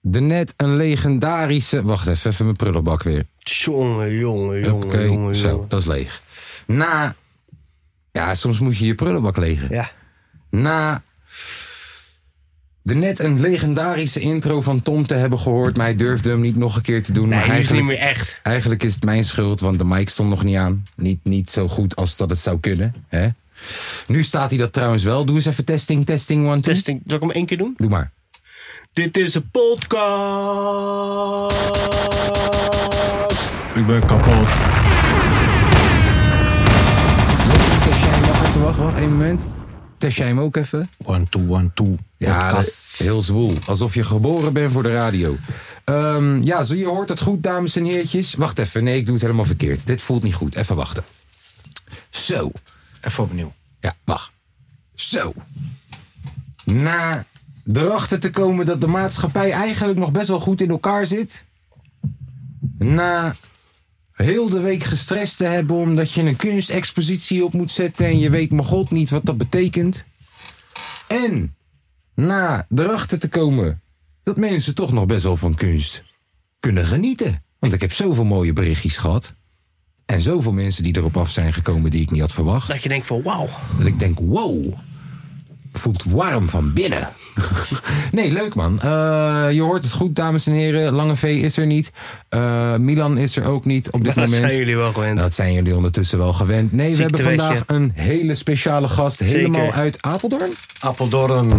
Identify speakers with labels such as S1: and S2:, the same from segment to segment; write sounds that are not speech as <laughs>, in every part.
S1: de net een legendarische... Wacht even, even mijn prullenbak weer.
S2: Jongen, jongen, jongen,
S1: Oké,
S2: jongen,
S1: zo,
S2: jongen.
S1: dat is leeg. Na... Ja, soms moet je je prullenbak legen.
S2: Ja.
S1: Na de net een legendarische intro van Tom te hebben gehoord... maar hij durfde hem niet nog een keer te doen.
S2: Nee,
S1: maar
S2: die is
S1: eigenlijk,
S2: niet meer echt.
S1: eigenlijk is het mijn schuld, want de mic stond nog niet aan. Niet, niet zo goed als dat het zou kunnen. Hè? Nu staat hij dat trouwens wel. Doe eens even testing, testing, one, two.
S2: Testing. Zal ik hem één keer doen?
S1: Doe maar.
S2: Dit is een podcast.
S3: Ik ben kapot.
S1: Test jij hem nog even, wacht, wacht, één moment. Test jij hem ook even?
S3: One, two, one, two.
S1: Ja, dat is heel zwoel. Alsof je geboren bent voor de radio. Ehm, ja, zo, je hoort het goed, dames en heertjes. Wacht even, nee, ik doe het helemaal verkeerd. Dit voelt niet goed. Even wachten. Zo.
S3: Even opnieuw.
S1: Ja, wacht. Zo. Na erachter te komen dat de maatschappij eigenlijk nog best wel goed in elkaar zit. Na heel de week gestrest te hebben omdat je een kunstexpositie op moet zetten en je weet mijn god niet wat dat betekent. En na erachter te komen dat mensen toch nog best wel van kunst kunnen genieten. Want ik heb zoveel mooie berichtjes gehad. En zoveel mensen die erop af zijn gekomen die ik niet had verwacht.
S2: Dat je denkt van wauw.
S1: Dat ik denk, wow, voelt warm van binnen. <laughs> nee, leuk man. Eh, je hoort het goed, dames en heren. Lange V is er niet. Eh, Milan is er ook niet op dit
S2: Dat
S1: moment.
S2: zijn jullie wel gewend.
S1: Dat zijn jullie ondertussen wel gewend. Nee, we hebben
S2: Ziektewetje.
S1: vandaag een hele speciale gast. Helemaal
S2: Zeker.
S1: uit Apeldoorn.
S3: Appeldoorn. Yes, yes,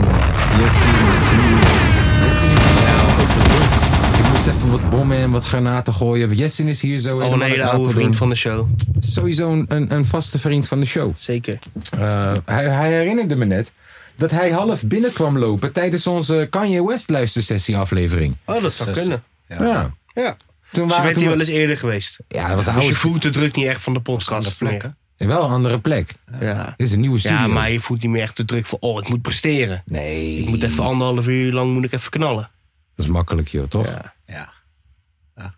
S3: yes.
S1: Jessin is hier. op bezoek. Ik moest even wat bommen en wat granaten gooien. Jessin is hier zo
S2: Al een
S1: helemaal uit
S2: hele oude
S1: Apeldoorn.
S2: vriend van de show.
S1: Sowieso een- een, een vaste vriend van de show.
S2: Zeker.
S1: Eh, hij, hij herinnerde me net dat hij half binnenkwam lopen tijdens onze Kanye West luistersessie aflevering.
S2: Oh, dat zou kunnen.
S1: Ja.
S2: Ja.
S1: Toen
S2: Ze
S1: waren
S2: bent
S1: toen
S2: hier wel eens eerder geweest.
S1: Ja, dat was een
S2: Dus je
S1: oude
S2: voelt de druk niet echt van de podcast.
S3: plek,
S2: meer.
S1: Wel een andere plek.
S2: Ja.
S1: Dit is een nieuwe studio.
S2: ja, maar je voelt niet meer echt de druk van oh, ik moet presteren.
S1: Nee.
S2: Ik moet even anderhalf uur lang moet ik even knallen.
S1: Dat is makkelijk, joh, toch? Ja.
S2: Ja.
S3: Ja. Ja.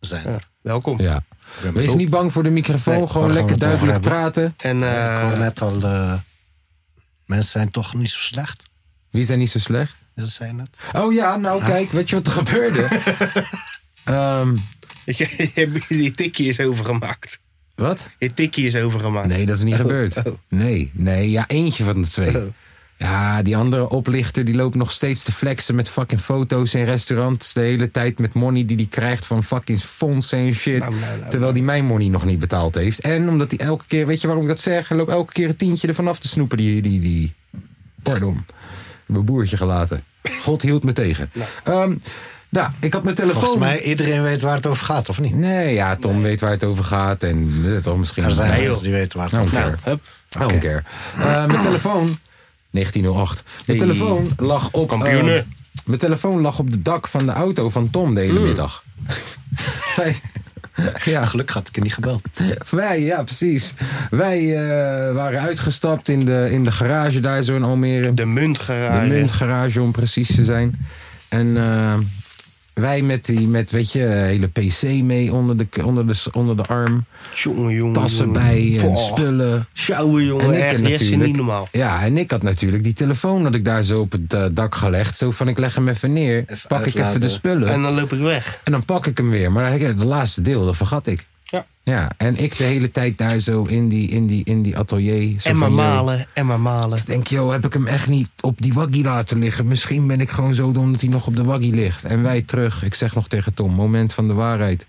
S3: We zijn
S2: Ja.
S3: er.
S2: Welkom.
S3: ben
S1: Wees
S3: benieuwd.
S1: niet bang voor de microfoon.
S2: Nee,
S1: gewoon
S3: waar gaan we
S1: lekker
S3: het over
S1: duidelijk
S3: hebben?
S1: praten.
S2: En eh,
S3: Ik hoor net al, eh, mensen zijn toch niet zo slecht.
S1: Wie zijn niet zo slecht?
S3: Dat zijn het.
S1: Oh ja, nou kijk, weet je wat er gebeurde? Ehm,
S2: weet <laughs> je, je tikkie is overgemaakt.
S1: wat?
S2: Je tikkie is overgemaakt.
S1: Nee, dat is niet gebeurd.
S2: oh.
S1: Nee, nee, ja, eentje van de twee.
S2: Oh.
S1: Ja, die andere oplichter die loopt nog steeds te flexen met fucking foto's in restaurants. De hele tijd met money die hij krijgt van fucking fondsen en shit.
S2: Nou, nou, nou.
S1: terwijl die mijn money nog niet betaald heeft. En omdat hij elke keer, weet je waarom ik dat zeg? Hij loopt elke keer een tientje ervan af te snoepen. Die, die, die. Pardon. Ik heb mijn boertje gelaten. God hield me tegen. Nou, nou ik had mijn telefoon.
S3: Volgens mij iedereen weet waar het over gaat, of niet?
S1: Nee, ja, Tom weet waar het over gaat. En eh, Tom misschien.
S3: Er zijn
S2: Nee, joh.
S3: mensen die weten waar het
S1: Nou,
S3: over
S1: nou,
S3: gaat.
S2: Nou, hup.
S1: I don't care. Eh,
S2: <clears throat>
S1: mijn telefoon. 1908. Mijn
S2: Hey.
S1: telefoon lag op.
S2: Kampioenen.
S1: eh, mijn telefoon lag op de dak van de auto van Tom de hele
S2: <laughs>
S1: middag. Wij- ja,
S3: Gelukkig had ik er niet gebeld.
S1: wij, ja, precies. Wij eh, waren uitgestapt in de, in de garage daar zo in Almere.
S2: De muntgarage.
S1: De muntgarage om precies te zijn. En eh, wij met die, met, weet je, hele PC mee onder de, onder de, onder de arm.
S2: Jongen, jongen.
S1: Tassen
S2: jongen.
S1: bij en
S2: Boah.
S1: spullen.
S2: Sjouwen, jongen.
S1: En ik
S2: echt,
S1: heb
S2: Jesse,
S1: natuurlijk.
S2: niet normaal.
S1: Ja, en ik had natuurlijk die telefoon dat ik daar zo op het eh, dak gelegd. Zo van ik leg hem even neer,
S3: Even
S1: pak ik even
S3: uitlaten.
S1: de spullen
S2: En
S1: en,
S2: dan loop ik weg.
S1: dan pak ik hem weer. Maar ik- het laatste deel, dat vergat ik.
S2: Ja.
S1: Ja, en ik de hele tijd daar zo in die, in die, in die atelier. Zo
S2: En maar
S1: van, joh,
S2: malen, en maar malen.
S1: ik denk, joh, heb ik hem echt niet op die waggie laten liggen? Misschien ben ik gewoon zo dom dat hij nog op de waggie ligt. En wij terug. Ik zeg nog tegen Tom, moment van de waarheid.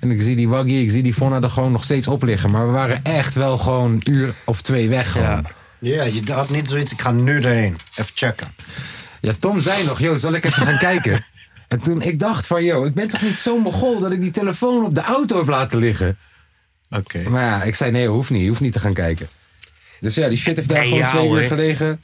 S1: En ik zie die waggie, ik zie die Fonna er gewoon nog steeds op liggen. Maar we waren echt wel gewoon een uur of twee weg gewoon.
S2: Ja.
S3: Ja, je had niet zoiets. Ik ga nu erheen. Even checken.
S1: Ja, Tom zei nog, joh, zal ik even gaan
S2: <laughs>
S1: kijken? En toen ik dacht van, joh, ik ben toch niet zo mogol dat ik die telefoon op de auto heb laten liggen?
S3: Oké.
S1: Maar ja, ik zei, nee, hoeft niet, hoeft niet te gaan kijken. Dus ja, die shit heeft daar
S2: Nee,
S1: gewoon
S2: ja,
S1: twee
S2: hoor.
S1: uur gelegen.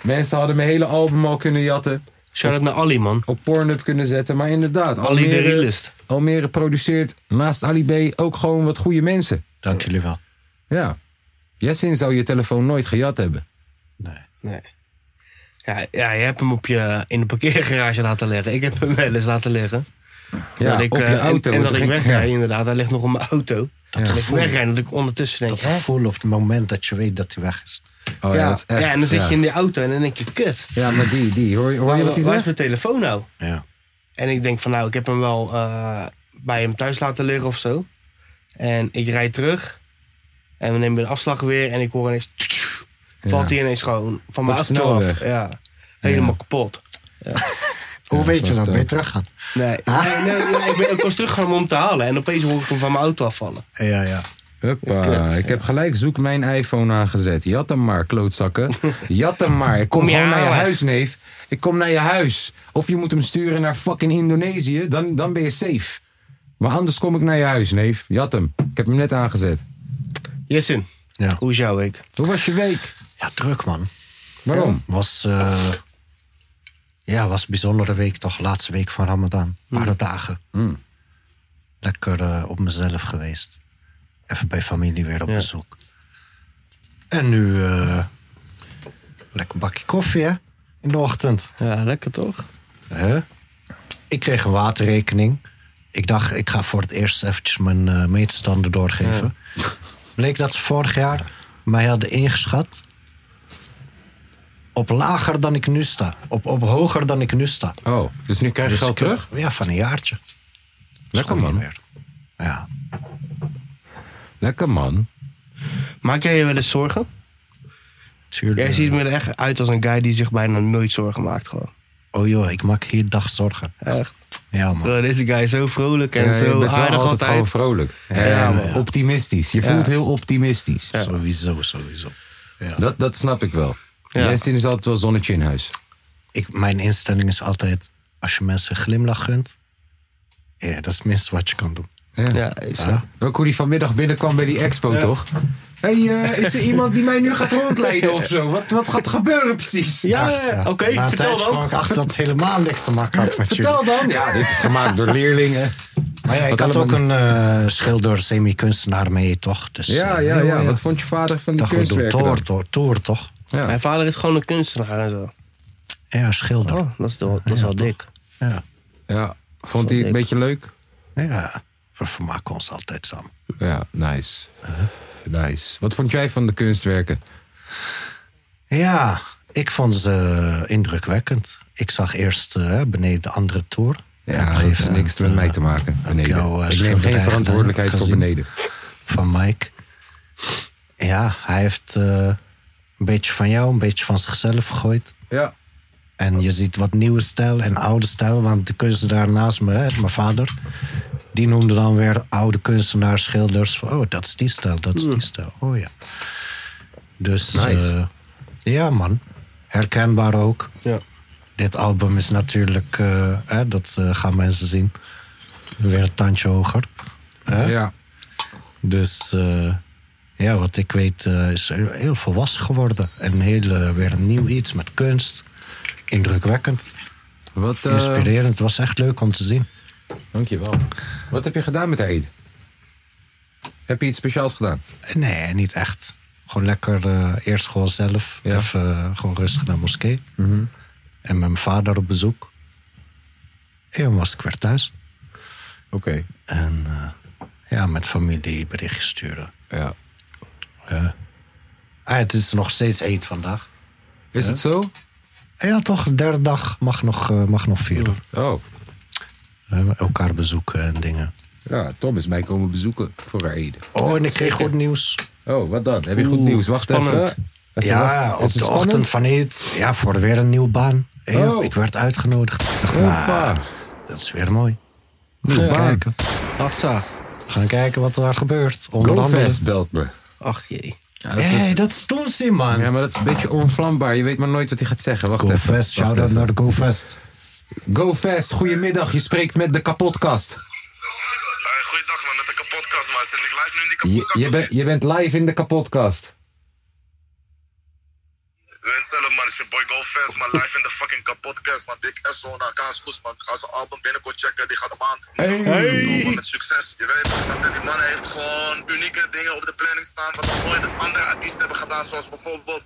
S1: Mensen hadden mijn hele album al kunnen jatten.
S2: Shout-out naar Ali, man.
S1: op Pornhub kunnen zetten. Maar inderdaad,
S2: Ali de
S1: Almere,
S2: realist.
S1: Almere produceert naast Ali B ook gewoon wat goede mensen.
S3: Dank jullie wel.
S1: Ja. Jessin zou je telefoon nooit gejat hebben.
S3: Nee.
S2: Nee. Ja, ja, je hebt hem op je, in de parkeergarage laten liggen. Ik heb hem wel eens laten liggen.
S1: Ja,
S2: Dat ik,
S1: op je
S2: eh, en-
S1: auto.
S2: En,
S1: want
S2: dat
S1: er ging-
S2: ik wegrijd,
S1: ja.
S2: inderdaad. Hij ligt nog op mijn auto. Dat ik
S3: gevoel.
S2: wegrijd, dat ik ondertussen denk,
S3: Dat
S2: hè?
S3: gevoel op het moment dat je weet dat hij weg is.
S1: Oh, ja, dat is echt,
S2: ja, en dan zit
S1: ja.
S2: je in die auto en dan denk je, kut.
S1: Ja, maar die, die. Hoor, hoor je
S2: Waar-
S1: wat hij
S2: waar is
S1: zegt?
S2: mijn telefoon nou?
S3: Ja.
S2: En ik denk van nou, ik heb hem wel eh, bij hem thuis laten liggen of zo. En ik rijd terug. En we nemen de afslag weer. En ik hoor ineens... Valt hij ineens gewoon van mijn
S1: Op de
S2: auto af.
S1: snelweg.
S2: Ja. Helemaal kapot.
S4: Hoe weet je dat?
S1: dat
S4: Ben je
S1: ook.
S4: teruggaan?
S2: Nee, nee, nee, nee, ik ben ook was teruggegaan om hem te halen. En opeens hoor ik hem van mijn auto afvallen.
S4: Ja, ja.
S1: Huppa, ik eh, heb gelijk zoek mijn iPhone aangezet. Jat hem maar, <laughs> klootzakken. Jat hem maar. Ik kom,
S2: Kom je
S1: gewoon naar je
S2: halen.
S1: huis, neef. Ik kom naar je huis. Of je moet hem sturen naar fucking Indonesië. Dan, dan ben je safe. Maar anders kom ik naar je huis, neef. Jat hem. Ik heb hem net aangezet.
S2: Jessin,
S3: Ja.
S2: hoe is jouw week?
S1: Hoe was je week?
S3: ja, druk man.
S1: Waarom?
S3: Was, eh, ja, was een bijzondere week toch. Laatste week van Ramadan. Paar dagen. Lekker eh, op mezelf geweest. Even bij familie weer op
S2: Ja.
S3: bezoek. En nu eh, lekker bakje koffie hè? in de ochtend.
S2: Ja, lekker toch?
S3: Hè? Ik kreeg een waterrekening. Ik dacht, ik ga voor het eerst eventjes mijn eh, meetstanden doorgeven. Bleek dat ze vorig jaar mij hadden ingeschat. Op lager dan ik nu sta. Op, op hoger dan ik nu sta.
S1: Oh, dus nu krijg je
S3: Dus
S1: geld
S3: ik-
S1: terug?
S3: Ja, van een jaartje. Dat is
S1: Lekker
S3: gewoon
S1: man.
S3: niet meer. Ja.
S1: Lekker man.
S2: Maak jij je wel eens zorgen?
S3: Tuurlijk.
S2: Jij ziet me er echt uit als een guy die zich bijna nooit zorgen maakt gewoon.
S3: Oh joh, ik maak hier dag zorgen.
S2: Echt.
S3: Ja man.
S2: Bro, deze guy is zo vrolijk en
S1: Ja, Eh, je
S2: zo
S1: bent wel
S2: aardig
S1: altijd,
S2: altijd.
S1: gewoon vrolijk. En optimistisch. Je voelt heel optimistisch.
S3: Sowieso, sowieso. Ja.
S1: Dat, dat snap ik wel.
S2: Ja.
S1: Jensen is altijd wel zonnetje in huis.
S3: ik, mijn instelling is altijd: als je mensen een glimlach gunt, ja, dat is het minste wat je kan doen.
S2: Ja, is zo.
S1: Ook hoe die vanmiddag binnenkwam bij die expo, toch? hey, eh, is er <laughs> iemand die mij nu gaat rondleiden of zo? Wat, wat gaat er gebeuren precies?
S2: Ja,
S4: Echt,
S2: ja,
S4: eh,
S2: oké,
S4: na een
S2: vertel
S4: tijdje kwam
S2: dan.
S4: ik achter dat het helemaal niks te maken had met jullie.
S1: <laughs> Vertel dan. Ja, dit is gemaakt door leerlingen.
S3: Maar ja, ik
S1: Wat
S3: had ook
S1: allemaal
S3: een eh, schilder, semi-kunstenaar mee, toch? Dus,
S1: Ja,
S3: eh,
S1: ja,
S3: joh,
S1: ja. Wat vond je vader van die
S3: dacht, we doen
S1: kunstwerken dan?
S3: toer, toer, toer, toch?
S1: Ja.
S2: Mijn vader is gewoon een kunstenaar en zo.
S3: Ja, schilder.
S2: Oh, dat is, wel- dat is
S3: Ja,
S2: wel
S3: toch?
S2: dik.
S3: Ja.
S1: ja, vond hij het een beetje leuk?
S3: ja, we vermaken ons altijd samen.
S1: Ja, nice. Nice. Wat vond jij van de kunstwerken?
S3: Ja, ik vond ze eh, indrukwekkend. Ik zag eerst eh, beneden de andere toer. Op
S1: Ja,
S3: een
S1: dat
S3: gegeven
S1: heeft niks
S3: moment,
S1: met
S3: eh,
S1: mij te maken.
S3: heb
S1: Beneden.
S3: jou, eh,
S1: ik neem geen
S3: schilderij
S1: verantwoordelijkheid
S3: gedaan,
S1: voor
S3: gezien.
S1: beneden.
S3: van Mike. Ja, hij heeft eh, een beetje van jou, een beetje van zichzelf gegooid.
S1: Ja.
S3: En je ziet wat nieuwe stijl en oude stijl. Want de kunstenaar naast me, hè, mijn vader, die noemde dan weer oude kunstenaars, schilders. Oh, dat is die stijl, dat is die stijl. Oh ja. Dus
S1: Nice.
S3: eh, ja, man. Herkenbaar ook.
S2: Ja.
S3: Dit album is natuurlijk, eh, hè, dat eh, gaan mensen zien, weer een tandje hoger. Hè?
S1: Ja.
S3: Dus eh, ja, wat ik weet eh, is heel- heel volwassen geworden. En heel, eh, weer een nieuw iets met kunst. Indrukwekkend,
S1: Wat, eh,
S3: inspirerend. Het was echt leuk om te zien.
S1: Dankjewel. Wat heb je gedaan met de Eid? Heb je iets speciaals gedaan?
S3: Eh, Nee, niet echt. Gewoon lekker eh, eerst gewoon zelf.
S1: Ja.
S3: Even eh, gewoon rustig naar de moskee. En met mijn vader op bezoek. En dan was ik weer thuis.
S1: Oké.
S3: En eh, ja, met familie berichtjes sturen.
S1: Ja.
S3: Ah, het is nog steeds eet vandaag.
S1: Is het zo?
S3: Ja, toch, de derde dag mag nog, eh, mag nog vieren.
S1: Oh.
S3: Eh, elkaar bezoeken en dingen.
S1: Ja, Tom is mij komen bezoeken voor haar Eid.
S3: Oh, en ik kreeg goed nieuws.
S1: Oh, wat dan? Heb je goed nieuws? Wacht
S2: spannend.
S1: even. Even
S3: Ja,
S1: wachten. Is
S3: op
S1: het
S3: de
S1: spannend?
S3: ochtend van het. Ja, voor weer een nieuwe baan. Ja,
S1: Oh.
S3: Ik werd uitgenodigd. Ik dacht,
S1: Hoppa.
S3: nou, dat is weer mooi.
S1: Nieuwe
S3: Gaan
S1: baan.
S3: kijken.
S2: Hatsa.
S3: Gaan kijken wat er gebeurt. Onder andere.
S1: GoFest belt me.
S2: Ach jee.
S1: Ja, dat,
S3: Hé,
S1: dat-
S3: hey, dat is Tonsi, man.
S1: ja, maar dat is een beetje onvlambaar. Je weet maar nooit wat hij gaat zeggen. Wacht even.
S3: GoFest,
S1: Wacht
S3: shout-out
S1: even.
S3: naar de GoFest.
S1: GoFest, goedemiddag. Je spreekt met de kapotkast.
S5: Hey, Eh, goeiedag man, met de kapotkast man. Zit ik live nu in die
S1: Je,
S5: kapotkast?
S1: je, bent- je bent live in de kapotkast.
S5: Wens, bestellen, man. It's your boy GoFans, man. Live in the fucking kapotcast, man. Dick Esso naar Kaaspoes, man. Ga zijn album binnenkort checken, die gaat maan. Hey. Met succes. Je weet, je snapt dat die man heeft gewoon unieke dingen op de planning staan. Wat nog nooit andere artiesten hebben gedaan, zoals bijvoorbeeld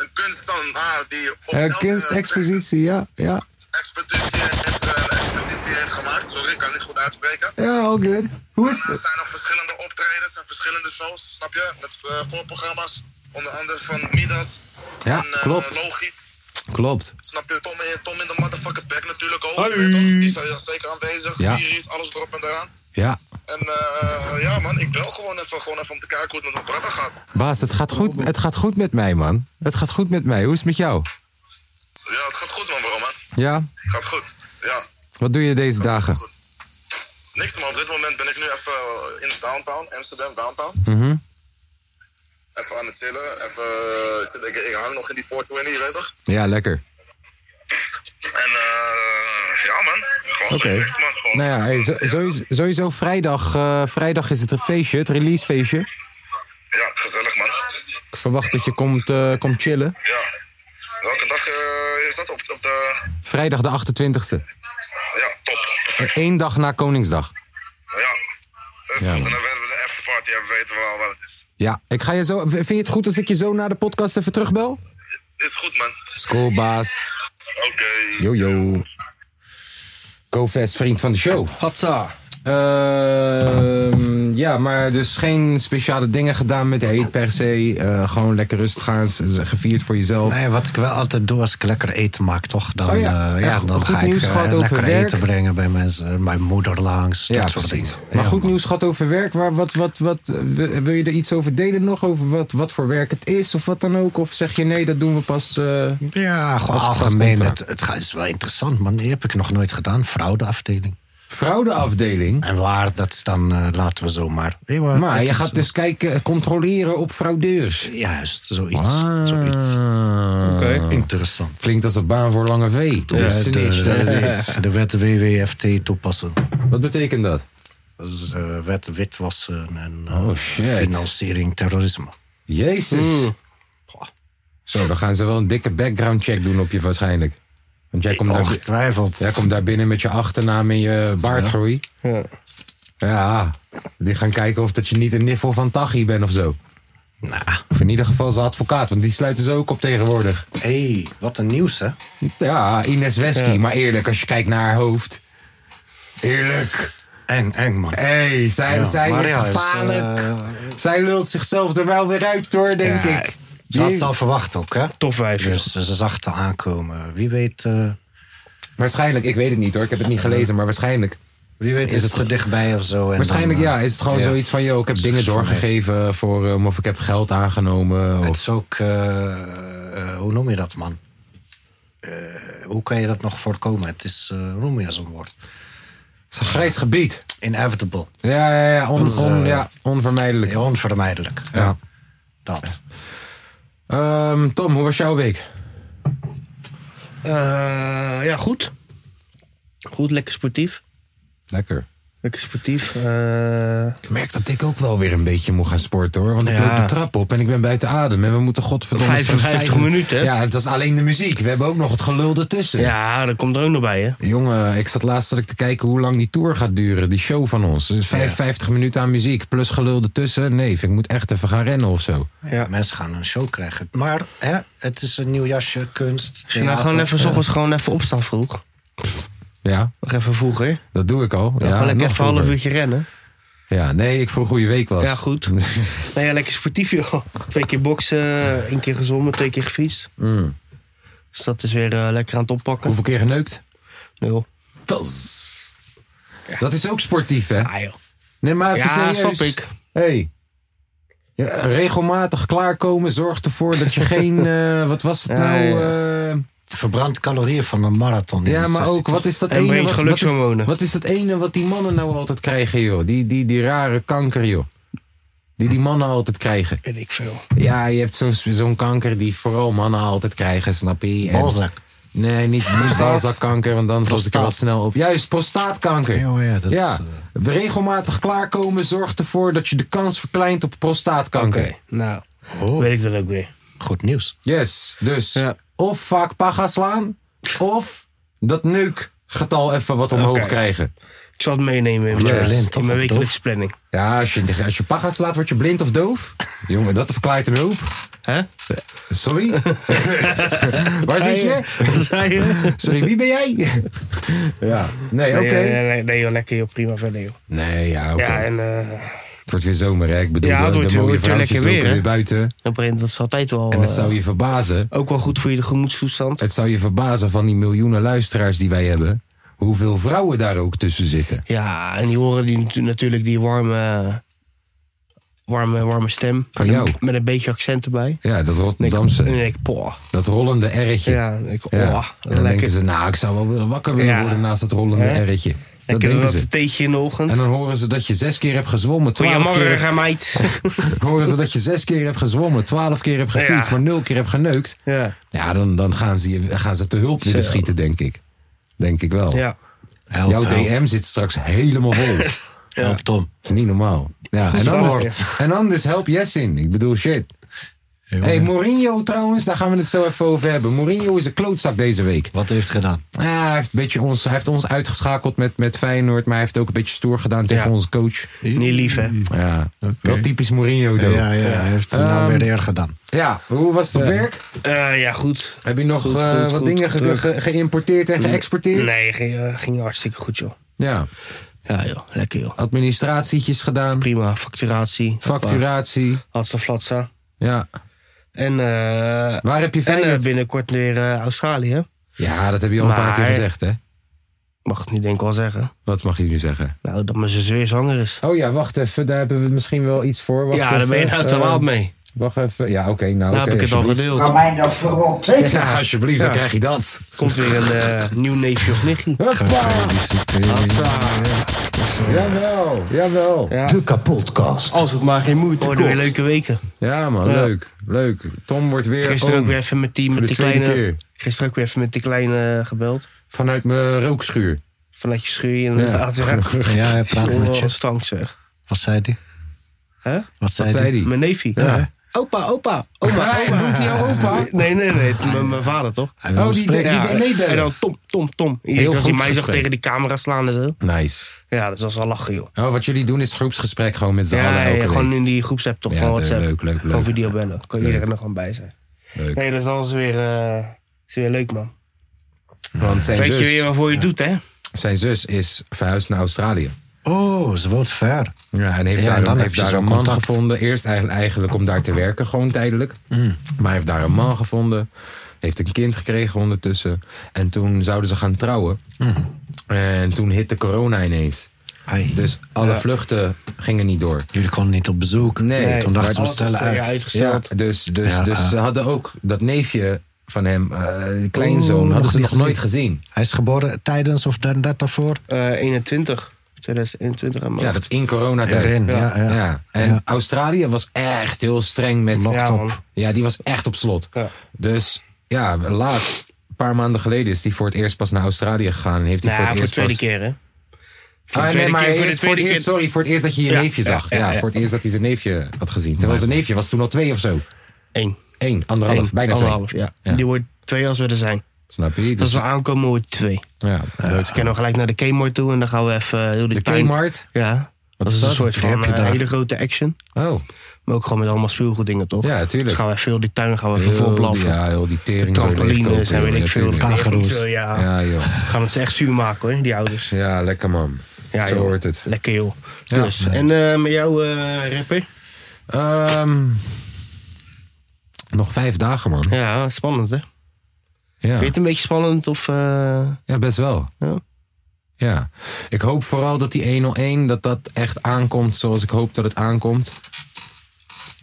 S5: een kunstenaar die op
S1: Eh,
S5: elke-
S1: kunstexpositie, ja, ja.
S5: expeditie heeft, eh, expositie heeft gemaakt. Sorry, ik kan het niet goed uitspreken.
S1: Ja, all good. Hoe is
S5: En er zijn nog verschillende optredens en verschillende shows, snap je? Met eh, voorprogramma's, onder andere van Midas.
S1: Ja,
S5: en, eh,
S1: klopt.
S5: Logisch,
S1: Klopt.
S5: snap je? Tom in, Tom in de motherfucking pack natuurlijk ook.
S2: Hoi.
S5: je weet toch? Die zijn zeker aanwezig.
S1: Ja.
S5: Hier is alles erop en eraan.
S1: Ja.
S5: En eh, ja man, ik bel gewoon even, gewoon even om te kijken hoe het met mijn brother gaat.
S1: Baas, het gaat, goed, het gaat goed met mij, man. Het gaat goed met mij. Hoe is het met jou?
S5: Ja, het gaat goed man, bro man.
S1: Ja?
S5: Gaat goed. Ja,
S1: Wat doe je deze dagen?
S5: niks man. Op dit moment ben ik nu even eh, in downtown, Amsterdam downtown.
S1: Mhm.
S5: Even aan het chillen, even, eh, ik, zit, ik, ik hang nog in die 420, je weet toch?
S1: Ja, lekker.
S5: En eh, ja man, gewoon
S1: Oké.
S5: relaxed, man. Gewoon-
S1: Nou ja, hey, zo- sowieso, sowieso vrijdag, eh, vrijdag is het een feestje, het releasefeestje.
S5: Ja, gezellig man.
S1: Ik verwacht dat je komt, eh, komt chillen.
S5: Ja. Welke dag eh, is dat? Op, op de...
S1: Vrijdag de 28e.
S5: Ja, top.
S1: Eén dag na Koningsdag.
S5: Ja. Dat is
S1: Ja,
S5: goed.
S1: man.
S5: En dan werden we de afterparty hebben, weten we al wat het is.
S1: Ja, ik ga je zo. v- Vind je het goed als ik je zo na de podcast even terugbel?
S5: Is goed man.
S1: Schoolbaas.
S5: Oké.
S1: Yo, yo. GoFest, vriend van de show.
S2: Hatsa.
S1: Ehm, ja, maar dus geen speciale dingen gedaan met de eet per se. Eh, gewoon lekker rustig aan, z- z- gevierd voor jezelf.
S3: Nee, wat ik wel altijd doe als ik lekker eten maak, toch? Dan,
S1: Oh
S3: eh,
S1: ja.
S3: ja.
S1: Ja,
S3: dan
S1: goed
S3: ga ik
S1: nieuws
S3: eh,
S1: gehad over
S3: lekker
S1: werk.
S3: eten brengen bij mensen. Mijn moeder langs,
S1: ja,
S3: dat soort
S1: precies.
S3: dingen.
S1: Maar
S3: Ja,
S1: goed
S3: man.
S1: nieuws gaat over werk. Waar, wat, wat, wat, eh, wil- wil je er iets over delen nog? Over wat, wat voor werk het is of wat dan ook? Of zeg je nee, dat doen we pas. eh,
S3: Ja, gewoon
S1: Als- als
S3: algemeen.
S1: contract.
S3: Het, het gaat- is wel interessant, man. Die heb ik nog nooit gedaan. Fraudeafdeling.
S1: Fraudeafdeling.
S3: En waar, dat is dan eh, laten we zomaar. Nee, maar.
S1: Maar
S3: het
S1: je
S3: is-
S1: gaat dus kijken, controleren op fraudeurs.
S3: Juist, zoiets.
S1: Ah.
S3: zoiets.
S2: Oké.
S3: Interessant.
S1: Klinkt als een baan voor lange V. Dus
S3: de,
S1: niet, eh, <laughs>
S3: de, de wet WWFT toepassen.
S1: Wat betekent dat?
S3: Dat is eh, wet witwassen en eh,
S1: Oh, shit.
S3: financiering terrorisme.
S1: Jezus.
S3: Mm.
S1: Goh. Zo, dan gaan ze wel een dikke background check doen op je waarschijnlijk. Want jij komt,
S3: Oh,
S1: daar, bi-
S3: Ongetwijfeld.
S1: jij komt daar binnen met je achternaam en je baardgroei.
S2: Ja.
S1: Ja, die gaan kijken of dat je niet een niffel van Tachi bent of zo.
S3: Nou,
S1: Of in ieder geval zijn advocaat, want die sluiten ze ook op tegenwoordig.
S3: hey, wat een nieuws, hè?
S1: Ja, Ines Wesky. Maar eerlijk, als je kijkt naar haar hoofd. Eerlijk.
S3: Eng, eng, man.
S1: Hé, zij,
S3: Ja,
S1: zij
S3: maar
S1: is
S3: ja, is,
S1: gevaarlijk.
S3: eh,
S1: Zij lult zichzelf er wel weer uit hoor, denk
S2: Ja,
S1: ik.
S3: Ze had
S1: Jee.
S3: het al verwacht ook, hè?
S2: Top vijf, ja.
S3: Dus eh, ze zag het al aankomen. Wie weet, eh,
S1: Waarschijnlijk, ik weet het niet hoor, ik heb het niet gelezen, maar waarschijnlijk.
S3: wie weet is, het te dichtbij of zo. En
S1: Waarschijnlijk
S3: dan, eh,
S1: ja, is het gewoon
S3: ja.
S1: zoiets van, yo, ik heb dingen doorgegeven voor hem of ik heb geld aangenomen.
S3: Het
S1: Of,
S3: is ook, eh, eh, hoe noem je dat, man? Eh, hoe kan je dat nog voorkomen? Het is, eh, hoe noem je zo'n woord?
S1: het is een grijs gebied.
S3: Inevitable.
S1: Ja, ja, ja, on-
S3: Dat, eh,
S1: on- ja onvermijdelijk.
S3: Ja, Onvermijdelijk.
S1: Ja.
S3: Dat.
S1: Ehm, Tom, hoe was jouw week?
S2: Eh, ja, goed. Goed, lekker sportief.
S1: Lekker.
S2: Lekker sportief. Eh,
S1: Ik merk dat ik ook wel weer een beetje moet gaan sporten hoor. Want ik
S2: Ja.
S1: loop de trap op en ik ben buiten adem. En we moeten godverdomme...
S2: 55
S1: vijf-
S2: minuten, hè?
S1: Ja, het was alleen de muziek. We hebben ook nog het gelul ertussen.
S2: ja, dat komt er ook nog bij, hè?
S1: Jongen, ik zat laatst zat ik te kijken hoe lang die tour gaat duren. Die show van ons. Dus 55 minuten aan muziek plus gelul ertussen. Nee, vind ik moet echt even gaan rennen of zo.
S2: Ja.
S3: Mensen gaan een show krijgen. Maar hè, het is een nieuw jasje, kunst.
S2: Misschien nou
S3: theater. eh,
S2: gewoon even, 's ochtends gewoon even opstaan vroeg.
S1: Ja,
S2: Nog even vroeger.
S1: dat doe ik al. Ja,
S2: Dan gewoon lekker
S1: nog
S2: even een half
S1: vroeger.
S2: uurtje rennen.
S1: Ja, nee, ik vroeg hoe je week was.
S2: Ja, goed. nou ja, lekker sportief, joh. <laughs> Twee keer boksen, één keer gezongen, twee keer gefietst.
S1: Mm.
S2: Dus dat is weer eh, lekker aan het
S1: <laughs>
S2: oppakken.
S1: Hoeveel keer geneukt?
S2: Nul.
S1: Dat is ook sportief, hè?
S2: Ah, joh.
S1: Nee, maar even
S2: Ja,
S1: serieus.
S2: snap ik.
S1: Hey. Ja, regelmatig klaarkomen zorgt ervoor
S2: <laughs>
S1: dat je geen... eh, wat was het
S2: Ja,
S1: nou?
S2: ja,
S1: eh,
S3: Verbrand calorieën van een marathon. Dus in
S1: Ja,
S3: een
S1: maar
S3: sessie,
S1: ook, wat is dat
S2: En
S1: ene...
S2: breed
S1: Wat, wat, is,
S2: gelukshormonen.
S1: wat is dat ene wat die mannen nou altijd krijgen, joh? Die, die, die rare kanker, joh. Die die mannen altijd krijgen.
S2: Weet ik veel.
S1: Ja, je hebt zo'n zo'n kanker die vooral mannen altijd krijgen, snap je? En-
S3: Balzak.
S1: Nee, niet, niet balzakkanker, want dan was ik er wel
S3: Prostaat.
S1: snel op. Juist, prostaatkanker.
S3: Oh ja, dat is, eh,
S1: regelmatig klaarkomen zorgt ervoor dat je de kans verkleint op prostaatkanker.
S2: Oké, nou,
S3: Oh.
S2: weet ik dat ook weer.
S3: Goed nieuws.
S1: Yes, dus
S2: Ja.
S1: of vaak paga slaan, of dat neukgetal even wat omhoog
S2: Oké.
S1: krijgen.
S2: Ik zal het meenemen in
S1: Word je
S2: mijn,
S1: blind,
S2: in
S3: toch,
S2: mijn
S3: of
S2: wekelijkse
S1: <laughs>
S2: planning.
S1: Ja, als je, als je paga slaat, word je blind of doof. Jongen, dat verklaart een hoop.
S2: Hè?
S1: Sorry?
S2: <laughs>
S1: Waar zit je?
S2: Wat zei je?
S1: Sorry, wie ben jij? ja, nee, oké.
S2: Nee, nee, nee, nee, joh, lekker joh, prima verder joh.
S1: Nee, ja, oké.
S2: Ja, en eh,
S1: Het wordt weer zomer, hè? Ik bedoel,
S2: Ja, het
S1: de,
S2: wordt-
S1: de
S2: het wordt
S1: mooie
S2: weer
S1: vrouwtjes
S2: lekker
S1: lopen
S2: weer, hè?
S1: weer buiten.
S2: op een gegeven moment, dat is altijd wel
S1: En het
S2: eh,
S1: zou Eh. je verbazen,
S2: ook wel goed voor je gemoedstoestand.
S1: het zou je verbazen van die miljoenen luisteraars die wij hebben, hoeveel vrouwen daar ook tussen zitten.
S2: Ja, en die horen die, natu- natuurlijk die warme, warme, warme stem.
S1: Van
S2: Met
S1: jou.
S2: Een, met een beetje accent erbij.
S1: Ja, dat
S2: En ik- En
S1: Rotterdamse,
S2: ik, poh.
S1: dat rollende erretje.
S2: Ja, en ik,
S1: Ja.
S2: oh,
S1: En dan denken
S2: lekker.
S1: ze, nou, ik zou wel willen wakker willen
S2: Ja.
S1: worden naast dat rollende
S2: Hè?
S1: erretje. Dat
S2: lekker
S1: denken
S2: wat
S1: ze.
S2: theetje in de ochtend.
S1: En dan horen ze dat je zes keer hebt gezwommen, twaalf keer
S2: Goeiemorgen, meid. <laughs>
S1: horen ze dat je zes keer hebt gezwommen, twaalf keer hebt gefietst,
S2: Ja.
S1: maar nul keer hebt geneukt.
S2: ja,
S1: Ja, dan, dan gaan, ze, je- gaan ze te hulp willen
S2: Zo.
S1: schieten, denk ik. Denk ik wel.
S2: ja.
S3: Help,
S1: Jouw
S3: help,
S1: DM zit straks helemaal
S2: <laughs>
S1: vol. Dat
S3: help Tom.
S1: is niet normaal. Ja, en,
S2: wel
S1: anders, en anders help Jess in. Ik bedoel, shit. hey, Mourinho trouwens, daar gaan we het zo even over hebben. Mourinho is een klootzak deze week.
S3: Wat heeft het gedaan?
S1: Ah, hij, heeft een beetje ons, hij heeft ons uitgeschakeld met, met Feyenoord, maar hij heeft ook een beetje stoer gedaan tegen
S2: Ja.
S1: onze coach.
S2: Niet lief, hè?
S1: Ja, wel typisch Mourinho.
S3: Ja,
S1: though.
S3: ja, hij heeft het nou weer de eer gedaan.
S1: Ja, hoe was het op werk?
S2: Eh, ja, goed.
S1: Heb je nog
S2: Goed,
S1: eh,
S2: goed,
S1: wat
S2: goed,
S1: dingen ge-
S2: terug.
S1: ge- geïmporteerd en geëxporteerd?
S2: Nee, ging, eh, ging hartstikke goed, joh.
S1: Ja,
S2: Ja, joh. Lekker, joh.
S1: administratietjes gedaan,
S2: Prima. Facturatie.
S1: facturatie.
S2: Hatsa flatsa.
S1: Ja,
S2: En, eh,
S1: waar heb je
S2: en eh,
S1: Feyenoord?
S2: binnenkort weer eh, Australië.
S1: Ja, dat heb je al een paar keer
S2: Maar-
S1: gezegd, hè?
S2: Mag ik nu denk ik wel zeggen.
S1: Wat mag je nu zeggen?
S2: Nou, dat mijn zus weer zwanger is.
S1: Oh ja, wacht even, daar hebben we misschien wel iets voor. Wacht
S2: ja, daar ben je
S1: even,
S2: nou te
S1: eh,
S2: laat mee.
S1: Wacht even, ja, oké, nou,
S2: Nou
S1: oké,
S2: heb ik het al
S1: alsjeblieft.
S2: gedeeld.
S6: Kan mij dat verrotten?
S1: Ja, alsjeblieft, dan krijg je dat.
S2: Komt weer een eh, nieuw neefje of nichtje.
S1: Hoppa!
S2: Hatsa.
S1: Jawel, jawel.
S2: Ja.
S1: kapotkast.
S7: Als het maar geen moeite
S2: Hoor, doe je Oh, leuke weken.
S1: Ja, man,
S2: Ja.
S1: leuk, leuk. Tom wordt weer
S2: Gisteren ook
S1: om.
S2: weer even met die,
S1: oh. Voor
S2: met
S1: de
S2: die
S1: tweede
S2: kleine...
S1: keer.
S2: Gisteren ook weer even met die kleine eh, gebeld.
S1: vanuit mijn rookschuur.
S2: Vanuit je schuur en <laughs>
S1: Ja.
S3: <laughs>
S1: <laughs>
S3: <laughs> Ja, hij praat met
S2: Wat een
S3: je.
S2: stank zeg.
S3: Oh. Wat zei hij?
S2: Hè?
S3: Wat zei
S1: Wat zei
S3: hij?
S1: die?
S2: Mijn neefie.
S1: Ja.
S2: Opa, opa, oma. oh,
S1: Hij noemt hij jou opa?
S2: <laughs> Nee, nee, nee. het-
S1: Ah.
S2: mijn- Mijn vader toch?
S3: Hij wil
S1: Oh, die
S3: spreken.
S1: deed-
S2: Ja,
S1: deed meebellen.
S2: En dan Tom, Tom, Tom. Je
S1: Heel
S2: was die
S1: goed
S2: mij zag
S1: gesprek.
S2: tegen die camera slaan en zo.
S1: Nice.
S2: Ja, dat was wel lachen, joh.
S1: Oh, wat jullie doen is groepsgesprek gewoon met z'n allen
S2: Ja, ja,
S1: elke week.
S2: gewoon in die groepsapp toch
S1: Ja,
S2: van
S1: leuk,
S2: WhatsApp.
S1: leuk, leuk,
S2: Gewoon
S1: leuk.
S2: video bellen. Kan iedereen
S1: Leuk.
S2: er gewoon bij zijn.
S1: Leuk.
S2: Nee, dat is alles weer, eh, is weer leuk, man.
S1: Want zijn
S2: Weet je weer
S1: zus,
S2: waarvoor je het doet, hè?
S1: zijn zus is verhuisd naar Australië.
S3: Oh, ze woont ver.
S1: Ja, en heeft
S3: Ja,
S1: daar,
S3: dan
S1: heeft
S3: heb je
S1: daar
S3: zo'n
S1: een man
S3: contact.
S1: gevonden. Eerst eigenlijk, eigenlijk om daar te werken, gewoon tijdelijk.
S3: Mm.
S1: Maar hij heeft daar een man gevonden. Heeft een kind gekregen ondertussen. En toen zouden ze gaan trouwen.
S3: Mm.
S1: En toen hitte corona ineens.
S3: Ai.
S1: Dus alle vluchten gingen niet door.
S3: Jullie konden niet op bezoek.
S1: Nee,
S3: toen dachten ze, we
S2: alles is
S3: stellen
S2: er- ja,
S3: uit.
S1: Ja,
S2: uitgesteld.
S1: dus dus,
S3: Ja,
S1: dus
S3: ah.
S1: ze hadden ook dat neefje van hem, eh, die kleinzoon,
S3: Oh,
S1: hadden
S3: nog
S1: ze nog
S3: niet
S1: nooit gezien.
S3: Hij is geboren tijdens of dan dat daarvoor?
S2: Eh 21. 2021 en
S1: Ja, dat is in coronatijd.
S3: Erin, ja, ja.
S1: Ja, en
S3: Ja.
S1: Australië was echt heel streng met...
S2: Ja, man. op.
S1: Ja, die was echt op slot.
S2: Ja.
S1: Dus ja, laatst, een paar maanden geleden... is die voor het eerst pas naar Australië gegaan. En heeft hij
S2: Nou,
S1: voor
S2: voor,
S1: het
S2: de
S1: eerst
S2: tweede
S1: pas...
S2: keer, hè? Voor
S1: Ah,
S2: de
S1: nee,
S2: tweede
S1: maar
S2: keer, voor de
S1: eerst, voor het
S2: tweede
S1: eerst,
S2: keer-
S1: sorry, voor het eerst dat je je
S2: Ja,
S1: neefje
S2: ja,
S1: zag. Ja,
S2: ja, ja.
S1: voor het eerst dat hij zijn neefje had gezien. Terwijl zijn neefje was toen al twee of zo.
S2: Eén.
S1: Eén, anderhalf,
S2: Eén,
S1: bijna
S2: anderhalf,
S1: twee.
S2: Ja.
S1: Ja.
S2: Die wordt twee als we er zijn.
S1: Snap je?
S2: Dus
S1: Dus,
S2: als we aankomen wordt het twee.
S1: ja, leuk.
S2: Dan kunnen we gelijk naar de Kmart toe en dan gaan we even eh, heel die
S1: De
S2: tuin-
S1: Kmart?
S2: Ja. Dat
S1: is
S2: is,
S1: dat?
S2: een soort
S1: Die
S2: van
S1: heb je
S2: eh,
S1: daar.
S2: hele grote action.
S1: Oh,
S2: Maar ook gewoon met allemaal speelgoeddingen, toch?
S1: Ja, tuurlijk.
S2: Dus gaan we even heel die tuin gaan we even
S1: heel die,
S2: voorblaffen.
S1: ja, heel die tering zo
S2: Trampolines
S1: leegkopen,
S2: en weet
S1: joh.
S2: ik veel. eh,
S1: tuurlijk.
S3: Kangaroes.
S2: Ja,
S1: Ja, joh.
S2: gaan het ze echt zuur maken hoor, die ouders.
S1: Ja, lekker man.
S2: Ja,
S1: zo
S2: joh.
S1: hoort het.
S2: Lekker joh.
S1: Ja.
S2: Dus, en eh, met jou eh, rapper?
S1: Ehm, nog vijf dagen, man.
S2: Ja, spannend hè?
S1: Ja,
S2: Vind je het een beetje spannend of... eh,
S1: ja best wel.
S2: Ja.
S1: Ja. Ik hoop vooral dat die 101, dat dat echt aankomt zoals ik hoop dat het aankomt.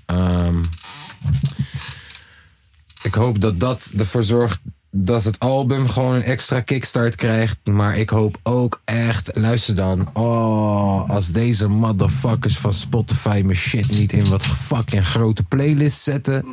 S1: Ehm, ik hoop dat dat ervoor zorgt dat het album gewoon een extra kickstart krijgt. Maar ik hoop ook echt, luister dan. Oh, als deze motherfuckers van Spotify mijn shit niet in wat fucking grote playlists zetten.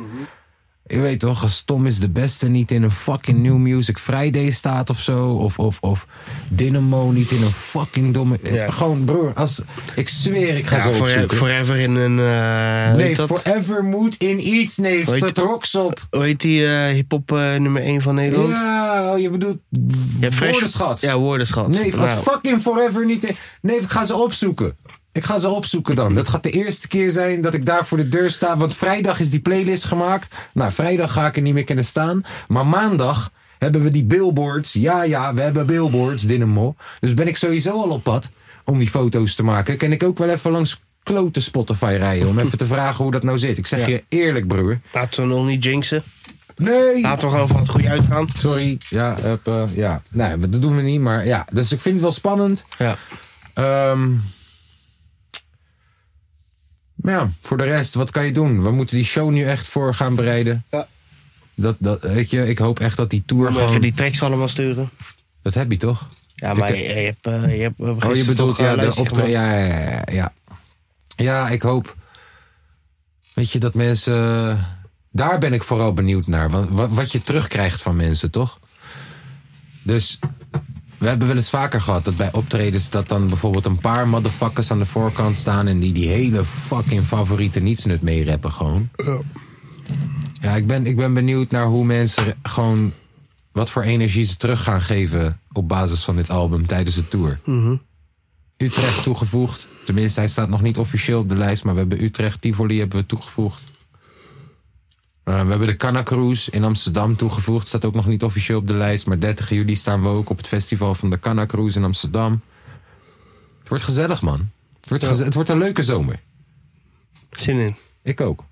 S1: Je weet toch, als Tom is de beste niet in een fucking New Music Friday staat of zo. Of, of, of Dynamo niet in een fucking domme...
S2: Ja.
S1: Gewoon, broer, als, ik zweer, ik ga
S2: Ja,
S1: zo
S2: voor-
S1: opzoeken.
S2: forever in een. eh
S1: nee, e-
S2: hoe heet dat?
S1: Forever moet in iets, neef.
S2: Hoe heet
S1: Staat
S2: dat?
S1: rocks op.
S2: Hoe heet die eh, hip-hop eh, nummer 1 van Nederland?
S1: Ja, oh, je bedoelt
S2: Je hebt Fresh-
S1: woordenschat.
S2: Ja, woordenschat.
S1: Nee, als
S2: Nou,
S1: fucking forever niet. in- Nee, ik ga ze opzoeken. Ik ga ze opzoeken dan. Dat gaat de eerste keer zijn dat ik daar voor de deur sta. Want vrijdag is die playlist gemaakt. Nou, vrijdag ga ik er niet meer kunnen staan. Maar maandag hebben we die billboards. Ja, ja, we hebben billboards, Dynamo. Dus ben ik sowieso al op pad om die foto's te maken. Kan ik ook wel even langs klote Spotify rijden. Om even te vragen hoe dat nou zit. Ik zeg je eerlijk, broer.
S2: Laten we nog niet jinxen.
S1: Nee!
S2: Laten we gewoon van het goede uitgaan.
S1: Sorry. Ja, hup, eh, ja. Nee, dat doen we niet. Maar ja, dus ik vind het wel spannend.
S2: Ja.
S1: Ehm maar ja, voor de rest, wat kan je doen? We moeten die show nu echt voor gaan bereiden.
S2: Ja.
S1: Dat, dat, weet je, ik hoop echt dat die tour gewoon...
S2: Even die tracks allemaal sturen.
S1: Dat heb je toch?
S2: Ja, maar
S1: Ik-
S2: je, je hebt, eh, je hebt eh,
S1: Oh, je
S2: gisteren
S1: bedoelt
S2: toch, eh,
S1: ja, de
S2: lijstje
S1: optreden.
S2: gemaakt.
S1: Ja, ja, ja, ja. Ja, ik hoop. Weet je, dat mensen. eh, Daar ben ik vooral benieuwd naar. Wat, wat, wat je terugkrijgt van mensen, toch? Dus. We hebben wel eens vaker gehad dat bij optredens. dat dan bijvoorbeeld een paar motherfuckers aan de voorkant staan. en die die hele fucking favoriete nietsnut meerappen, gewoon. Ja, ik ben, ik ben benieuwd naar hoe mensen re- gewoon. wat voor energie ze terug gaan geven. op basis van dit album tijdens de tour. Utrecht toegevoegd. Tenminste, hij staat nog niet officieel op de lijst, maar we hebben Utrecht, Tivoli hebben we toegevoegd. Eh, we hebben de Canna Cruise in Amsterdam toegevoegd. Staat ook nog niet officieel op de lijst. Maar 30 juli staan we ook op het festival van de Canna Cruise in Amsterdam. Het wordt gezellig, man. Het wordt, geze- het wordt een leuke zomer.
S2: Zin in.
S1: Ik ook.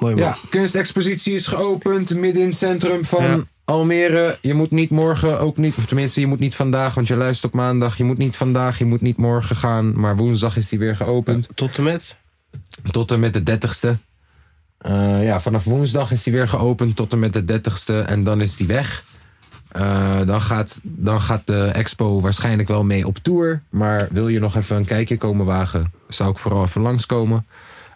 S2: Mooi man.
S1: Ja, kunstexpositie is geopend midden in het centrum van
S2: Ja.
S1: Almere. Je moet niet morgen, ook niet, of tenminste, je moet niet vandaag, want je luistert op maandag. Je moet niet vandaag, je moet niet morgen gaan. Maar woensdag is die weer geopend.
S2: Tot en met.
S1: Tot en met de 30ste. Eh, ja, vanaf woensdag is die weer geopend tot en met de 30ste. En dan is die weg. Eh, dan, gaat, dan gaat de expo waarschijnlijk wel mee op tour. Maar wil je nog even een kijkje komen wagen, zou ik vooral even langskomen.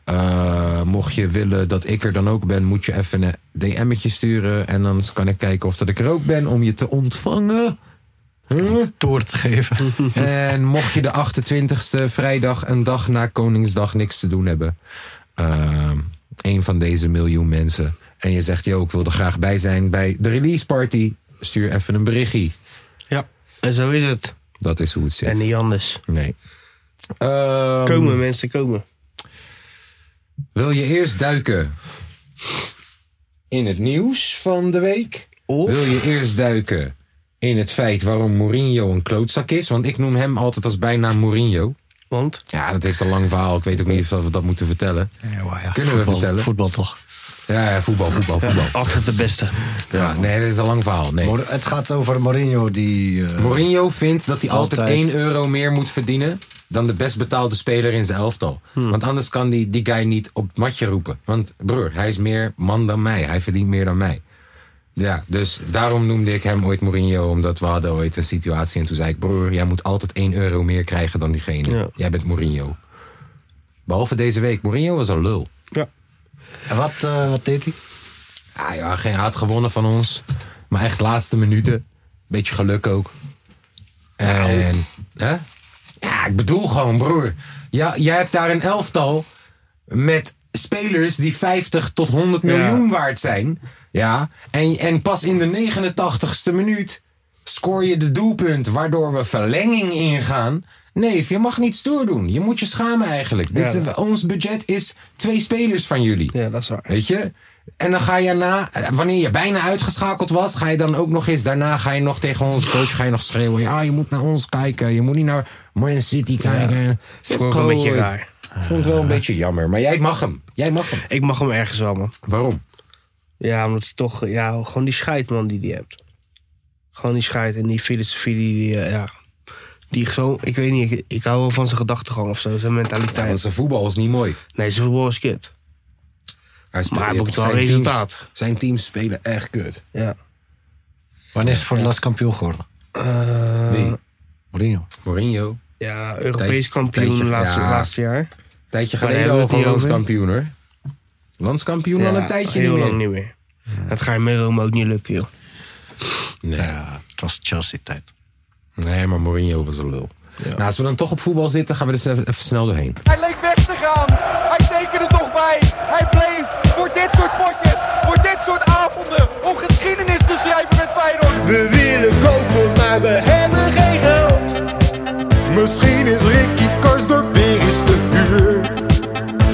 S1: Eh, mocht je willen dat ik er dan ook ben, moet je even een DM'tje sturen. En dan kan ik kijken of dat ik er ook ben om je te ontvangen. Huh?
S3: Toer te geven.
S2: <laughs>
S1: <laughs> En mocht je de 28e vrijdag, een dag na Koningsdag, niks te doen hebben. ehm, een van deze miljoen mensen. En je zegt, yo, ik wil er graag bij zijn bij de release party. Stuur even een berichtje.
S2: Ja. En zo is het.
S1: Dat is hoe het
S2: En
S1: zit.
S2: niet anders.
S1: Nee. Ehm,
S2: Komen mensen, komen.
S1: wil je eerst duiken in het nieuws van de week?
S2: Of?
S1: Wil je eerst duiken in het feit waarom Mourinho een klootzak is? Want ik noem hem altijd als bijnaam Mourinho.
S2: Want
S1: Ja, dat heeft een lang verhaal. Ik weet ook niet of we dat moeten vertellen. Kunnen we vertellen?
S3: Voetbal toch?
S1: Ja, ja, voetbal, voetbal, voetbal.
S2: altijd de beste.
S1: Ja, nee, dat is een lang verhaal. Nee.
S3: Mor- Het gaat over Mourinho die... eh,
S1: Mourinho vindt dat hij altijd,
S3: Altijd.
S1: 1 euro meer moet verdienen dan de best betaalde speler in zijn elftal. Want anders kan die, die guy niet op het matje roepen. Want broer, hij is meer man dan mij. Hij verdient meer dan mij. Ja, dus daarom noemde ik hem ooit Mourinho. Omdat we hadden ooit een situatie en toen zei ik... broer, jij moet altijd 1 euro meer krijgen dan diegene.
S2: Ja.
S1: Jij bent Mourinho. Behalve deze week. Mourinho was een lul.
S2: Ja.
S3: en wat, eh, wat deed hij?
S1: Ja, ja, geen haat gewonnen van ons. Maar echt laatste minuten. Beetje geluk ook. En. Hè? Ja, ik bedoel gewoon, broer. Ja, jij hebt daar een elftal met spelers die 50 tot 100 miljoen waard zijn. Ja. En, en pas in de 89ste minuut scoor je de doelpunt waardoor we verlenging ingaan. Nee, je mag niet stoer doen. Je moet je schamen eigenlijk. Dit is, ons budget is twee spelers van jullie.
S2: Ja, dat is waar.
S1: Weet je? En dan ga je na, eh, wanneer je bijna uitgeschakeld was, ga je dan ook nog eens, daarna ga je nog tegen onze coach ga je nog schreeuwen. Ja, je moet naar ons kijken. Je moet niet naar Man City kijken. Zit
S2: Vond ik een beetje
S1: goed.
S2: raar.
S1: Ik vond het wel een beetje jammer. Maar jij mag hem. Jij mag hem.
S2: Ik mag hem ergens wel, man.
S1: Waarom?
S2: Ja, omdat hij toch... Ja, gewoon die scheid, man, die die hebt. Gewoon die scheid en die filosofie die... die eh, ja, die zo... Ik weet niet, ik, ik hou wel van zijn gedachtegang of zo. Zijn
S1: Ja, want
S2: mentaliteit.
S1: zijn voetbal is niet mooi.
S2: Nee, zijn voetbal is kut.
S1: Hij speelt-
S2: Maar hij
S1: je
S2: boekt
S1: hebt-
S2: wel
S1: zijn teams-
S2: resultaat.
S1: zijn teams spelen echt kut.
S2: Ja.
S3: Wanneer is hij voor het laatst kampioen geworden?
S2: Eh,
S1: Wie?
S3: Mourinho.
S1: Mourinho.
S2: Ja, Europees
S1: Tijdje-
S2: kampioen
S1: tijdje-
S2: laatste,
S1: ja.
S2: laatste jaar.
S1: Tijdje
S2: Maar
S1: geleden
S2: daar
S1: al
S2: hebben we het
S1: gewoon
S2: niet over.
S1: kampioen hoor. Landskampioen al
S2: Ja,
S1: een tijdje
S2: heel
S1: niet meer.
S2: lang niet meer. Dat ga je met Rome ook niet lukken, joh.
S3: Ja, het was Chelsea-tijd.
S1: Nee, maar Mourinho was een lul. Nou, als we dan toch op voetbal zitten, gaan we er even, even snel doorheen.
S6: Hij leek weg te gaan. Hij tekende toch bij. Hij bleef voor dit soort potjes, voor dit soort avonden, om geschiedenis te schrijven met Feyenoord.
S8: We willen kopen, maar we hebben geen geld.
S7: Misschien is Ricky Karsdorp weer eens te huur.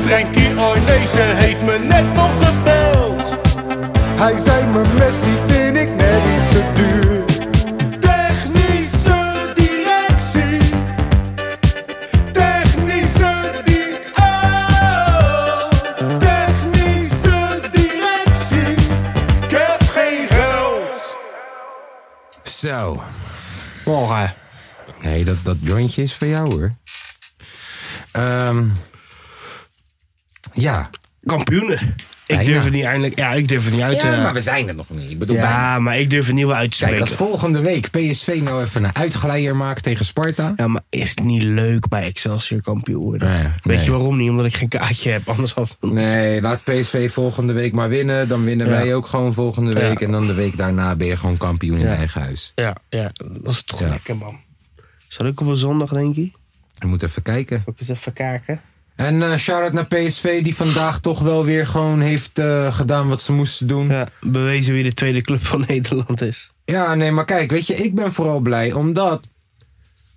S8: Frankie Arnezen heeft me net nog gebeld.
S7: Hij zei me Messi vind ik net iets te duur. Technische directie. Technische di- oh. Technische directie. Ik heb geen geld.
S1: Zo.
S2: Morgen.
S1: Nee, dat, dat jointje is voor jou hoor. Ehm, ja.
S2: Kampioenen. Ik
S1: Bijna.
S2: durf het niet eindelijk... Ja, ik durf het niet uit te...
S1: ja, maar we zijn er nog niet. Ik bedoel, bijna.
S2: Ja, maar ik durf het niet wel uit te
S1: Kijk,
S2: spreken.
S1: als volgende week PSV nou even een uitglijder maakt tegen Sparta.
S2: Ja, maar is het niet leuk bij Excelsior kampioen worden?
S1: Nee,
S2: Weet
S1: nee.
S2: je waarom niet? Omdat ik geen kaartje heb. Anders had
S1: Nee, laat PSV volgende week maar winnen. Dan winnen wij ook gewoon volgende week. En dan de week daarna ben je gewoon kampioen in
S2: Ja.
S1: eigen huis.
S2: Ja, ja, dat is toch
S1: Ja.
S2: lekker, man. Zal ik op een zondag, denk ik?
S1: We moeten even kijken.
S2: Moet ik eens even kijken?
S1: En eh shout-out naar PSV die vandaag toch wel weer gewoon heeft eh, gedaan wat ze moesten doen.
S2: Ja, bewezen wie de tweede club van <laughs> Nederland is.
S1: Ja, nee, maar kijk, weet je, ik ben vooral blij omdat.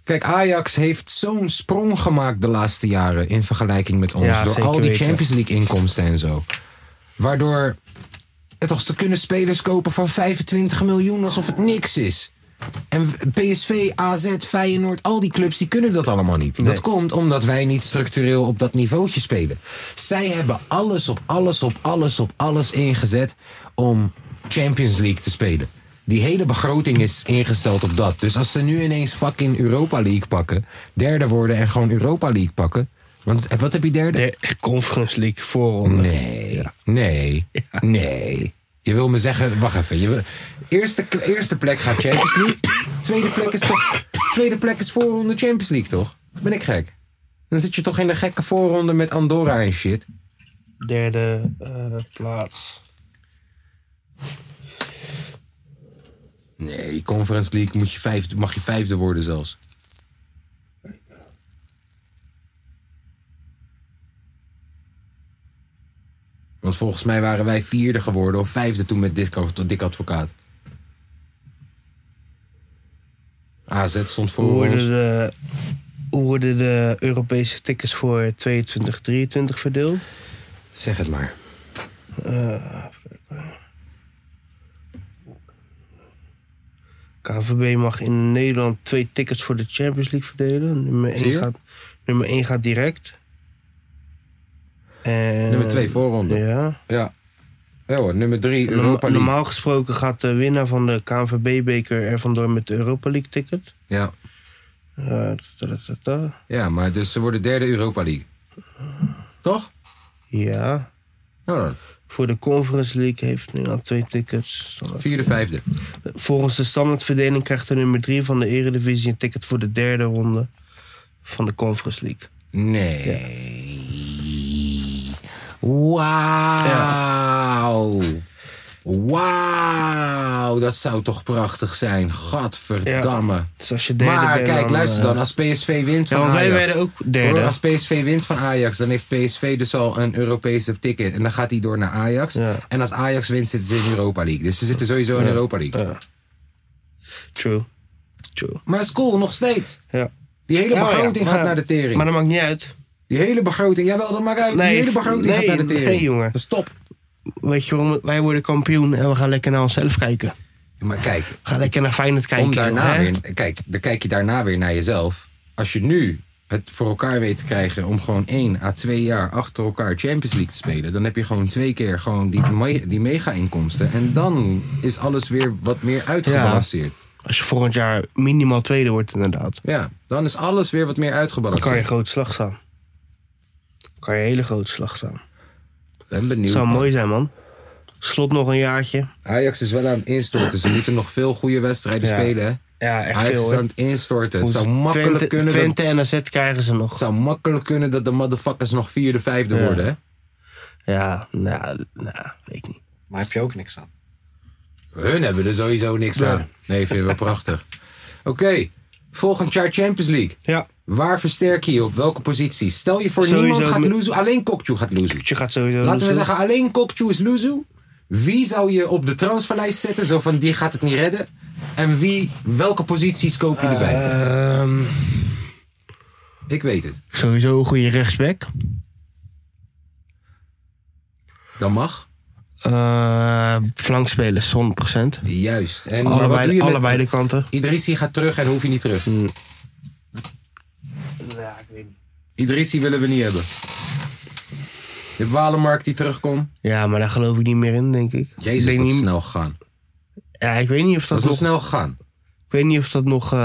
S1: Kijk, Ajax heeft zo'n sprong gemaakt de laatste jaren in vergelijking met ons.
S2: Ja,
S1: door
S2: zeker
S1: al die
S2: weten.
S1: Champions League inkomsten en zo. Waardoor het toch, ze kunnen spelers kopen van 25 miljoen alsof het niks is. En w- PSV, AZ, Feyenoord, al die clubs, die kunnen dat allemaal niet. Dat komt omdat wij niet structureel op dat niveautje spelen. Zij hebben alles op alles op alles op alles ingezet om Champions League te spelen. Die hele begroting is ingesteld op dat. Dus als ze nu ineens fucking Europa League pakken, derde worden en gewoon Europa League pakken. Want eh, wat heb je derde?
S2: De Conference League voorronde.
S1: Nee. Nee. Nee. Je wil me zeggen, wacht even. Je wil, eerste, kle- eerste plek gaat Champions League. Tweede plek is toch. Tweede plek is voorronde Champions League, toch? Of ben ik gek? Dan zit je toch in de gekke voorronde met Andorra en shit.
S2: Derde eh, plaats.
S1: Nee, Conference League moet je vijfde, mag je vijfde worden zelfs. Want volgens mij waren wij vierde geworden of vijfde toen met Dick, Dick Advocaat. AZ stond
S2: Hoe
S1: voor
S2: worden
S1: ons.
S2: de, hoe worden de Europese tickets voor 22, 23 verdeeld?
S1: Zeg het maar.
S2: KVB mag in Nederland twee tickets voor de Champions League verdelen. Nummer
S1: Zie
S2: 1
S1: je?
S2: gaat, nummer één gaat direct. En,
S1: Nummer twee voorronde.
S2: Ja.
S1: Ja. Ja hoor, nummer drie, Europa
S2: Norma-
S1: League.
S2: Normaal gesproken gaat de winnaar van de KNVB-beker er vandoor met de Europa League ticket.
S1: Ja.
S2: Eh, ta- ta- ta- ta.
S1: ja, maar dus ze worden derde Europa League. Toch?
S2: Ja.
S1: Nou dan,
S2: Voor de Conference League heeft Nederland twee tickets.
S1: vierde, vijfde.
S2: Volgens de standaardverdeling krijgt de nummer 3 van de Eredivisie een ticket voor de derde ronde van de Conference League.
S1: Nee. Wauw. Wauw, dat zou toch prachtig zijn. Gadverdamme.
S2: Dus als je derde
S1: maar
S2: bent,
S1: kijk,
S2: dan,
S1: luister
S2: eh,
S1: dan. Als PSV wint
S2: Ja,
S1: van
S2: want wij
S1: Ajax.
S2: werden ook derde.
S1: Broer, als PSV wint van Ajax, dan heeft PSV dus al een Europese ticket. En dan gaat hij door naar Ajax.
S2: Ja.
S1: En als Ajax wint, zitten ze in Europa League. Dus ze zitten sowieso in Europa League.
S2: Ja. True. True.
S1: Maar het is cool, nog steeds.
S2: Ja.
S1: Die hele
S2: Ja, maar ja,
S1: begroting
S2: maar-
S1: gaat naar de tering.
S2: Maar dat maakt niet uit.
S1: Die hele begroting, jawel, dat maakt uit.
S2: Nee,
S1: die hele begroting
S2: nee,
S1: gaat naar de tering.
S2: nee, jongen.
S1: Dat is top.
S2: Weet je waarom? Wij worden kampioen en we gaan lekker naar onszelf kijken.
S1: Maar kijk,
S2: We gaan lekker naar Feyenoord kijken.
S1: om daarna
S2: hè?
S1: weer, kijk, dan kijk je daarna weer naar jezelf. Als je nu het voor elkaar weet te krijgen om gewoon één à twee jaar achter elkaar Champions League te spelen, dan heb je gewoon twee keer gewoon die, me- die mega-inkomsten. En dan is alles weer wat meer uitgebalanceerd.
S2: Als je volgend jaar minimaal tweede wordt inderdaad.
S1: Ja, dan is alles weer wat meer
S2: Dan kan je
S1: uitgebalanceerd.
S2: een groot slag staan. Dan kan je een hele grote slag staan.
S1: ben benieuwd.
S2: zou
S1: man.
S2: mooi zijn man. Slot nog een jaartje.
S1: Ajax is wel aan het instorten. Ze moeten nog veel goede wedstrijden
S2: Ja.
S1: spelen. hè?
S2: Ja, echt
S1: Ajax
S2: veel
S1: is
S2: hoor.
S1: aan het instorten. Het zou
S2: Moet-
S1: makkelijk
S2: Twente,
S1: kunnen. dat-
S2: Twente en AZ krijgen ze nog.
S1: Het zou makkelijk kunnen dat de motherfuckers nog vierde, vijfde
S2: Ja.
S1: worden, hè?
S2: Ja, nou, nou weet ik niet.
S3: Maar heb je ook niks aan.
S1: Hun hebben er sowieso niks
S2: Ja.
S1: aan. Nee, vind ik wel prachtig. Oké, volgend jaar Champions League.
S2: Ja.
S1: Waar versterk je je op? Welke positie? Stel je voor
S2: Sowieso
S1: niemand gaat
S2: met-
S1: loezoe, alleen Kokju gaat loezoe.
S2: Dus Je gaat sowieso...
S1: Laten we
S2: zo-
S1: zeggen, alleen Kokju is loezoe. Wie zou je op de transferlijst zetten? Zo van, die gaat het niet redden. En wie, welke posities koop je erbij?
S2: Ehm,
S1: ik weet het.
S2: sowieso een goede rechtsback.
S1: Dat mag.
S2: Eh flankspelers, 100%.
S1: Juist. En maar wat doe
S2: Allebei,
S1: je met...
S2: allebei de kanten.
S1: Idrissi gaat terug en hoef je niet terug.
S2: Ja, ik weet niet.
S1: Idrissi willen we niet hebben. Je hebt Walemark die terugkomt.
S2: Ja, maar daar geloof ik niet meer in, denk ik. ik
S1: Jezus,
S2: denk
S1: dat is
S2: niet-
S1: snel gegaan.
S2: Ja, ik weet niet of
S1: Dat
S2: dat,
S1: is wel snel
S2: nog...
S1: gegaan.
S2: Ik weet niet of dat nog... eh,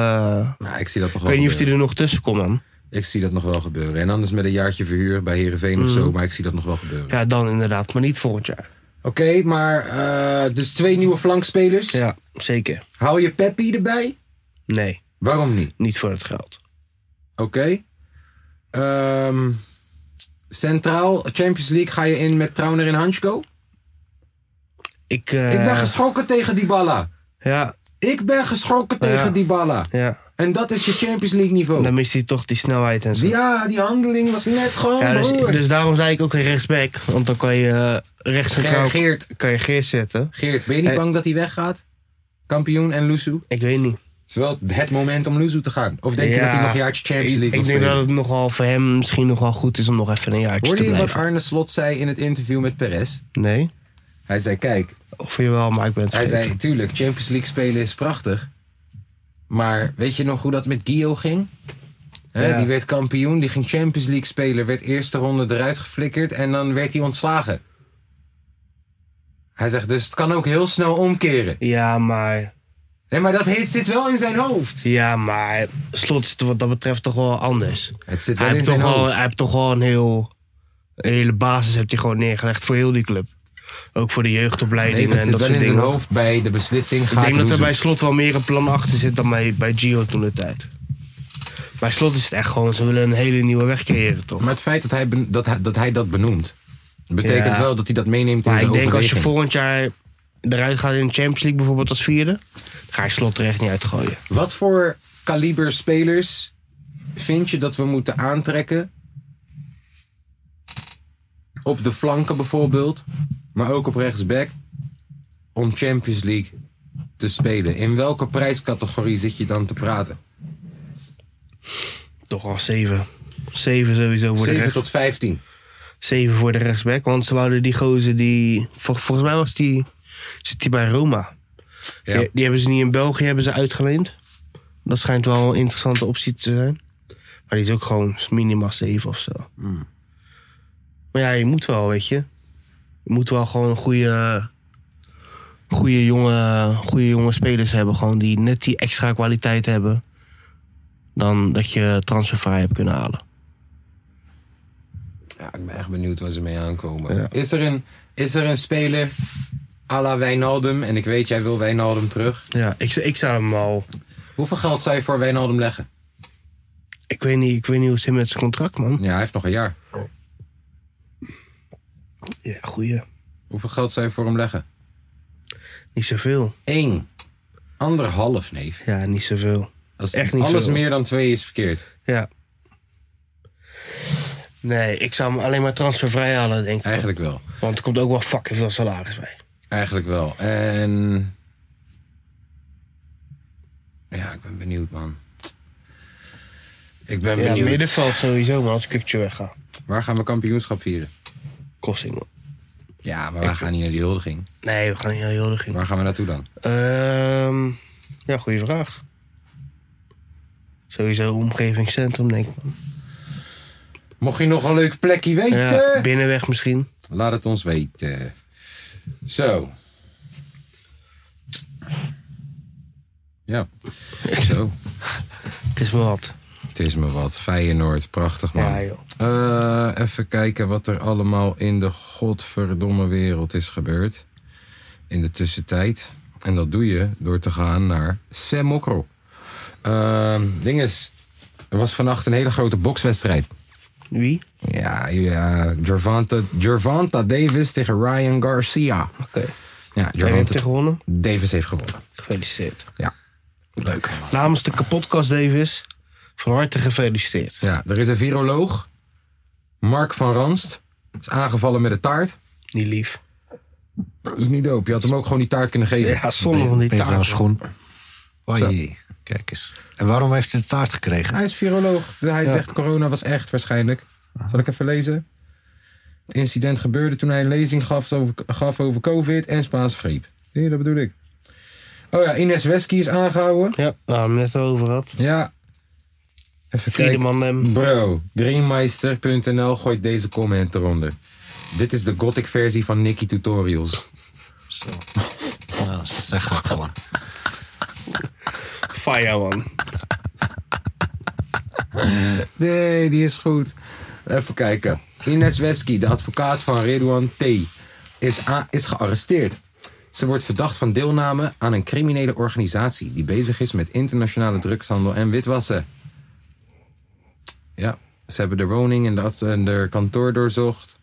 S1: Nou, ik zie dat nog wel
S2: ik weet niet of
S1: gebeuren.
S2: die er nog tussen komt, man.
S1: Ik zie dat nog wel gebeuren. En anders met een jaartje verhuur bij Heerenveen
S2: Hmm.
S1: of zo. Maar ik zie dat nog wel gebeuren.
S2: Ja, dan inderdaad. Maar niet volgend jaar.
S1: Oké, maar eh, dus twee nieuwe flankspelers.
S2: Ja, zeker.
S1: Hou je Peppi erbij?
S2: Nee,
S1: Waarom niet?
S2: niet voor het geld.
S1: Oké. Ehm, centraal, Champions League ga je in met Trauner en Hansko.
S2: Ik, eh,
S1: Ik ben geschrokken tegen Dybala.
S2: Ja,
S1: Ik ben geschrokken
S2: Oh, Ja.
S1: tegen Dybala.
S2: ja.
S1: En dat is je Champions League niveau.
S2: Dan mist hij toch die snelheid en zo.
S1: Ja, Oh. die handeling was net gewoon
S2: Ja, dus,
S1: broer.
S2: dus daarom zei ik ook een rechtsback. Want dan kan je eh
S1: Ge-
S2: rechtscentraal...
S1: Geert,
S2: Kan je Geert zetten.
S1: Geert, ben je niet
S2: Hey.
S1: bang dat hij weggaat? Kampioen en Lusu?
S2: Ik weet niet.
S1: Het is wel het moment om Luzu te gaan. Of denk je
S2: Ja,
S1: dat hij nog een jaartje Champions League
S2: Ik, ik
S1: wil
S2: denk
S1: spelen?
S2: dat het nogal voor hem misschien nog wel goed is om nog even een jaartje
S1: Hoorde je
S2: te
S1: wat
S2: blijven.
S1: Arne Slot zei in het interview met Perez?
S2: nee?
S1: Hij zei, kijk,
S2: Of je wel, maar ik ben het
S1: hij
S2: vergeten.
S1: zei, tuurlijk, Champions League spelen is prachtig. Maar weet je nog hoe dat met Gio ging? Hè,
S2: Ja.
S1: Die werd kampioen, die ging Champions League spelen, werd eerste ronde eruit geflikkerd en dan werd hij ontslagen. Hij zegt, dus het kan ook heel snel omkeren.
S2: Ja, maar...
S1: Nee, maar dat heet, zit wel in zijn hoofd.
S2: Ja, maar... Slot is wat dat betreft toch wel anders.
S1: Het zit wel
S2: Hij
S1: in
S2: heeft,
S1: zijn
S2: toch wel,
S1: hoofd.
S2: hij heeft toch wel een heel... Een hele basis heeft hij gewoon neergelegd voor heel die club. Ook voor de
S1: Nee,
S2: jeugdopleiding
S1: het
S2: en
S1: zit
S2: dat
S1: wel
S2: soort
S1: in zijn
S2: dingen.
S1: hoofd bij de beslissing.
S2: Ik denk dat er bij Slot wel meer een plan achter zit dan bij, bij Gio toen de tijd. Bij Slot is het echt gewoon, ze willen een hele nieuwe weg creëren, toch?
S1: Maar het feit dat hij ben- dat, hij- dat, hij dat benoemt, betekent
S2: Ja.
S1: wel dat hij dat meeneemt in
S2: Maar
S1: zijn
S2: Ah, ik denk als je
S1: overweging.
S2: volgend jaar eruit gaat in de Champions League bijvoorbeeld als vierde, ga je slot er echt niet uitgooien.
S1: Wat voor kaliber spelers vind je dat we moeten aantrekken? Op de flanken bijvoorbeeld, maar ook op rechtsback. Om Champions League te spelen. In welke prijscategorie zit je dan te praten?
S2: Toch al zeven. Zeven sowieso voor de
S1: 7
S2: rechts,
S1: tot 15.
S2: zeven voor de rechtsback. Want ze wouden die gozer die. vol- volgens mij was die. Zit die bij Roma.
S1: Ja.
S2: Die, die hebben ze niet in België hebben ze uitgeleend. Dat schijnt wel een interessante optie te zijn. Maar die is ook gewoon minimaal 7 of zo. Hmm. Maar ja, je moet wel, weet je. Je moet wel gewoon een goede, goede, jonge, goede jonge spelers hebben. Gewoon die net die extra kwaliteit hebben. Dan dat je transfervrij hebt kunnen halen.
S1: Ja, ik ben echt benieuwd waar ze mee aankomen.
S2: Ja.
S1: Is, er een, is er een speler à la Wijnaldum? En ik weet, jij wil Wijnaldum terug.
S2: Ja, ik, ik zou hem al.
S1: Hoeveel geld zou je voor Wijnaldum leggen?
S2: Ik weet niet, ik weet niet hoe het zit met zijn contract, man.
S1: Ja, hij heeft nog een jaar.
S2: Ja, goeie.
S1: Hoeveel geld zou je voor hem leggen?
S2: Niet zoveel.
S1: Eén. Anderhalf, neef.
S2: Ja, niet zoveel.
S1: Als
S2: Echt niet
S1: alles
S2: veel.
S1: meer dan twee is verkeerd.
S2: Ja. Nee, ik zou hem alleen maar transfervrij halen, denk ik.
S1: Eigenlijk wel.
S2: Want er komt ook wel fucking veel salaris bij.
S1: Eigenlijk wel. En... Ja, ik ben benieuwd, man. Ik ben
S2: Ja,
S1: benieuwd.
S2: middenveld sowieso, maar als Kukje wegga.
S1: Waar gaan we kampioenschap vieren?
S2: Kosting, man.
S1: Ja, maar wij gaan niet naar die huldiging.
S2: Nee, we gaan niet naar Hildig in.
S1: Waar gaan we naartoe dan?
S2: Ehm, ja, goede vraag. Sowieso omgevingscentrum, denk ik. man.
S1: Mocht je nog een leuk plekje weten...
S2: Ja, binnenweg misschien.
S1: Laat het ons weten. Zo. Ja, zo.
S2: Het is wel wat.
S1: Het is me wat. Feyenoord, prachtig man.
S2: Ja, joh.
S1: Eh, even kijken wat er allemaal in de godverdomme wereld is gebeurd. In de tussentijd. En dat doe je door te gaan naar Semokro. Ehm ding is, er was vannacht een hele grote bokswedstrijd.
S2: Wie?
S1: Ja, ja Gervonta, Gervonta Davis tegen Ryan Garcia.
S2: Oké.
S1: Ja,
S2: Jij hebt
S1: Gervonta
S2: er gewonnen.
S1: Davis heeft gewonnen.
S2: Gefeliciteerd.
S1: Ja, leuk.
S2: Namens de kapotkast Davis, van harte gefeliciteerd.
S1: Ja, er is een viroloog, Mark van Ranst, is aangevallen met een taart.
S2: Niet lief.
S1: Dat is niet dope. Je had hem ook gewoon die taart kunnen geven.
S2: Ja, zonde van die
S3: Peter aan
S2: taart.
S3: schoen. Oei, kijk eens. En waarom heeft hij de taart gekregen?
S1: Hij is viroloog. dus Hij zegt corona was echt waarschijnlijk. Zal ik even lezen? Het incident gebeurde toen hij een lezing gaf over, gaf over COVID en Spaanse griep. Zie je, dat bedoel ik. Oh ja, Ines Wesky is aangehouden.
S2: Ja, waar we het net over had.
S1: Ja. Even kijken.
S2: Friedeman hem.
S1: Bro, greenmeister.nl gooit deze comment eronder. Dit is de gothic versie van Nicky Tutorials.
S3: Nou, ze zeggen het gewoon.
S2: Fire man.
S1: Nee, die is goed. Even kijken. Ines Wesky, de advocaat van Redouan T., is, a- is gearresteerd. Ze wordt verdacht van deelname aan een criminele organisatie die bezig is met internationale drugshandel en witwassen. Ja, ze hebben de woning en de, ad- en de kantoor doorzocht.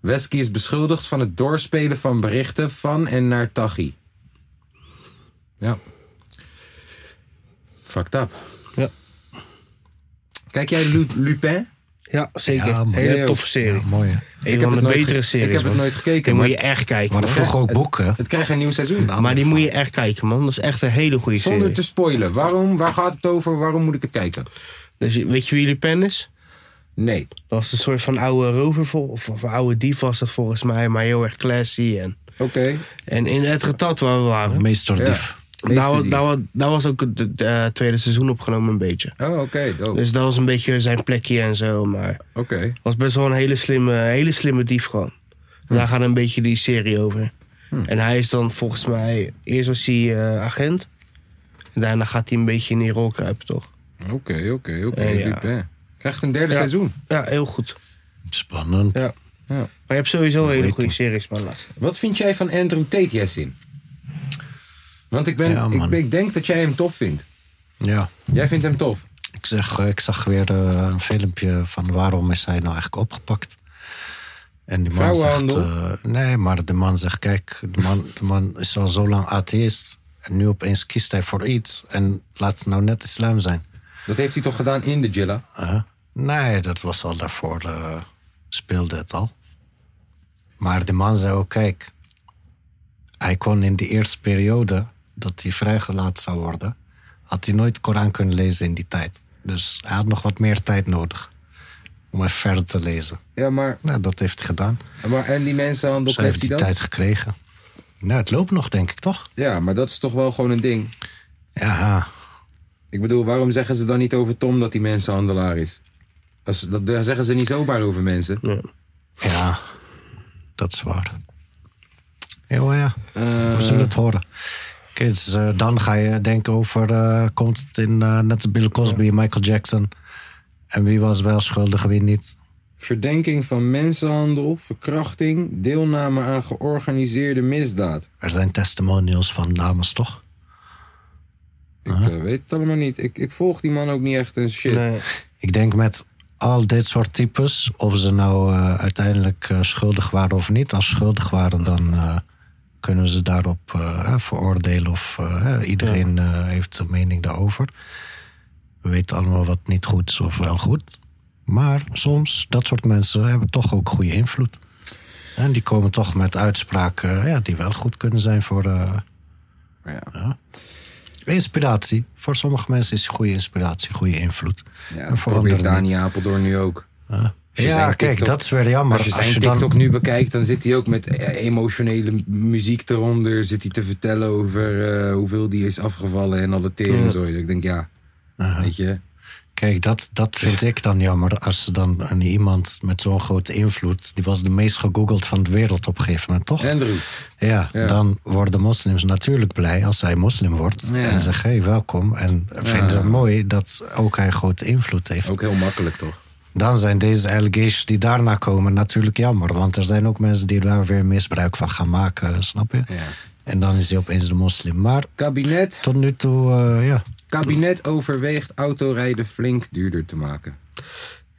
S1: Wesky is beschuldigd van het doorspelen van berichten van en naar Tachi. Ja. Fucked up.
S2: Ja,
S1: Kijk jij Lu- Lupin?
S2: ja zeker.
S3: Ja, man.
S2: Hele
S1: Ja,
S2: toffe serie.
S3: Mooi, hè?
S2: Een van de
S1: het nooit
S2: betere
S1: ge-
S2: series.
S1: ik heb het
S2: man.
S1: nooit gekeken,
S2: Die moet
S1: maar-
S2: je echt kijken.
S3: Maar dat
S2: man.
S3: vroeg ook boeken.
S1: Het krijgt een nieuw seizoen.
S2: Nou, Maar die moet je echt kijken, man. Dat is echt een hele goede
S1: Zonder
S2: serie.
S1: te spoilen. Waarom? Waar gaat het over? Waarom moet ik het kijken?
S2: Dus weet je wie Lupin is?
S1: Nee.
S2: Dat was een soort van oude rover, vol- of, of oude dief was dat volgens mij, maar heel erg classy. En,
S1: Oké.
S2: en in het retat waar we waren,
S3: Meesterdief.
S2: daar, wa-
S1: Meester die.
S2: daar, wa- daar was ook het het, eh, tweede seizoen opgenomen een beetje.
S1: Oh, oké. dope.
S2: Dus dat was een beetje zijn plekje en zo, maar
S1: Oké.
S2: was best wel een hele slimme, hele slimme dief gewoon. En daar gaat een beetje die serie over. En hij is dan volgens mij, eerst was hij eh, agent. En daarna gaat hij een beetje in die rol kruipen, toch?
S1: Oké, oké, oké.
S2: Eh, ja.
S1: Lupin. Krijgt een derde
S2: Ja.
S1: seizoen.
S2: Ja, heel goed.
S3: Spannend.
S2: Ja.
S1: Ja.
S2: Maar je hebt sowieso hele
S3: weet
S2: goede
S3: ik.
S2: series, man. laat-
S1: Wat vind jij van Andrew Tate, Jessin? Want ik, ben,
S3: Ja,
S1: ik,
S3: man.
S1: ben- ik denk dat jij hem tof vindt.
S3: Ja.
S1: Jij vindt hem tof.
S3: Ik, zeg, eh, ik zag weer eh, een filmpje van waarom is hij nou eigenlijk opgepakt. En die man zegt...
S1: Vrouwenhandel?
S3: eh, nee, maar de man zegt, kijk, de man, de man is al zo lang atheïst. En nu opeens kiest hij voor iets. En laat het nou net islam zijn.
S1: Dat heeft hij toch gedaan in de Jilla?
S3: Huh? Nee, dat was al daarvoor. eh, speelde het al. Maar de man zei ook, kijk... Hij kon in de eerste periode dat hij vrijgelaten zou worden... had hij nooit Koran kunnen lezen in die tijd. Dus hij had nog wat meer tijd nodig om even verder te lezen.
S1: Ja, maar,
S3: Nou, dat heeft hij gedaan.
S1: maar en die mensenhandel
S3: Dus hij heeft
S1: kwestie
S3: die
S1: dan?
S3: tijd gekregen. Nou, het loopt nog, denk ik, toch?
S1: Ja, maar dat is toch wel gewoon een ding.
S3: Ja,
S1: Ik bedoel, waarom zeggen ze dan niet over Tom dat hij mensenhandelaar is? Als, dat, daar zeggen ze niet zomaar over mensen.
S3: ja. Dat is waar. Ja, hoor, ja.
S1: Eh,
S3: We zullen het horen. Kids, eh, dan ga je denken over... eh, komt het in eh, net als Bill Cosby en Michael Jackson? En wie was wel schuldig, wie niet?
S1: Verdenking van mensenhandel, verkrachting, deelname aan georganiseerde misdaad.
S3: Er zijn testimonials van dames, toch?
S1: Ik eh, weet het allemaal niet. Ik, ik volg die man ook niet echt en shit.
S2: Nee.
S3: Ik denk met al dit soort types... of ze nou eh, uiteindelijk eh, schuldig waren of niet... als ze schuldig waren, dan eh, kunnen ze daarop eh, eh, veroordelen... of eh, eh, iedereen eh, heeft een mening daarover. We weten allemaal wat niet goed is of wel goed. Maar soms, dat soort mensen hebben toch ook goede invloed. En die komen toch met uitspraken eh, ja, die wel goed kunnen zijn voor... eh,
S1: Ja.
S3: ja. Inspiratie. Voor sommige mensen is goede inspiratie, goede invloed.
S1: Ja,
S3: En
S1: dat
S3: voor
S1: probeert
S3: anderen
S1: Dani Apeldoorn nu ook. Als je
S3: Ja,
S1: zijn
S3: kijk, dat is weer jammer.
S1: Als je
S3: Als
S1: zijn
S3: je dan-
S1: TikTok nu bekijkt, dan zit hij ook met eh, emotionele muziek eronder. Zit hij te vertellen over eh, hoeveel die is afgevallen en alle teringzooi. Ik denk, ja, weet je.
S3: Kijk, dat, dat vind ik dan jammer. Als ze dan een, iemand met zo'n grote invloed... die was de meest gegoogeld van de wereld op een gegeven moment, toch?
S1: Andrew.
S3: ja,
S1: ja.
S3: dan worden moslims natuurlijk blij als hij moslim wordt. En zeggen, hey, welkom. En vinden ze het mooi dat ook hij grote invloed heeft.
S1: Ook heel makkelijk, toch?
S3: Dan zijn deze allegations die daarna komen natuurlijk jammer. Want er zijn ook mensen die daar weer misbruik van gaan maken, snap je?
S1: Ja.
S3: En dan is hij opeens de moslim. Maar
S1: Kabinet,
S3: tot nu toe, eh, ja...
S1: kabinet overweegt autorijden flink duurder te maken.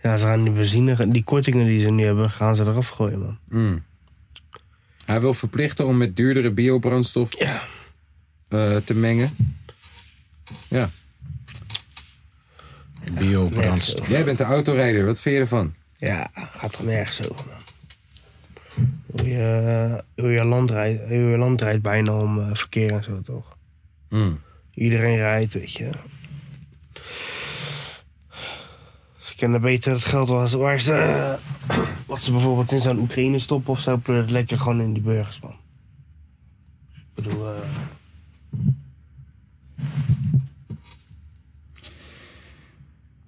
S2: Ja, ze gaan die benzine, die kortingen die ze nu hebben, gaan ze eraf gooien, man.
S1: Hij wil verplichten om met duurdere biobrandstof
S2: Ja.
S1: eh, te mengen. Ja.
S3: Biobrandstof.
S1: Jij bent de autorijder, wat vind je ervan?
S2: Ja, gaat toch nergens over, man. Heel je, eh, heel je, land, rijdt, heel je land rijdt bijna om eh, verkeer en zo, toch?
S1: Hmm.
S2: Iedereen rijdt, weet je. Ze kennen beter het geld waar ze, waar ze, eh, wat ze bijvoorbeeld in zo'n Oekraïne stoppen of zo, pleur het lekker gewoon in die burgers, man. Ik bedoel, eh,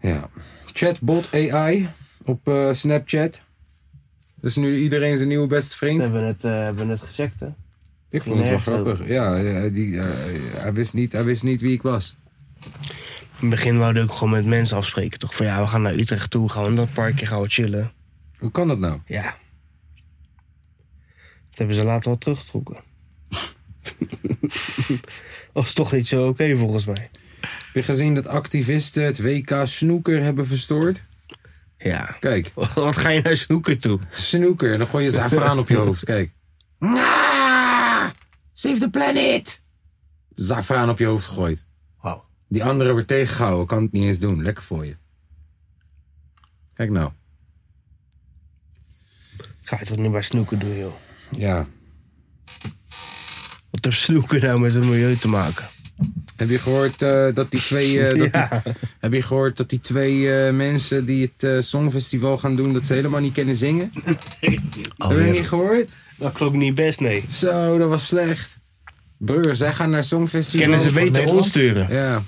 S1: Ja. Chatbot AI op eh, Snapchat. Dat is nu iedereen zijn nieuwe beste
S2: dat
S1: vriend.
S2: hebben we net, eh, hebben we net gecheckt, hè?
S1: Ik vond het wel
S2: Nergens
S1: grappig. Ja, ja, die, eh, hij, wist niet, hij wist niet wie ik was.
S2: In het begin wouden we ook gewoon met mensen afspreken, toch? Van ja, we gaan naar Utrecht toe, gaan we in dat parkje, gaan we chillen.
S1: Hoe kan dat nou?
S2: Ja. Dat hebben ze later wel teruggetrokken. <laughs> was toch niet zo oké, volgens mij.
S1: Heb je gezien dat activisten het WK snoeker hebben verstoord?
S2: Ja.
S1: Kijk,
S2: Wat ga je naar snoeken toe?
S1: snoeker. Dan gooi je zafaraan op je hoofd. Kijk. Ah, save the planet! Zafaraan op je hoofd gegooid.
S3: Wauw.
S1: Die andere wordt tegengehouden. Kan het niet eens doen. Lekker voor je. Kijk nou.
S2: Ga je toch niet bij snoeken doen, joh?
S1: Ja.
S2: Wat heeft snoeken nou met het milieu te maken?
S1: Heb je gehoord eh, dat die twee... eh, dat die-
S2: Ja.
S1: heb je gehoord dat die twee eh, mensen die het eh, Songfestival gaan doen... dat ze helemaal niet kunnen zingen? Heb je dat niet gehoord?
S2: Dat klopt niet best, nee.
S1: Zo, dat was slecht. Broer, zij gaan naar Songfestival.
S2: Kennen ze beter
S3: Nederland?
S2: omsturen?
S1: Ja.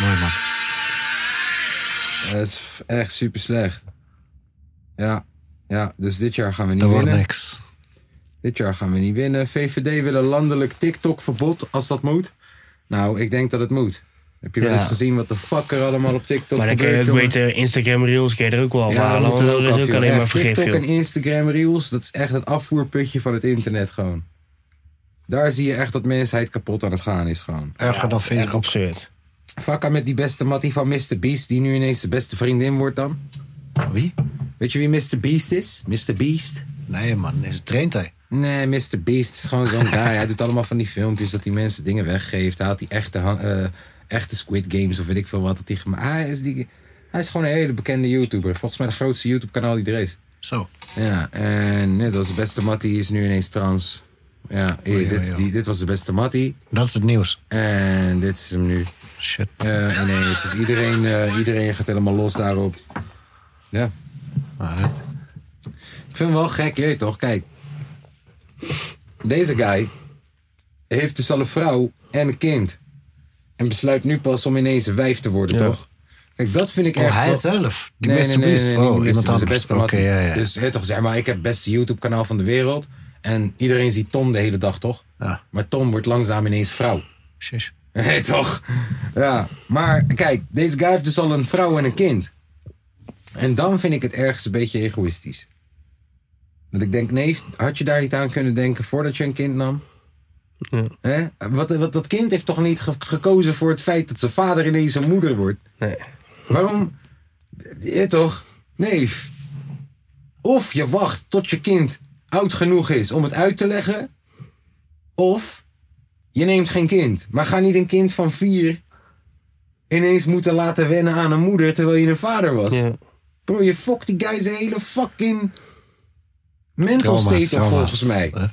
S3: Mooi man.
S1: Dat is f- echt super slecht. Ja. ja, dus dit jaar gaan we niet
S3: Dat wordt
S1: winnen.
S3: niks.
S1: Dit jaar gaan we niet winnen. VVD wil een landelijk TikTok-verbod als dat moet. Nou, ik denk dat het moet. Heb je wel
S2: Ja.
S1: eens gezien wat de fuck er allemaal op TikTok
S2: Maar eh, dan kun je
S1: gebeurt,
S2: ook
S1: jongen?
S2: beter Instagram Reels kun je er ook wel
S1: Ja,
S2: halen.
S1: dat
S2: Want
S1: moet er
S2: dat
S1: ook
S2: is
S1: af,
S2: ook
S1: joh.
S2: alleen maar
S1: Echt,
S2: vergif,
S1: TikTok en
S2: joh.
S1: Instagram Reels, dat is echt het afvoerputje van het internet gewoon. Daar zie je echt dat mensheid kapot aan het gaan is gewoon.
S3: Erger dan
S2: Echt
S3: Facebook.
S2: absurd.
S1: Fakka met die beste mattie van Mr. Beast, die nu ineens de beste vriendin wordt dan.
S3: Wie?
S1: Weet je wie Mr. Beast is? Mr. Beast?
S3: Nee man, nee, ze traint hij.
S1: Nee, Mr. Beast is gewoon zo'n guy. Hij doet allemaal van die filmpjes dat hij mensen dingen weggeeft. Hij had die echte, han- eh, echte Squid Games of weet ik veel wat. Dat hij, gema- Ah, hij, is die, hij is gewoon een hele bekende YouTuber. Volgens mij de grootste YouTube-kanaal die er is.
S3: Zo.
S1: Ja, en net als de beste Mattie is nu ineens trans. Ja, eh, dit, is die, dit was de beste Mattie.
S3: Dat is het nieuws.
S1: En dit is hem nu.
S3: Shit.
S1: Eh, ineens. Dus iedereen, eh, iedereen gaat helemaal los daarop. Ja.
S3: Maar,
S1: Ik vind hem wel gek, je weet toch? Kijk. Deze guy heeft dus al een vrouw en een kind. En besluit nu pas om ineens een wijf te worden, toch? Kijk, dat vind ik
S3: Oh,
S1: echt
S3: hij
S1: wel-
S3: zelf? Die
S1: nee,
S3: Mr.
S1: nee, nee,
S3: Beast?
S1: nee, nee,
S3: Oh,
S1: niet de
S3: iemand
S1: beste, maar de
S3: anders.
S1: beste man.
S3: Oké, ja, ja.
S1: Dus hè, toch, zeg maar, ik heb het beste YouTube-kanaal van de wereld. En iedereen ziet Tom de hele dag, toch?
S3: Ja.
S1: Maar Tom wordt langzaam ineens vrouw.
S3: Precies.
S1: <laughs> Nee, toch? Ja, maar kijk, deze guy heeft dus al een vrouw en een kind. En dan vind ik het ergens een beetje egoïstisch. Dat ik denk, nee, had je daar niet aan kunnen denken voordat je een kind nam?
S2: Ja.
S1: Hè? Wat, wat, dat kind heeft toch niet ge- gekozen voor het feit dat zijn vader ineens een moeder wordt?
S2: Nee.
S1: Waarom? Ja, toch? Neef. Of je wacht tot je kind oud genoeg is om het uit te leggen. Of je neemt geen kind. Maar ga niet een kind van vier ineens moeten laten wennen aan een moeder terwijl je een vader was.
S2: Ja.
S1: Bro, je fokt die guy zijn hele fucking mental
S3: Trauma's,
S1: state op
S3: trauma's.
S1: volgens mij.
S3: Eh.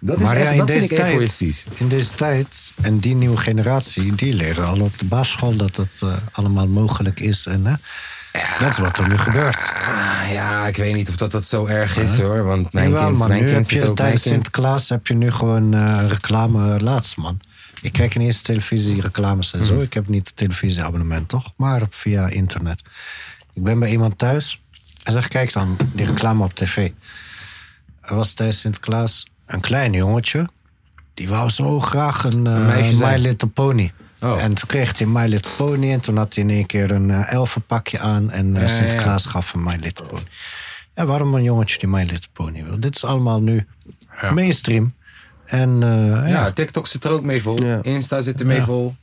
S1: Dat, is
S3: maar
S1: echt,
S3: ja, in
S1: dat
S3: deze
S1: vind ik
S3: tijd,
S1: egoïstisch.
S3: in deze tijd en die nieuwe generatie, die leren al op de basisschool dat het eh, allemaal mogelijk is. En hè, dat is wat er nu gebeurt.
S1: Ah, ja, ik weet niet of dat, dat zo erg is hoor. Want mijn
S3: Jawel,
S1: kind,
S3: man,
S1: mijn
S3: nu
S1: kind
S3: heb
S1: zit
S3: je
S1: ook... mijn
S3: tijdens
S1: kind-
S3: Sinterklaas heb je nu gewoon eh, reclame laatst, man. Ik kijk niet eens televisie, reclames en zo.
S1: Hmm.
S3: Ik heb niet een televisieabonnement, toch? Maar via internet. Ik ben bij iemand thuis en zeg, kijk dan, die reclame op tv. Er was tijdens Sinterklaas een klein jongetje. Die wou zo graag een eh,
S1: meisje zijn.
S3: My Little Pony.
S1: Oh.
S3: En toen kreeg hij My Little Pony. En toen had hij in één keer een eh, elfenpakje aan. En eh,
S1: ja, ja.
S3: Sinterklaas gaf hem My Little Pony. En waarom een jongetje die My Little Pony wil? Dit is allemaal nu mainstream. En eh, ja,
S1: Ja, TikTok zit er ook mee vol.
S2: Ja.
S1: Insta zit er mee
S3: Ja.
S1: vol.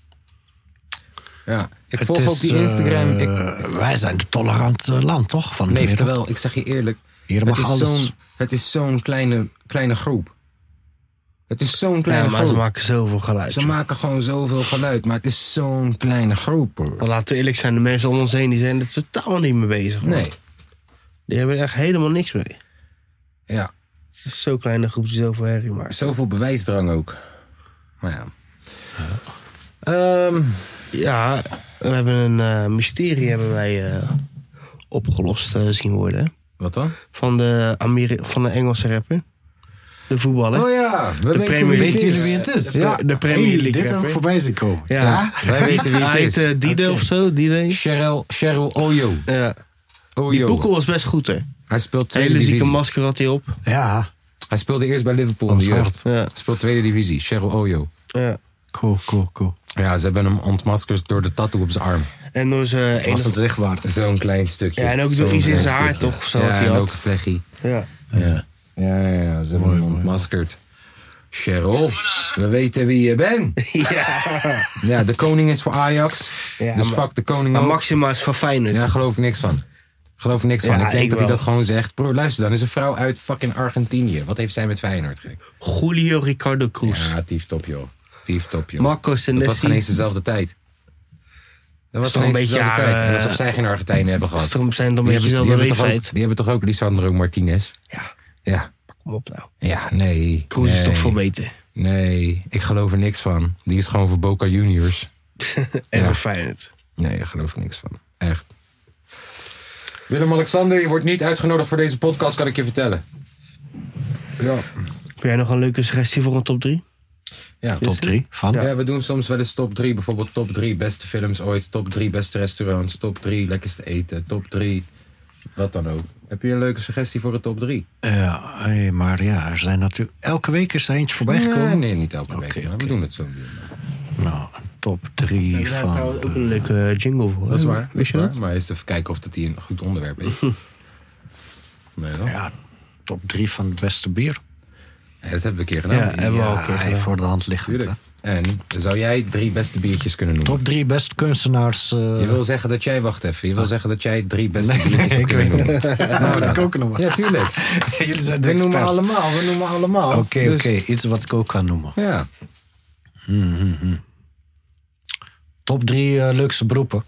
S1: Ja, ik
S3: het
S1: volg
S3: is,
S1: ook die Instagram.
S3: eh,
S1: ik,
S3: wij zijn de tolerante land, toch? Van de
S1: nee,
S3: wereld.
S1: terwijl, ik zeg je eerlijk.
S3: Hier
S1: het,
S3: mag
S1: is
S3: alles.
S1: Zo'n, het is zo'n kleine, kleine groep. Het is zo'n kleine
S2: Ja, maar
S1: groep.
S2: ze maken zoveel geluid.
S1: Ze maken gewoon zoveel geluid, maar het is zo'n kleine groep. hoor.
S2: Maar laten we eerlijk zijn, de mensen om ons heen die zijn er totaal niet mee bezig. man.
S1: Nee,
S2: Die hebben er echt helemaal niks mee.
S1: ja.
S2: Het is zo'n kleine groep die zoveel herrie maakt.
S1: Zoveel bewijsdrang ook. Maar ja. Ehm,
S2: Ja, we hebben een eh, mysterie hebben wij eh, opgelost eh, zien worden.
S1: wat dan?
S2: Van de, Ameri- van de Engelse rapper. De voetballer.
S1: Oh ja, we
S2: De
S1: weten wie,
S2: Premier League.
S1: het is.
S4: Weten jullie wie het is?
S1: Ja,
S2: De Premier
S4: Hey,
S2: League
S4: dit heb
S2: rapper.
S4: ik voorbij zien komen.
S2: Ja.
S1: wij weten wie het
S2: Hij
S1: is.
S2: heet eh, Dido of zo, Dido.
S1: Cheryl, Cheryl Oyo.
S2: Ja. Die boekel
S1: Oyo.
S2: was best goed, hè.
S1: Hij speelt tweede
S2: Hele zieke
S1: divisie.
S2: masker had hij op.
S3: Ja,
S1: Hij speelde eerst bij Liverpool in de jeugd.
S2: Ja.
S1: Hij Speelt tweede divisie. Cheryl Oyo.
S2: Ja.
S3: cool, cool, cool.
S1: Ja, ze hebben hem ontmaskerd door de tattoo op zijn arm.
S2: En door zijn
S3: Was
S2: enige...
S3: dat zichtbaar?
S1: Zo'n klein stukje.
S2: Ja, en ook
S1: Zo'n
S2: door iets in
S1: klein
S2: zijn haar,
S1: stukje.
S2: toch? Zo had
S1: ja,
S2: hij
S1: en
S2: had.
S1: ook een vlechie.
S2: Ja. <laughs>
S1: Ja. Ja, ja, ja, ze hebben hem ontmaskerd. Cheryl, we weten wie je bent.
S2: ja.
S1: Ja, de koning is voor Ajax.
S2: Ja,
S1: dus
S2: maar-
S1: fuck de koning
S2: Maar
S1: ook.
S2: Maxima is van Feyenoord.
S1: Ja, daar geloof ik niks van. Geloof ik niks van.
S2: Ja,
S1: Ik denk
S2: ik
S1: dat hij
S2: wel.
S1: dat gewoon zegt. Bro, luister dan. Is een vrouw uit fucking Argentinië. Wat heeft zij met Feyenoord? gek?
S2: Julio Ricardo Cruz.
S1: Ja, tief top, joh. Tief top, joh.
S2: Marco
S1: Dat was
S2: Senesi.
S1: geen eens dezelfde tijd. Dat was
S2: toch
S1: geen
S2: een
S1: eens
S2: beetje,
S1: dezelfde
S2: ja,
S1: tijd. En
S2: eh,
S1: alsof zij geen Argentijnen hebben gehad.
S2: is toch- zijn toch een beetje
S1: hebben-
S2: dezelfde
S1: hebben toch ook,
S2: leeftijd?
S1: die hebben toch ook Lisandro Martinez?
S2: Ja,
S1: Ja.
S2: kom op nou.
S1: Ja, nee.
S2: Cruz
S1: nee,
S2: is toch veel beter.
S1: Nee, ik geloof er niks van. Die is gewoon voor Boca Juniors.
S2: En
S1: Ja.
S2: voor Feyenoord.
S1: Nee, daar geloof ik niks van. Echt. Willem-Alexander, je wordt niet uitgenodigd voor deze podcast, kan ik je vertellen. Ja.
S2: Heb jij nog een leuke suggestie voor een top 3?
S1: Ja,
S3: Top 3 van?
S1: Ja, we doen soms wel eens top 3. Bijvoorbeeld top 3 beste films ooit. Top 3 beste restaurants. Top 3 lekkerste eten. Top 3 wat dan ook. Heb je een leuke suggestie voor een top 3?
S3: Ja, hé, maar ja, er zijn natuurlijk... Elke week is er eentje voorbij gekomen.
S1: Nee, nee, niet elke week.
S3: Oké,
S1: maar
S3: oké.
S1: We doen het zo.
S3: Nou, top 3
S2: Daar
S3: van...
S2: ook een leuke eh, jingle voor.
S1: Dat is waar.
S2: Wist je
S1: waar.
S2: dat?
S1: Maar eens even kijken of dat hier een goed onderwerp is. Nee, dan?
S3: Ja, top 3 van het beste bier.
S1: Ja, dat hebben we een keer gedaan.
S2: Ja, hebben we al een keer
S3: Ja,
S2: gedaan.
S3: voor de hand liggend.
S1: Tuurlijk.
S3: hè.
S1: En zou jij drie beste biertjes kunnen noemen?
S3: Top 3 beste kunstenaars. eh,
S1: Je wil zeggen dat jij, wacht even, je wil zeggen dat jij drie beste
S3: Nee,
S1: biertjes
S3: nee,
S1: hebt
S3: ik
S1: kunnen
S3: weet
S1: noemen.
S4: Nou, dat ik ook nog maar.
S1: Ja,
S3: <laughs>
S1: tuurlijk.
S3: <laughs> Jullie zijn de
S1: We noemen
S3: experts.
S1: allemaal, we noemen allemaal.
S3: Oké, oké.
S1: Dus-
S3: Iets wat ik ook kan noemen.
S1: Ja.
S3: Top 3 leukste beroepen.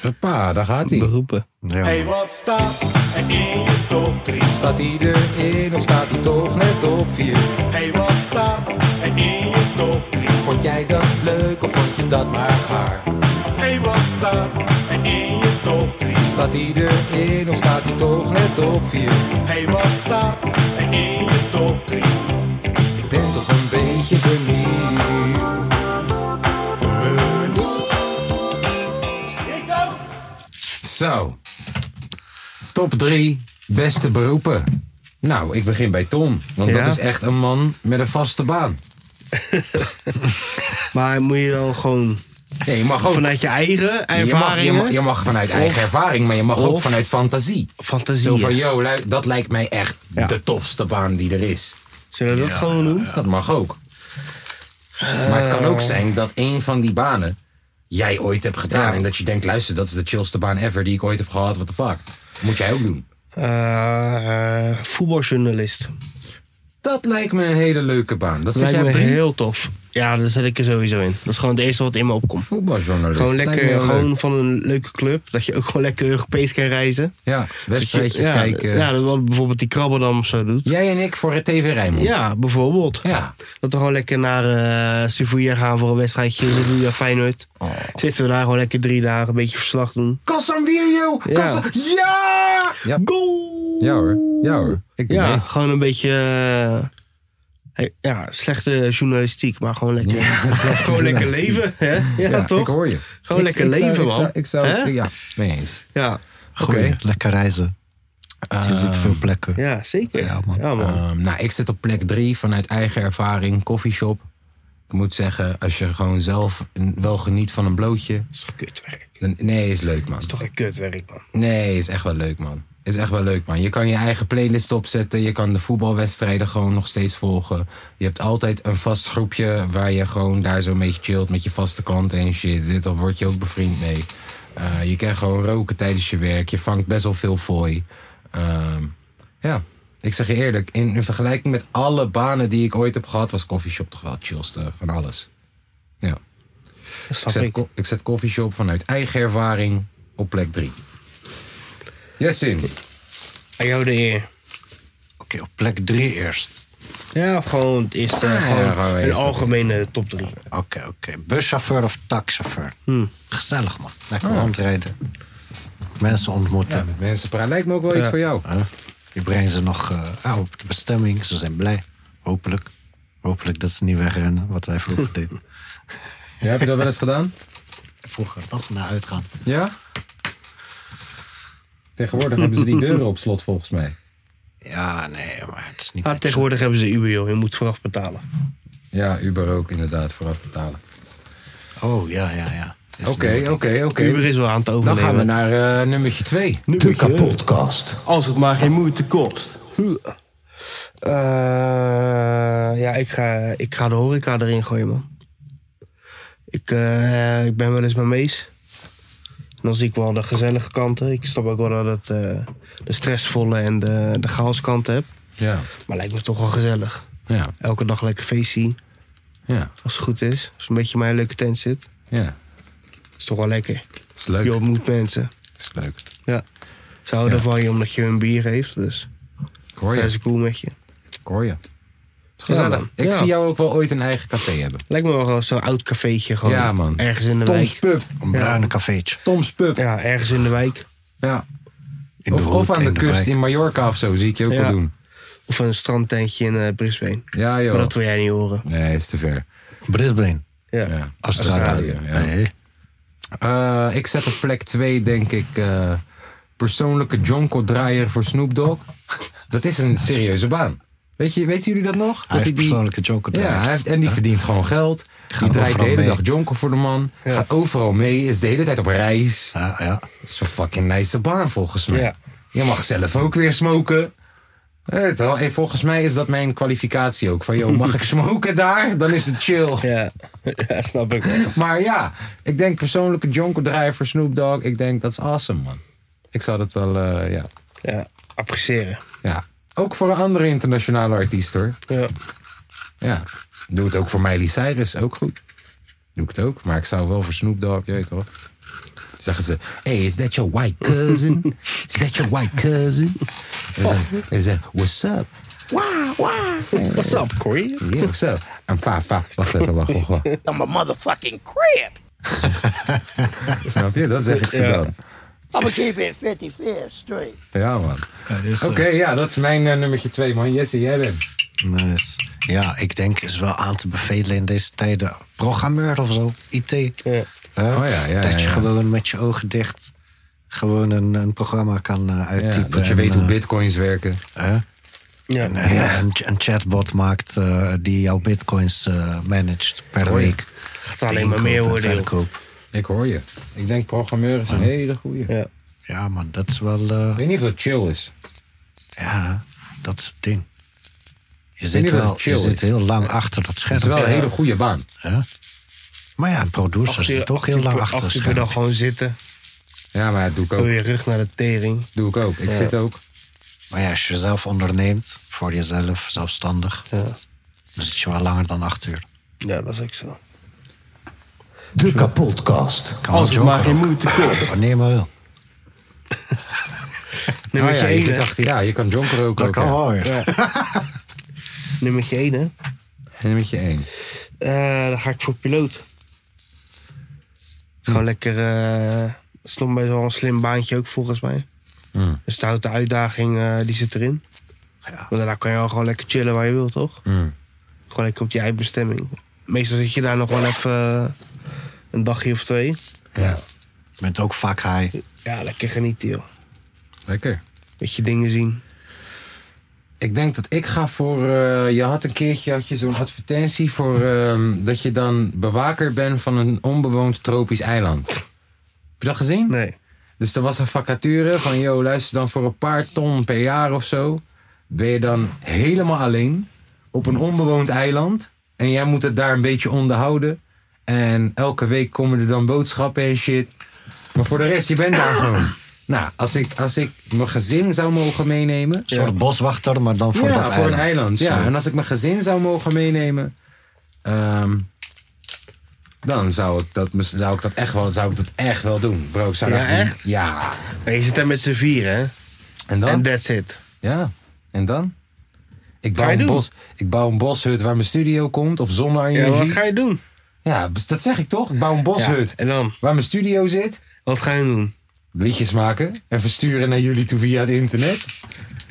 S1: Hoppa, daar gaat hij.
S2: Beroepen.
S3: Ja,
S8: Hey, wat staat er in je top 3?
S1: Staat hij erin of staat hij toch net op vier?
S8: Hey, wat staat er in je top 3?
S1: Vond jij dat leuk of vond je dat maar gaar?
S8: Hey, wat staat er in je top 3?
S1: Staat hij erin of staat hij toch net op vier?
S8: Hey, wat staat er in je top 3?
S1: Ik ben toch een beetje benieuwd.
S8: Ik ook.
S1: Zo. Top 3 beste beroepen. Nou, ik begin bij Tom. Want
S2: Ja?
S1: dat is echt een man met een vaste baan.
S2: Maar moet je dan gewoon
S1: Nee, je mag ook.
S2: vanuit je eigen
S1: Oh. je, mag, je,
S2: ervaringen...
S1: mag, je mag vanuit eigen ervaring, maar je mag ook
S2: of-
S1: vanuit fantasie. Zo
S2: Fantasie.
S1: van, yo, lui- dat lijkt mij echt
S2: Ja.
S1: de tofste baan die er is.
S2: Zullen we dat gewoon doen?
S1: Dat mag ook. Maar het kan ook zijn dat een van die banen jij ooit hebt gedaan. En dat je denkt, luister, dat is de chillste baan ever die ik ooit heb gehad. What the fuck? Moet jij ook doen.
S2: Eh, eh, voetbaljournalist.
S1: Dat lijkt me een hele leuke baan. Dat zit
S2: Lijkt
S1: jij
S2: me
S1: op drie?
S2: heel tof. Ja, daar zet ik er sowieso in. Dat is gewoon het eerste wat in me opkomt.
S1: Voetbaljournalist.
S2: Gewoon
S1: Lijkt me
S2: lekker,
S1: heel leuk.
S2: gewoon van een leuke club. Dat je ook gewoon lekker Europees kan reizen.
S1: Ja, wedstrijdjes
S2: ja,
S1: kijken.
S2: Ja, dat wat bijvoorbeeld die Krabberdam zo doet.
S1: Jij en ik voor het TV Rijnmond.
S2: Ja, bijvoorbeeld.
S1: Ja.
S2: Dat we gewoon lekker naar eh Sevilla gaan voor een wedstrijdje. Sevilla Feyenoord.
S1: Oh.
S2: Zitten we daar gewoon lekker drie dagen een beetje verslag doen.
S1: Casemiro!
S2: Ja.
S1: Casa- Ja! ja!
S2: Goal!
S1: Ja hoor. Ja hoor. Ik
S2: Ja,
S1: ja.
S2: gewoon een beetje... eh, hey, ja, slechte journalistiek, maar <laughs> gewoon lekker, gewoon lekker leven. Hè? Ja, toch?
S1: Ik hoor je.
S2: Gewoon
S1: Ik-
S2: lekker
S1: ik zou-
S2: leven,
S1: ik
S2: man.
S1: zou- Ik zou,
S2: Hè?
S1: ja, mee eens.
S2: Ja,
S3: Goeie,
S1: Oké.
S3: lekker reizen. Je zit veel plekken.
S2: ja zeker.
S3: Eh, Ja, man.
S1: Ehm, nou, ik zit op plek drie vanuit eigen ervaring, koffieshop. Ik moet zeggen, als je gewoon zelf een- wel geniet van een blootje.
S2: is toch kutwerk.
S1: Dan, nee, is leuk, man.
S2: Toch een kutwerk, man.
S1: Nee, is echt wel leuk, man. Is echt wel leuk, man. Je kan je eigen playlist opzetten. Je kan de voetbalwedstrijden gewoon nog steeds volgen. Je hebt altijd een vast groepje waar je gewoon daar zo'n beetje chillt met je vaste klanten en shit. Dit, dan word je ook bevriend mee. Eh, je kan gewoon roken tijdens je werk. Je vangt best wel veel fooi. Ehm, ja, ik zeg je eerlijk. In, in vergelijking met alle banen die ik ooit heb gehad, was coffeeshop toch wel het chillste van alles. Ja. Ik
S2: snap
S1: zet,
S2: ik.
S1: ko- ik zet coffeeshop vanuit eigen ervaring op plek 3. Yes, in.
S2: Aan jou de eer.
S3: Oké, op plek drie eerst.
S2: Ja, gewoon het eerste.
S1: Ah, ja,
S2: gewoon
S1: gewoon
S2: een
S1: eerst.
S2: algemene top 3.
S3: Oké, oké. Buschauffeur of taxichauffeur?
S1: Hmm.
S3: Ah. Gezellig, man. Lekker rondrijden. Mensen ontmoeten.
S1: Mensen praten. Lijkt me ook wel iets voor jou.
S3: Huh? Je brengt ze nog eh, ah, op de bestemming. Ze zijn blij. Hopelijk. Hopelijk dat ze niet wegrennen, wat wij <laughs> vroeger deden.
S1: Ja, heb je dat wel eens gedaan?
S3: Vroeger toch naar uitgaan.
S1: Ja? Tegenwoordig hebben ze die deuren op slot volgens mij.
S3: Ja, nee, maar het is niet.
S2: Ah,
S3: niks.
S2: tegenwoordig hebben ze Uber, joh. Je moet vooraf betalen.
S1: Ja, Uber ook inderdaad, vooraf betalen.
S3: Oh, ja, ja, ja. Is
S1: Oké,
S3: niet
S1: oké, oké.
S2: Uber is wel aan het
S1: Dan
S2: overleven.
S1: gaan we naar eh, nummertje 2.
S8: Als het maar geen moeite kost.
S2: Eh, ja, ik ga, ik ga de horeca erin gooien, man. Ik, eh, ik ben wel eens mijn mees. En dan zie ik wel de gezellige kanten. Ik snap ook wel dat het eh, de stressvolle en de, de chaoskanten heb.
S1: Ja,
S2: Maar lijkt me toch wel gezellig.
S1: ja,
S2: Elke dag lekker feest zien,
S1: ja,
S2: als het goed is. Als een beetje in mijn leuke tent zit.
S1: ja.
S2: Is toch wel lekker.
S1: Is leuk.
S2: Je ontmoet mensen.
S1: Is leuk.
S2: Ja. Ze houden
S1: Ja.
S2: van je omdat je een bier heeft. Dus
S1: Ik hoor
S2: dat
S1: je.
S2: is cool met je.
S1: Ik hoor je. Is
S2: Ja,
S1: gezellig.
S2: man.
S1: ik
S2: Ja.
S1: zie jou ook wel ooit een eigen café hebben.
S2: Lijkt me wel gewoon zo'n oud cafeetje. Gewoon
S1: Ja, man.
S2: Ergens in de wijk.
S1: Pub.
S3: Een bruine cafeetje.
S1: Tom's Pub.
S2: Ja, ergens in de wijk.
S1: Ja.
S3: In
S1: Of,
S3: de
S1: of
S3: hoek,
S1: aan de,
S3: in de
S1: kust
S3: wijk.
S1: in Mallorca of zo, zie ik je ook
S2: Ja.
S1: wel doen.
S2: Of een strandtentje in eh, Brisbane.
S1: Ja, joh.
S2: Maar dat wil jij niet horen.
S1: Nee, is te ver.
S3: Brisbane.
S2: Ja.
S1: Ja.
S3: Australië.
S1: Australië, ja.
S3: Nee.
S1: Eh, ik zet op plek 2, denk ik, eh, persoonlijke jonko-draaier voor Snoop Dogg. Dat is een serieuze baan. Weet je, weten jullie dat nog? dat
S3: heeft
S1: hij
S3: persoonlijke jonko-draaiers.
S1: Ja, hij heeft- en die verdient gewoon geld. Die
S3: Gaat
S1: draait de
S3: overal
S1: hele
S3: mee.
S1: dag jonko voor de man. Gaat overal mee, is de hele tijd op reis.
S3: Ja, ja.
S1: Dat is een fucking nice baan volgens mij.
S2: Ja.
S1: Je mag zelf ook weer smoken. Het, wel. en volgens mij is dat mijn kwalificatie ook. Van, joh, mag
S2: <laughs>
S1: ik smoken daar? Dan is het chill.
S2: Ja. <laughs> ja, snap ik. wel.
S1: Maar ja, ik denk persoonlijke jonko voor Snoop Dogg. Ik denk dat is awesome, man. Ik zou dat wel, eh, ja.
S2: Ja, appreciëren.
S1: ja. Ook voor een andere internationale artiest, hoor.
S2: Ja.
S1: Ja. Doe het ook voor Miley Cyrus, ook goed. Doe ik het ook, maar ik zou wel voor Snoop Dogg, je weet toch? Zeggen ze, hey, is that your white cousin? Is that your white cousin? En ze, what's up? Wow, wow.
S2: What's up, Corey?
S1: Yeah, what's up? I'm fine, fine. Wacht even, wacht, wacht, wacht.
S5: <laughs> I'm a motherfucking crib.
S1: <laughs> Snap je? Dat zeg ik ze dan.
S5: I'ma keep it 55 straight.
S1: Ja, man. Oké, ja, dat is mijn eh, nummertje twee, man. Jesse, jij bent.
S3: Nice. Dus, Ja, ik denk is wel aan te bevelen in deze tijden. Programmeur of zo, IT.
S2: Ja.
S3: Hè?
S1: Oh ja, ja,
S3: dat
S1: ja,
S3: je
S1: ja.
S3: gewoon met je ogen dicht gewoon een, een programma kan eh,
S1: Ja,
S3: uittypen.
S1: dat je
S3: en,
S1: weet hoe
S3: eh,
S1: bitcoins werken.
S3: hè?
S2: Ja.
S3: En, en, een, een chatbot maakt eh, die jouw bitcoins eh, managt per
S1: Hoi.
S3: week.
S2: Gaat alleen maar meer worden, joh.
S3: Verkoop.
S1: Ik hoor je. Ik denk programmeur is een hele goeie. Ik
S2: Ja.
S3: Ja, man, dat is wel. eh,
S1: weet niet of dat chill is.
S3: ja, dat is het ding. Je
S1: niet
S3: zit,
S1: of het
S3: wel,
S1: chill
S3: je zit
S1: is.
S3: heel lang achter dat scherm.
S1: Het is wel een hele goede baan.
S3: Hè? Maar ja, een producer
S2: Acht uur-
S3: zit ook heel
S2: acht uur
S3: lang
S2: per-
S3: achter het
S2: acht uur per
S3: scherm.
S2: dag gewoon zitten.
S1: Ja, maar dat doe ik
S2: Door
S1: ook.
S2: je rug naar de tering.
S1: Doe ik ook. Ik zit ook.
S3: Maar ja, als je zelf onderneemt, voor jezelf, zelfstandig,
S2: Ja.
S3: dan zit je wel langer dan acht uur.
S2: Ja, dat is ook zo.
S4: De kapotkast.
S3: Kan Als het maar geen moeite kost. Wanneer maar wil.
S1: Oh
S2: Nummertje
S1: ja, je
S2: 1,
S1: zit
S2: hè?
S1: achter. Ja, je kan jonker ook.
S3: Dat
S1: ook,
S3: kan
S1: ja.
S3: wel weer.
S2: Nummertje 1, hè?
S1: En met je één.
S2: Eh, dan ga ik voor piloot. Gewoon lekker. eh is nog best wel een slim baantje ook volgens mij. Dus de de uitdaging eh, die zit erin. Want daarna kan je wel gewoon lekker chillen waar je wil, toch? Gewoon lekker op je eigen bestemming. Meestal zit je daar nog wel even eh, een dagje of twee.
S1: Ja,
S3: Je bent ook vaak high.
S2: Ja, lekker genieten, joh.
S1: lekker.
S2: Beetje dingen zien.
S1: Ik denk dat ik ga voor. eh, je had een keertje had je zo'n advertentie voor. ehm, dat je dan bewaker bent van een onbewoond tropisch eiland. Heb je dat gezien?
S2: Nee.
S1: Dus er was een vacature van, yo, luister dan voor een paar ton per jaar of zo. Ben je dan helemaal alleen op een onbewoond eiland. En jij moet het daar een beetje onderhouden. En elke week komen er dan boodschappen en shit. Maar voor de rest, je bent daar gewoon. Nou, als ik, als ik mijn gezin zou mogen meenemen.
S3: Een soort boswachter, maar dan voor
S1: ja,
S3: dat
S1: voor
S3: eiland.
S1: een eiland. Ja.
S3: Zo.
S1: En als ik mijn gezin zou mogen meenemen, ehm, dan zou ik, dat, zou, ik dat echt wel, zou ik dat echt wel doen. Bro, ik zou
S2: Ja,
S1: dat gewoon-
S2: echt?
S1: Ja.
S2: Maar je zit daar met z'n vieren, hè?
S1: En dan?
S2: En that's it.
S1: ja. En dan? Ik
S2: Ga
S1: bouw,
S2: je
S1: een
S2: doen?
S1: bos, ik bouw een boshut waar mijn studio komt op
S2: Ja, wat
S1: zonne-energie.
S2: ga je doen?
S1: Ja, dat zeg ik toch? Ik bouw een boshut
S2: En dan?
S1: waar mijn studio zit.
S2: Wat ga je doen?
S1: Liedjes maken en versturen naar jullie toe via het internet.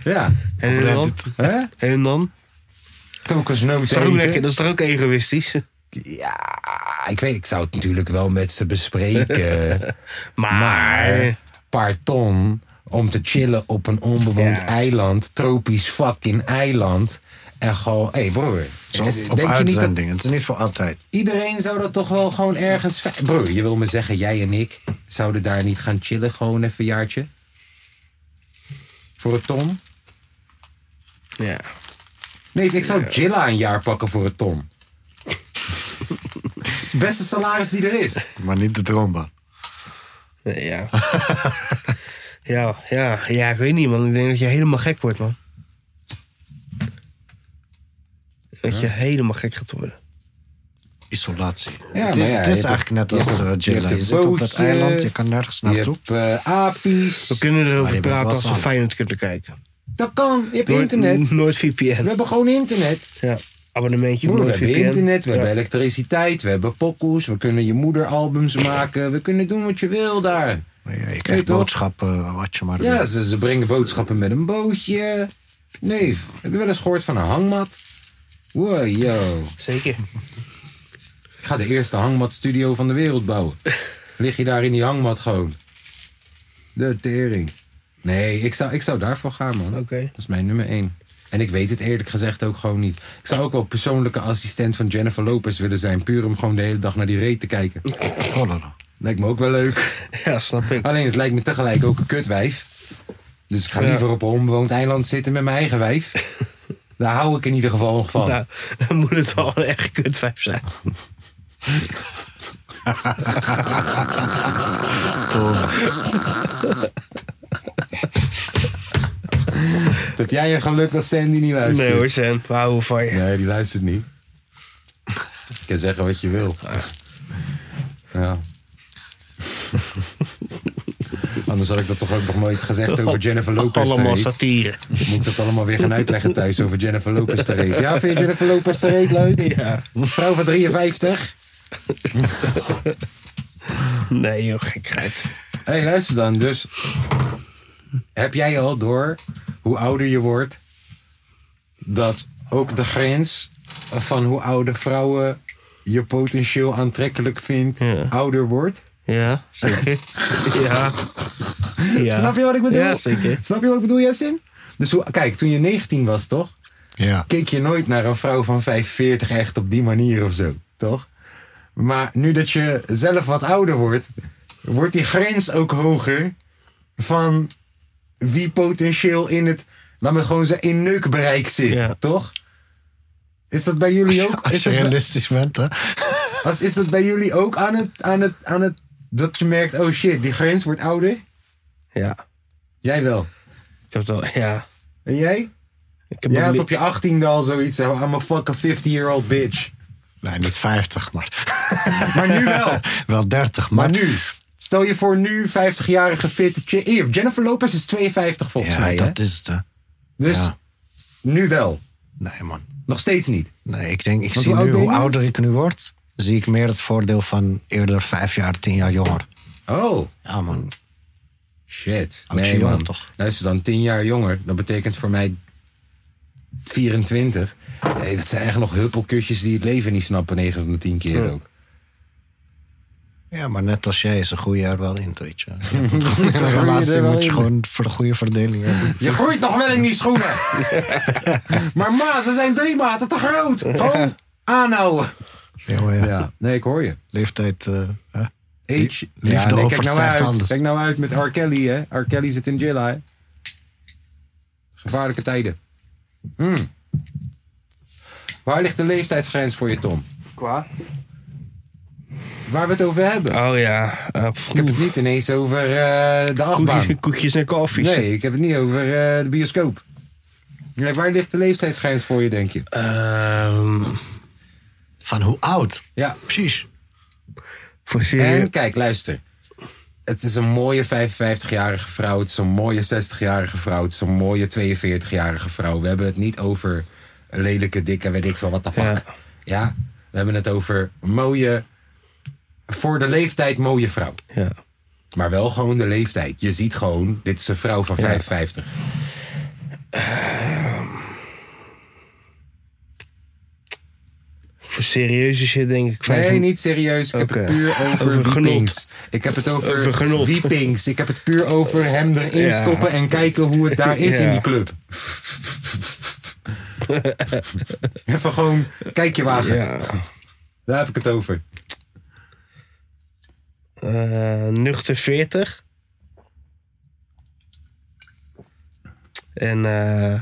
S1: Ja.
S2: En dan?
S1: Hè?
S2: En dan? Dat
S1: Kokosnoten
S2: is, toch ook
S1: eten.
S2: lekker, dat is toch ook egoïstisch?
S1: Ja, ik weet, ik zou het natuurlijk wel met ze bespreken.
S2: <laughs> Maar...
S1: maar, paar ton om te chillen op een onbewoond
S2: Ja.
S1: eiland, tropisch fucking eiland. En gewoon, hé hey broer,
S3: Zo,
S1: eh,
S3: op
S1: denk je niet dat
S3: uitzending. Het is niet voor altijd.
S1: iedereen zou dat toch wel gewoon ergens... fi- Broer, je wil me zeggen, jij en ik zouden daar niet gaan chillen gewoon even een jaartje? Voor een ton?
S2: Ja.
S1: Nee, ik zou Jilla een jaar pakken voor een
S2: <laughs>
S1: ton. Het is het beste salaris die er is.
S3: Maar niet de droombaan.
S2: Nee, Ja. ja, ja, ja, ik weet niet, man. Ik denk dat je helemaal gek wordt, man. Dat je helemaal gek gaat worden.
S3: Isolatie.
S1: Ja,
S3: het is,
S1: maar ja,
S3: het
S1: je
S3: is
S1: hebt
S3: eigenlijk net als
S1: je
S3: eh,
S1: hebt- je
S3: Jilla.
S1: hebt
S3: Je
S1: een
S3: zit op dat
S1: bootje,
S3: eiland, je kan nergens
S2: Nou,
S1: Je
S3: naartoe.
S1: hebt eh, apies.
S2: We kunnen
S3: Maar
S2: erover
S3: je bent
S2: praten
S3: wel
S2: als we
S3: samen.
S2: Feyenoord kunnen kijken.
S1: Dat kan. Je hebt
S2: Noord-
S1: internet.
S2: Nooit
S1: We
S2: VPN.
S1: hebben gewoon internet.
S2: Ja. Abonnementje op
S1: Broer, we
S2: Nooit
S1: hebben
S2: VPN.
S1: internet, we
S2: Ja.
S1: hebben elektriciteit, we hebben pokoes, we kunnen je moeder albums maken, we kunnen doen wat je wil daar.
S3: Maar ja, je
S1: Nee,
S3: krijgt
S1: toch?
S3: boodschappen, eh, wat je maar
S1: Ja,
S3: wil.
S1: ze, ze brengen boodschappen met een bootje. Nee, heb je wel eens gehoord van een hangmat? Wow, yo.
S2: Zeker. <laughs>
S1: Ik ga de eerste hangmatstudio van de wereld bouwen. Lig je daar in die hangmat gewoon. De tering. Nee, ik zou, ik zou daarvoor gaan, man.
S2: Oké.
S1: Dat is mijn nummer één. En ik weet het eerlijk gezegd ook gewoon niet. Ik zou ook wel persoonlijke assistent van Jennifer Lopez willen zijn. Puur om gewoon de hele dag naar die reet te kijken.
S3: Cholera.
S1: Lijkt me ook wel leuk.
S2: Ja, snap ik.
S1: Alleen het lijkt me tegelijk ook een kutwijf. Dus ik ga
S2: Ja.
S1: liever op een onbewoond eiland zitten met mijn eigen wijf. Daar hou ik in ieder geval van.
S2: Nou, dan moet het wel een echt kut vijf zijn.
S1: Heb jij een geluk dat Sandy niet luistert?
S2: Nee hoor, Sam. We houden van je.
S1: Nee, die luistert niet. Je kan zeggen wat je wil. Ja. Anders had ik dat toch ook nog nooit gezegd over Jennifer Lopez.
S2: Allemaal
S1: te reet.
S2: satire.
S1: Moet ik dat allemaal weer gaan uitleggen thuis over Jennifer Lopez te reet. Ja, vind je Jennifer Lopez te reet leuk?
S2: Ja.
S1: Een vrouw van 53?
S2: Nee joh, gekheid.
S1: Hé, hey, luister dan. Dus heb jij al door hoe ouder je wordt... dat ook de grens van hoe oude vrouwen je potentieel aantrekkelijk vindt...
S2: Ja.
S1: ouder wordt? <laughs>
S2: Ja, zeker. ja. ja.
S1: Snap je wat ik bedoel?
S2: Ja, zeker.
S1: Snap je wat ik bedoel, Jessin? Dus hoe, kijk, toen je 19 was, toch?
S3: Ja.
S1: Keek je nooit naar een vrouw van 45 echt op die manier of zo, toch? Maar nu dat je zelf wat ouder wordt, wordt die grens ook hoger van wie potentieel in het, laat me het gewoon zeggen, in neukbereik zit,
S2: Ja.
S1: toch? Is dat bij jullie ook?
S3: Als
S1: Is
S3: je
S1: dat bij-
S3: realistisch bent, hè.
S1: als, is dat bij jullie ook aan het, aan, het, aan het, dat je merkt, oh shit, die grens wordt ouder?
S2: Ja.
S1: Jij wel.
S2: Ik heb het wel, ja.
S1: En jij?
S2: Ik heb
S1: Jij
S2: het
S1: had
S2: li-
S1: op je 18e al zoiets. hè, I'm a fucking 50-year-old bitch.
S3: Nee, niet 50, maar
S1: <laughs> Maar nu wel.
S3: <laughs> wel 30. Maar,
S1: Maar nu. Stel je voor nu 50-jarige fitte chick. Hier, Jennifer Lopez is 52 volgens
S3: Ja,
S1: mij. Hè?
S3: dat is het. hè.
S1: Dus
S3: ja.
S1: nu wel.
S3: Nee, man.
S1: Nog steeds niet.
S3: Nee, ik denk, ik
S1: Want
S3: zie
S1: hoe oud
S3: nu,
S1: ben je
S3: hoe
S1: nu?
S3: ouder ik nu word, zie ik meer het voordeel van eerder vijf jaar, tien jaar jonger.
S1: Oh,
S3: Ja, man.
S1: shit.
S3: Actie
S1: nee, man.
S3: jong, toch?
S1: Luister dan, 10 jaar jonger. Dat betekent voor mij 24. Nee, dat zijn echt nog huppelkusjes die het leven niet snappen. 9 van de 10 keer ook.
S3: Ja, maar net als jij is een goede jaar wel in,
S1: <laughs>
S3: weet je. In
S1: groei
S3: een
S1: je
S3: relatie
S1: er wel
S3: moet je
S1: in.
S3: gewoon voor de goede verdeling
S1: <laughs>
S3: hebben.
S1: Je groeit nog wel in die schoenen.
S3: <laughs>
S1: maar ma, ze zijn drie maten te groot. Gewoon aanhouden.
S3: Ja, maar ja.
S1: Ja, nee, ik hoor je.
S3: Leeftijd, eh, hè?
S1: Age.
S3: Liefde
S1: Ja, nee, kijk nou
S3: overstijgt
S1: uit.
S3: alles.
S1: Kijk nou uit met R. Kelly, hè. R. Kelly zit in jail, hè. Gevaarlijke tijden. Hmm. Waar ligt de leeftijdsgrens voor je, Tom?
S2: Qua?
S1: Waar we het over hebben.
S3: Ah.
S2: Oh ja. eh,
S1: Ik heb het niet ineens over eh, de achtbaan.
S2: koekjes, koekjes en koffies.
S1: Nee, ik heb het niet over eh, de bioscoop. Nee, waar ligt de leeftijdsgrens voor je, denk je?
S3: Eh,
S2: Ehm,
S3: Van hoe oud?
S1: Ja.
S3: Precies.
S2: voor
S1: En
S2: serieus.
S1: kijk, luister. Het is een mooie 55-jarige vrouw. Het is een mooie 60-jarige vrouw. Het is een mooie 42-jarige vrouw. We hebben het niet over lelijke, dikke, weet ik veel, wat de fuck. Ja.
S2: Ja.
S1: We hebben het over mooie, voor de leeftijd mooie vrouw.
S2: Ja.
S1: Maar wel gewoon de leeftijd. Je ziet gewoon, dit is een vrouw van 55.
S2: Voor serieuze shit denk ik.
S1: Nee,
S2: vijf-
S1: niet serieus. Ik heb
S2: Oké.
S1: het
S2: <laughs>
S1: puur over,
S2: Over genot.
S1: wiepings. Ik heb het over,
S2: Over genot.
S1: wiepings. Ik heb het puur over hem erin
S2: Ja.
S1: stoppen en kijken hoe het daar is
S2: Ja.
S1: in die
S2: <laughs>
S1: club. Even gewoon, kijk je wagen.
S2: Ja.
S1: Daar heb ik het over.
S2: Eh, nuchter 40. En eh, <laughs>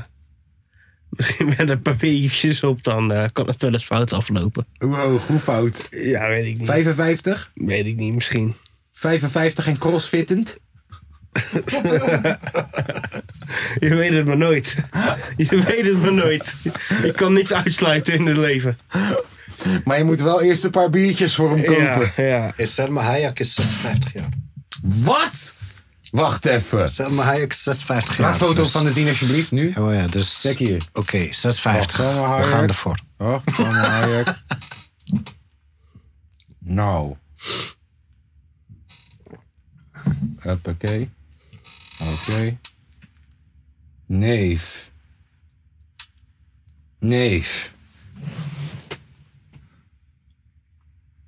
S2: misschien met een paar biertjes op, dan eh, kan het wel eens fout aflopen.
S1: Hoe hoog, hoe fout?
S2: Ja, weet ik niet.
S1: 55?
S2: Weet ik niet, misschien. <laughs>
S1: 55 en crossfittend?
S2: Je weet het maar nooit. <laughs> Je weet het maar nooit. Ik kan niks uitsluiten in het leven.
S1: Maar je moet wel eerst een paar biertjes voor hem kopen.
S2: Ja, ja.
S3: Is Selma Hayek is 56 jaar.
S1: Wat? Wacht even.
S3: Selma Hayek is 56 jaar.
S1: Laat foto's
S3: dus-
S1: van de zien alsjeblieft, nu.
S3: Oh ja, dus...
S1: Kijk hier.
S3: Oké, 56.
S1: Oh, Selma
S3: We
S1: Hayek.
S3: gaan ervoor.
S1: Oh, van Ajax. Nou. Hoppakee. Oké. Neef. Neef.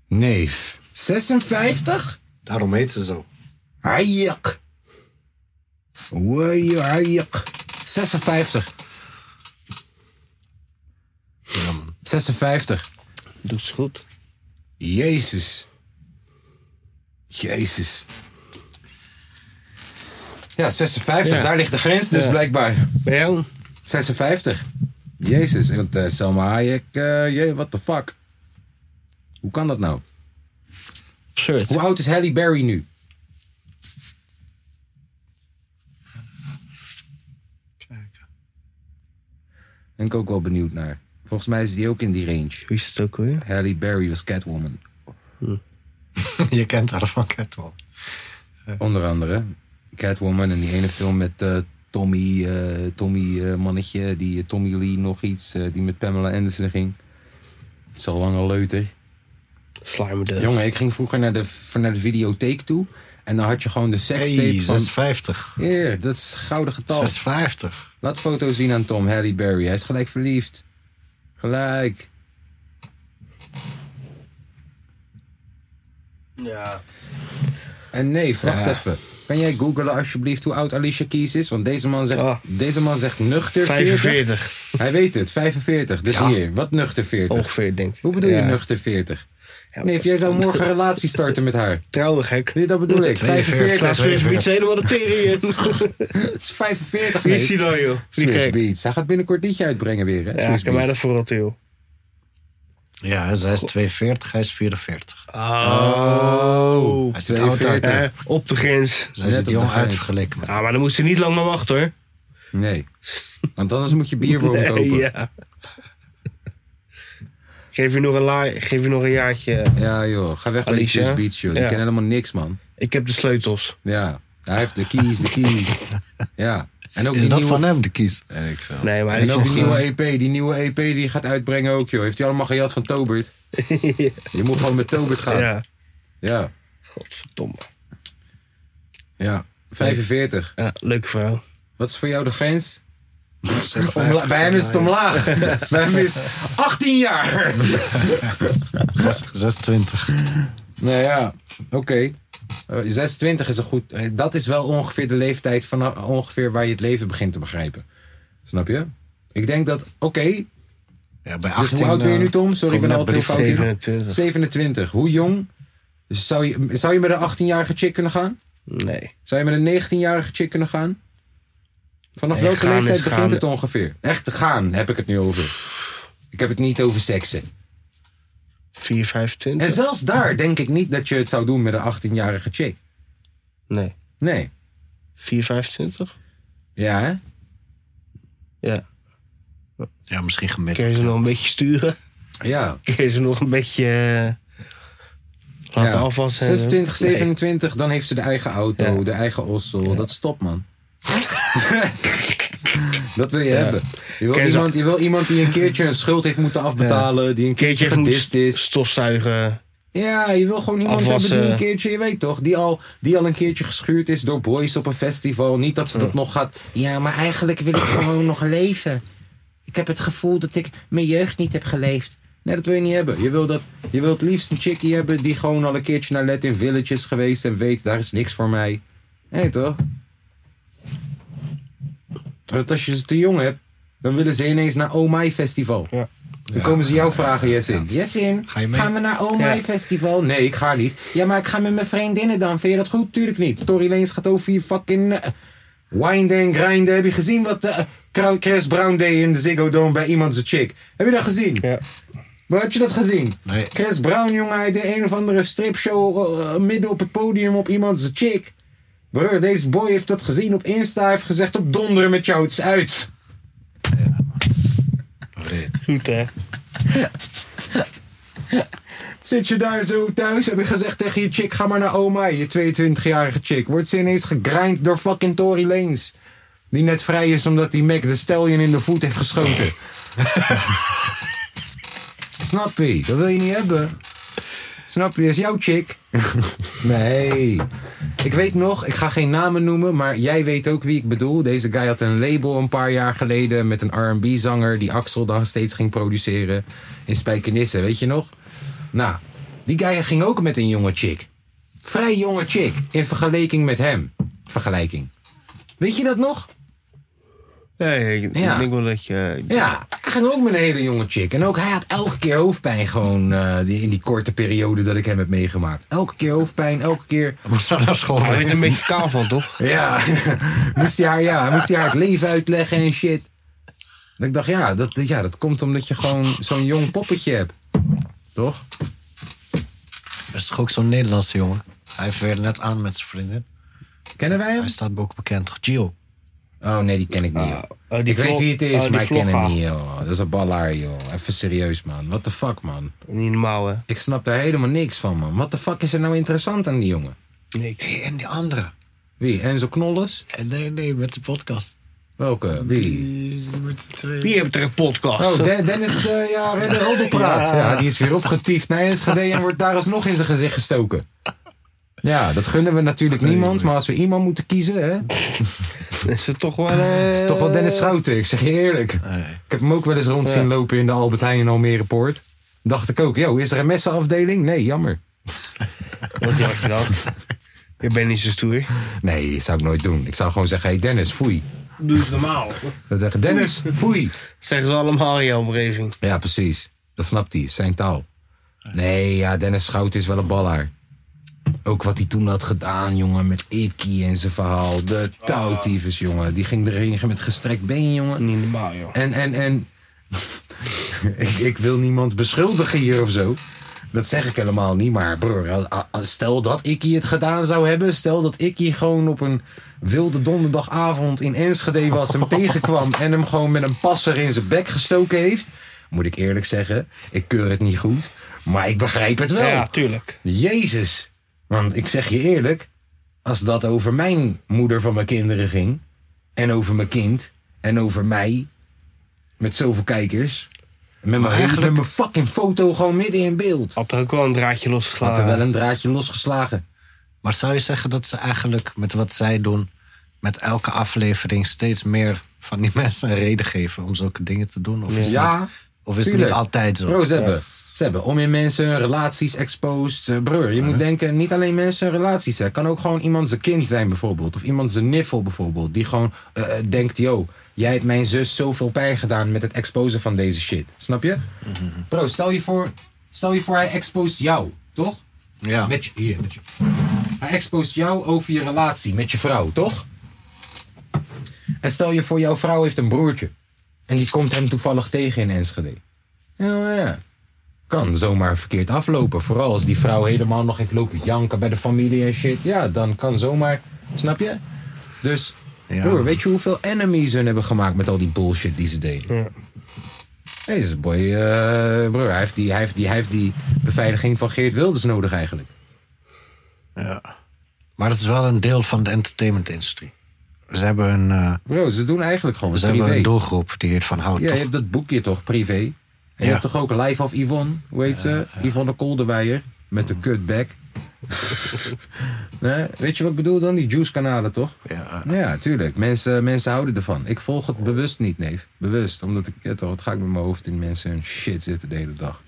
S1: Neef. 56?
S3: Daarom heet ze zo.
S1: Hajak. Wajak. hajak. 56. 56.
S2: Doet ze goed.
S1: Jezus. Jezus. Ja, 56,
S2: Ja.
S1: daar ligt de grens dus
S2: Ja.
S1: blijkbaar.
S2: Bij jou?
S1: 56. Jezus, want eh, Selma Hayek, eh jee, what the fuck. Hoe kan dat nou?
S2: Absurd.
S1: Hoe oud is Halle Berry nu? Ben ik ook wel benieuwd naar. Volgens mij is die ook in die range.
S2: Wie is het ook weer?
S1: Halle Berry was Catwoman.
S3: <laughs> Je kent haar van Catwalk.
S1: Onder andere Catwoman en die ene film met eh, Tommy, eh, Tommy eh, mannetje, die eh, Tommy Lee nog iets, eh, die met Pamela Anderson ging. Het is al lang een leuter.
S2: Slime de...
S1: Jongen, ik ging vroeger naar de, naar de videotheek toe en dan had je gewoon de sekstape
S3: Hey,
S1: van...
S3: 56.
S1: Heer, dat is een gouden getal.
S3: 56.
S1: Laat foto's zien aan Tom, Halle Berry. Hij is gelijk verliefd. Gelijk.
S2: Ja.
S1: En nee, wacht
S2: Ja.
S1: even. Kan jij googelen alsjeblieft hoe oud Alicia Keys is? Want deze man zegt,
S2: Ah.
S1: deze man zegt nuchter 40.
S2: 45.
S1: Hij weet het, 45. Dus hier, wat nuchter 40?
S2: Ongeveer, denk ik.
S1: Hoe bedoel je
S2: Ja.
S1: nuchter 40?
S2: Ja,
S1: Nee,
S2: dat
S1: jij
S2: is-
S1: zou morgen een relatie starten met haar.
S2: Trouwen gek.
S1: Nee, dat bedoel ik.
S2: 42.
S1: 45.
S2: Swiss Beats helemaal de tering in.
S1: Het is 45,
S2: Wie is die
S1: nee.
S2: dan, joh? Die
S1: Swiss
S2: gek.
S1: Beats. Hij gaat binnenkort liedje uitbrengen weer, hè?
S2: Ja,
S1: Swiss
S2: ik kan mij dat
S1: Beats.
S2: vooral toe, joh.
S3: Ja, zij is 42, hij is 44.
S1: Oh,
S3: Hij zit oud
S1: 42.
S2: Eh, op de grens.
S3: Zij
S1: Net
S3: zit
S1: op
S3: jong
S1: de grens.
S3: uit vergeleken met
S2: Ah, maar dan moet ze niet lang meer wachten, hoor.
S1: Nee. Want anders moet je bier voor hem
S2: <laughs> Nee,
S1: kopen.
S2: ja. Geef je nog een, la- geef je nog een jaartje.
S1: Ja, joh. Ga weg bij die
S2: Alicia?
S1: Swiss Beats, joh. Die
S2: Ja.
S1: kennen helemaal niks, man.
S2: Ik heb de sleutels.
S1: Ja. Hij heeft de keys, de keys. Ja. En ook
S3: Is
S1: die
S3: dat
S1: nieuwe... Eh,
S3: van hem, de kies?
S1: En ik veel.
S2: Nee, maar hij
S1: En
S2: is
S1: ook die
S2: nog-
S1: nieuwe EP, die nieuwe EP die je gaat uitbrengen ook, joh. Heeft hij allemaal gejat van Tobert? Je moet gewoon met Tobert gaan. Ja.
S2: Ja.
S1: Ja.
S2: Godverdomme.
S1: 45.
S2: Ja, leuke vrouw.
S1: Wat is voor jou de grens?
S3: 56,
S1: Bij hem is het omlaag. Bij hem is 18 jaar.
S3: 26.
S1: Nou ja, oké. Eh, 26 is een goed... eh, Dat is wel ongeveer de leeftijd van eh, ongeveer waar je het leven begint te begrijpen. Snap je? Ik denk dat, oké,
S3: Ja, bij
S2: eh,
S1: dus hoe oud ben je nu Tom? Sorry, ik ben
S3: kom
S1: altijd heel fout
S3: net
S1: hier.
S2: 27.
S1: 27. Hoe jong Dus zou je, zou je met een 18-jarige chick kunnen gaan?
S2: Nee.
S1: Zou je met een 19-jarige chick kunnen gaan? Vanaf
S2: Nee,
S1: welke
S2: gaan
S1: leeftijd
S2: is
S1: begint
S2: gaan.
S1: het ongeveer? Echt te gaan heb ik het nu over. Ik heb het niet over seksen.
S2: 4, 25?
S1: En zelfs daar denk ik niet dat je het zou doen met een 18-jarige chick.
S2: Nee.
S1: Nee.
S2: 4, 25?
S1: Ja, hè?
S2: Ja.
S3: eh, Ja, misschien
S2: Kun je
S3: gemiddeld.
S2: ze nog een beetje sturen?
S1: Ja.
S2: Kun je ze nog een beetje eh, laten
S1: ja.
S2: afwassen?
S1: 26,
S2: Nee.
S1: 27, dan heeft ze de eigen auto,
S2: Ja.
S1: de eigen ossel. Dat stopt,
S2: <laughs>
S1: man. dat wil je hebben. Je wil,
S2: Ken je zo-
S1: iemand, je wil iemand die een keertje een schuld heeft moeten afbetalen, die een
S2: Een keertje
S1: keertje
S2: even moet
S1: gedist is.
S2: stofzuigen.
S1: Ja, je wil gewoon iemand hebben die
S2: Afwassen.
S1: een keertje, je weet toch, die al, die al een keertje geschuurd is door boys op een festival. Niet dat ze dat nog gaat. Ja, maar eigenlijk wil ik gewoon nog leven. Ik heb het gevoel dat ik mijn jeugd niet heb geleefd. Nee, dat wil je niet hebben. Je wil, dat, je wil het liefst een chickie hebben die gewoon al een keertje naar Let in Village is geweest en weet, daar is niks voor mij. Hé, toch? Maar dat als je ze te jong hebt, dan willen ze ineens naar Oh My Festival. Dan komen ze jou vragen, Jessin. Jessin,
S3: Ga je mee?
S1: gaan we naar Oh My Festival? Nee, ik ga niet. Ja, maar ik ga met mijn vriendinnen dan. Vind je dat goed? Tuurlijk niet. Tory Lanez gaat over je fucking... eh, winden en grinden. Heb je gezien wat eh, Kra- Chris Brown deed in de Ziggo Dome bij iemand zijn chick? Heb je dat gezien?
S2: Ja.
S1: Waar heb je dat gezien?
S3: Nee.
S1: Chris Brown, jongen, hij deed een of andere stripshow eh, eh, midden op het podium op iemand zijn chick. Broer, deze boy heeft dat gezien op Insta. Hij heeft gezegd op donderen met jou, het is uit.
S3: <laughs>
S2: Goed hè?
S1: Zit je daar zo thuis? Heb je gezegd tegen je chick, ga maar naar oma, je 22-jarige chick. Wordt ze ineens gegrind door fucking Tory Lanez. Die net vrij is omdat die Mac de stallion in de voet heeft geschoten. Snap je? Dat wil je niet hebben. Snap je? Dat is jouw chick. nee. Ik weet nog, ik ga geen namen noemen, maar jij weet ook wie ik bedoel. Deze guy had een label een paar jaar geleden met een R&B-zanger... die Axel dan steeds ging produceren in Spijkenisse, weet je nog? Nou, die guy ging ook met een jonge chick. Vrij jonge chick in vergelijking met hem. Vergelijking. Weet je dat nog?
S2: Ja, ja, ik, ik
S1: Ja.
S2: denk wel dat je...
S1: Ja, hij ging ook met een hele jonge chick. En ook hij had elke keer hoofdpijn gewoon eh, die, in die korte periode dat ik hem heb meegemaakt. Elke keer hoofdpijn, elke keer.
S3: Moest nou naar school.
S2: Hij werd er een beetje kaal van, toch?
S1: Ja, <laughs> moest hij haar, ja, moest hij haar het leven uitleggen en shit. Dat ik dacht, ja dat, ja, dat komt omdat je gewoon zo'n jong poppetje hebt. Toch?
S3: Dat is toch ook zo'n Nederlandse jongen? Hij heeft weer net aan met zijn vriendin.
S1: Kennen wij hem?
S3: Hij staat ook bekend, toch? Gio.
S1: Oh nee, die ken ik niet. joh.
S2: oh, die
S1: ik weet
S2: vlog-
S1: wie het is,
S2: oh, die
S1: maar ik ken hem
S2: vlogger.
S1: niet. Joh. Dat is een ballaar, joh. Even serieus, man. What the fuck, man.
S2: Niet normaal hè?
S1: Ik snap daar helemaal niks van, man. What the fuck is er nou interessant aan die jongen?
S2: Nee.
S3: Hé, en die andere.
S1: Wie? Enzo Knolles?
S3: Eh, Nee, nee, met de podcast.
S1: Welke? Wie?
S3: Die met de twee.
S2: Wie heeft er een podcast?
S1: Oh, De- Dennis, eh ja, Redder Roddelpraat. Ja. die is weer opgetiefd naar Enschede en wordt daar alsnog in zijn gezicht gestoken. Ja, dat gunnen we natuurlijk niemand, maar als we iemand moeten kiezen, hè,
S2: Is het toch wel...
S1: <laughs>
S2: eh,
S1: is het toch wel Dennis Schouten, ik zeg je eerlijk.
S3: Nee.
S1: Ik heb hem ook wel eens rond zien lopen in de Albert Heijn in Almerepoort. Dacht ik ook, yo, is er een messenafdeling? Nee, jammer.
S2: Wat dacht je dan? Je bent niet zo stoer.
S1: Nee, dat zou ik nooit doen. Ik zou gewoon zeggen, hey Dennis, foei.
S2: Doe het normaal.
S1: Dan zeggen, Dennis, foei.
S2: Zeggen ze allemaal in jouw omgeving.
S1: Ja, precies. Dat snapt hij, zijn taal. Nee, ja, Dennis Schout is wel een ballaar. Ook wat hij toen had gedaan, jongen, met Ikkie en zijn verhaal. De touwtiefes, jongen. Die ging erin met gestrekt been, jongen.
S2: Niet normaal, joh.
S1: En, en, en. <laughs> ik, ik wil niemand beschuldigen hier of zo. Dat zeg ik helemaal niet, maar broer, a- a- stel dat ik hier het gedaan zou hebben. Stel dat ik hier gewoon op een wilde donderdagavond in Enschede was,
S2: <laughs>
S1: hem tegenkwam en hem gewoon met een passer in zijn bek gestoken heeft. Moet ik eerlijk zeggen, ik keur het niet goed, maar ik begrijp het wel.
S2: Ja, tuurlijk.
S1: Jezus. Want ik zeg je eerlijk, als dat over mijn moeder van mijn kinderen ging, en over mijn kind, en over mij, met zoveel kijkers, met mijn, hele- met mijn fucking foto gewoon midden in beeld.
S2: Had er ook wel een draadje
S1: Had er
S2: losgeslagen.
S1: wel een draadje losgeslagen.
S3: Maar zou je zeggen dat ze eigenlijk met wat zij doen, met elke aflevering steeds meer van die <laughs> mensen een reden geven om zulke dingen te doen? Of is,
S1: Ja,
S3: het, of is het niet
S1: tuurlijk.
S3: altijd zo?
S1: Bro, ze hebben, ze hebben om in mensen hun relaties exposed. Eh, Broer, je moet denken, niet alleen mensen hun relaties. hè. Het kan ook gewoon iemand zijn kind zijn bijvoorbeeld. Of iemand zijn niffel bijvoorbeeld. Die gewoon eh, eh, denkt, yo, jij hebt mijn zus zoveel pijn gedaan met het exposen van
S3: Mhm.
S1: deze shit. Snap je? Bro, stel je voor, stel je voor hij expost jou, toch?
S3: Ja.
S1: Met je, hier, met je. Hij expost jou over je relatie met je vrouw, toch? En stel je voor, jouw vrouw heeft een broertje. En die komt hem toevallig tegen in Enschede. Ja, ja. Kan zomaar verkeerd aflopen. Vooral als die vrouw helemaal nog heeft lopen janken bij de familie en shit. Ja, dan kan zomaar. Snap je? Dus, broer, weet je hoeveel enemies hun hebben gemaakt met al die bullshit die ze deden? Deze boy, eh, broer, hij heeft, die, hij, heeft die, hij heeft die beveiliging van Geert Wilders nodig eigenlijk.
S3: Ja. Maar dat is wel een deel van de entertainment-industrie. Ze hebben een, eh,
S1: Bro, ze doen eigenlijk gewoon
S3: ze
S1: privé.
S3: hebben een doelgroep die hiervan houdt.
S1: Ja, je
S3: toch?
S1: hebt dat boekje toch, privé. En je
S3: Ja.
S1: hebt toch ook Live of Yvonne, hoe heet ze? Yvonne de Kolderweijer, met
S3: Oh.
S1: de
S3: <laughs>
S1: cutback. nee, weet je wat ik bedoel dan? Die juice-kanalen, toch?
S3: Ja.
S1: Ja, tuurlijk. Mensen, mensen houden ervan. Ik volg het bewust niet, neef. Bewust. Omdat ik, ja, toch, wat ga ik met mijn hoofd in mensen hun shit zitten de hele dag.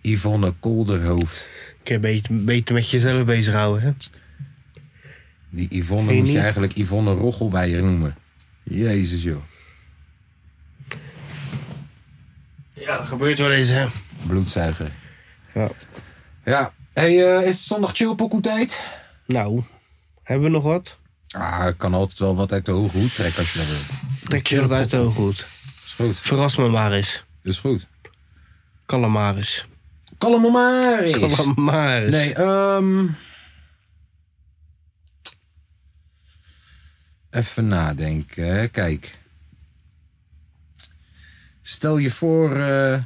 S1: Yvonne Kolderhoofd.
S2: Een keer beter, beter met jezelf bezighouden, hè?
S1: Die Yvonne
S2: Geen
S1: moet je
S2: idee.
S1: eigenlijk Yvonne Rochelweijer noemen. Jezus, joh.
S2: Ja, dat gebeurt wel eens, hè?
S1: Bloedzuiger.
S2: Ja.
S1: Ja. Hey, eh, is het zondag chillpokoe tijd?
S2: Nou, hebben we nog wat?
S1: Ah, ik kan altijd wel wat uit de hoge hoed trekken als je dat wilt.
S2: Trek je dat uit heel goed.
S1: Is goed.
S2: Verras me maar eens.
S1: Is goed.
S2: Calamaris.
S1: Kalamaris.
S2: Calamaris.
S1: Nee, ehm... Even nadenken. hè. Kijk. Stel je voor eh,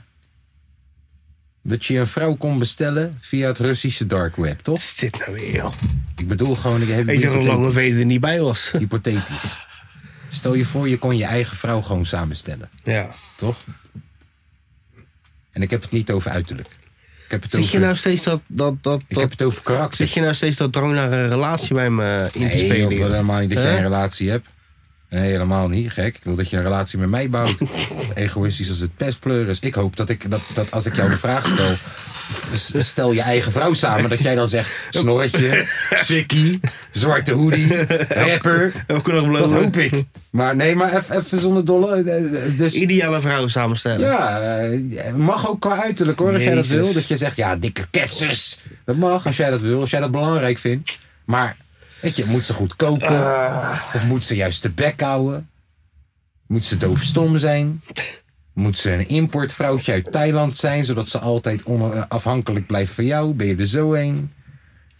S1: dat je een vrouw kon bestellen via het Russische dark web, toch?
S2: Wat is dit nou weer, joh?
S1: Ik bedoel gewoon... Ik, heb
S2: Ik dacht al lang dat
S1: hypothetisch.
S2: Veder er niet bij
S1: <laughs>
S2: was.
S1: Hypothetisch. Stel je voor, je kon je eigen vrouw gewoon samenstellen,
S2: <laughs> Ja.
S1: toch? En ik heb het niet over uiterlijk. Ik heb het,
S2: Zit
S1: over,
S2: je nou steeds dat... dat, dat,
S1: ik heb
S2: dat
S1: het over karakter.
S2: zit je nou steeds dat drang naar een relatie bij me in te
S1: Nee,
S2: spelen?
S1: ik wil
S2: joh?
S1: helemaal niet dat jij
S2: Hè?
S1: een relatie hebt. Nee, helemaal niet. Gek. Ik wil dat je een relatie met mij bouwt.
S2: <laughs>
S1: Egoïstisch als het pestpleur is. Ik hoop dat, ik, dat, dat als ik jou de vraag stel... s- stel je eigen vrouw samen, dat jij dan
S2: <laughs>
S1: zegt... snorretje, sikkie, zwarte hoodie, rapper.
S2: Ook nog blauw.
S1: Dat hoop ik. <laughs> Maar nee, maar eff- even zonder dolle. Dus
S2: Ideale vrouw samenstellen.
S1: ja, eh, mag ook qua uiterlijk hoor, als jij dat
S2: Jezus.
S1: wil. Dat je zegt, ja, dikke ketsers. Dat mag, als jij dat wil, als jij dat belangrijk vindt. Maar, weet je, moet ze goed koken? Of moet ze juist de bek houden? Moet ze doofstom zijn? Moet ze een importvrouwtje uit Thailand zijn, zodat ze altijd on- eh, afhankelijk blijft van jou? Ben je er zo een?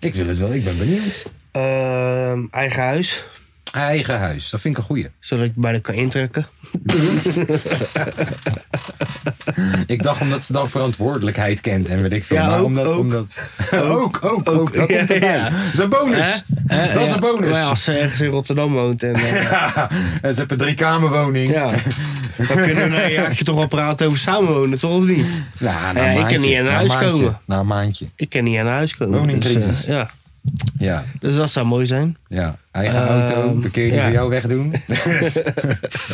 S1: Ik wil het wel, ik ben benieuwd.
S2: Ehm, eigen huis.
S1: Eigen huis, dat vind ik een goeie.
S2: Zodat ik bij de kan intrekken.
S1: Ik dacht omdat ze dan verantwoordelijkheid kent en weet ik veel.
S2: Ja,
S1: maar
S2: ook,
S1: omdat,
S2: <laughs> ook.
S1: omdat... ook, ook, ook. Dat
S2: Ja,
S1: komt erbij.
S2: ja.
S1: Dat is een bonus.
S2: Hè? Hè?
S1: Dat is
S2: Ja.
S1: een bonus.
S2: Maar als ze ergens in Rotterdam woont. En,
S1: <laughs>
S2: eh,
S1: en ze hebben drie kamerwoning.
S2: ja. <laughs> Dan kunnen we nou, een jaartje toch wel praten over samenwonen, toch of niet?
S1: Nou, na een
S2: Ja, ik kan
S1: maandje,
S2: niet in
S1: na
S2: huis
S1: maandje,
S2: komen.
S1: Na een maandje.
S2: Ik kan niet aan huis komen.
S1: Woningcrisis.
S2: Dus, eh, ja.
S1: Ja,
S2: dus dat zou mooi zijn.
S1: ja. Eigen
S2: Ehm,
S1: auto. Dan kun je die
S2: ja.
S1: voor jou
S2: <laughs>
S1: wegdoen. <laughs>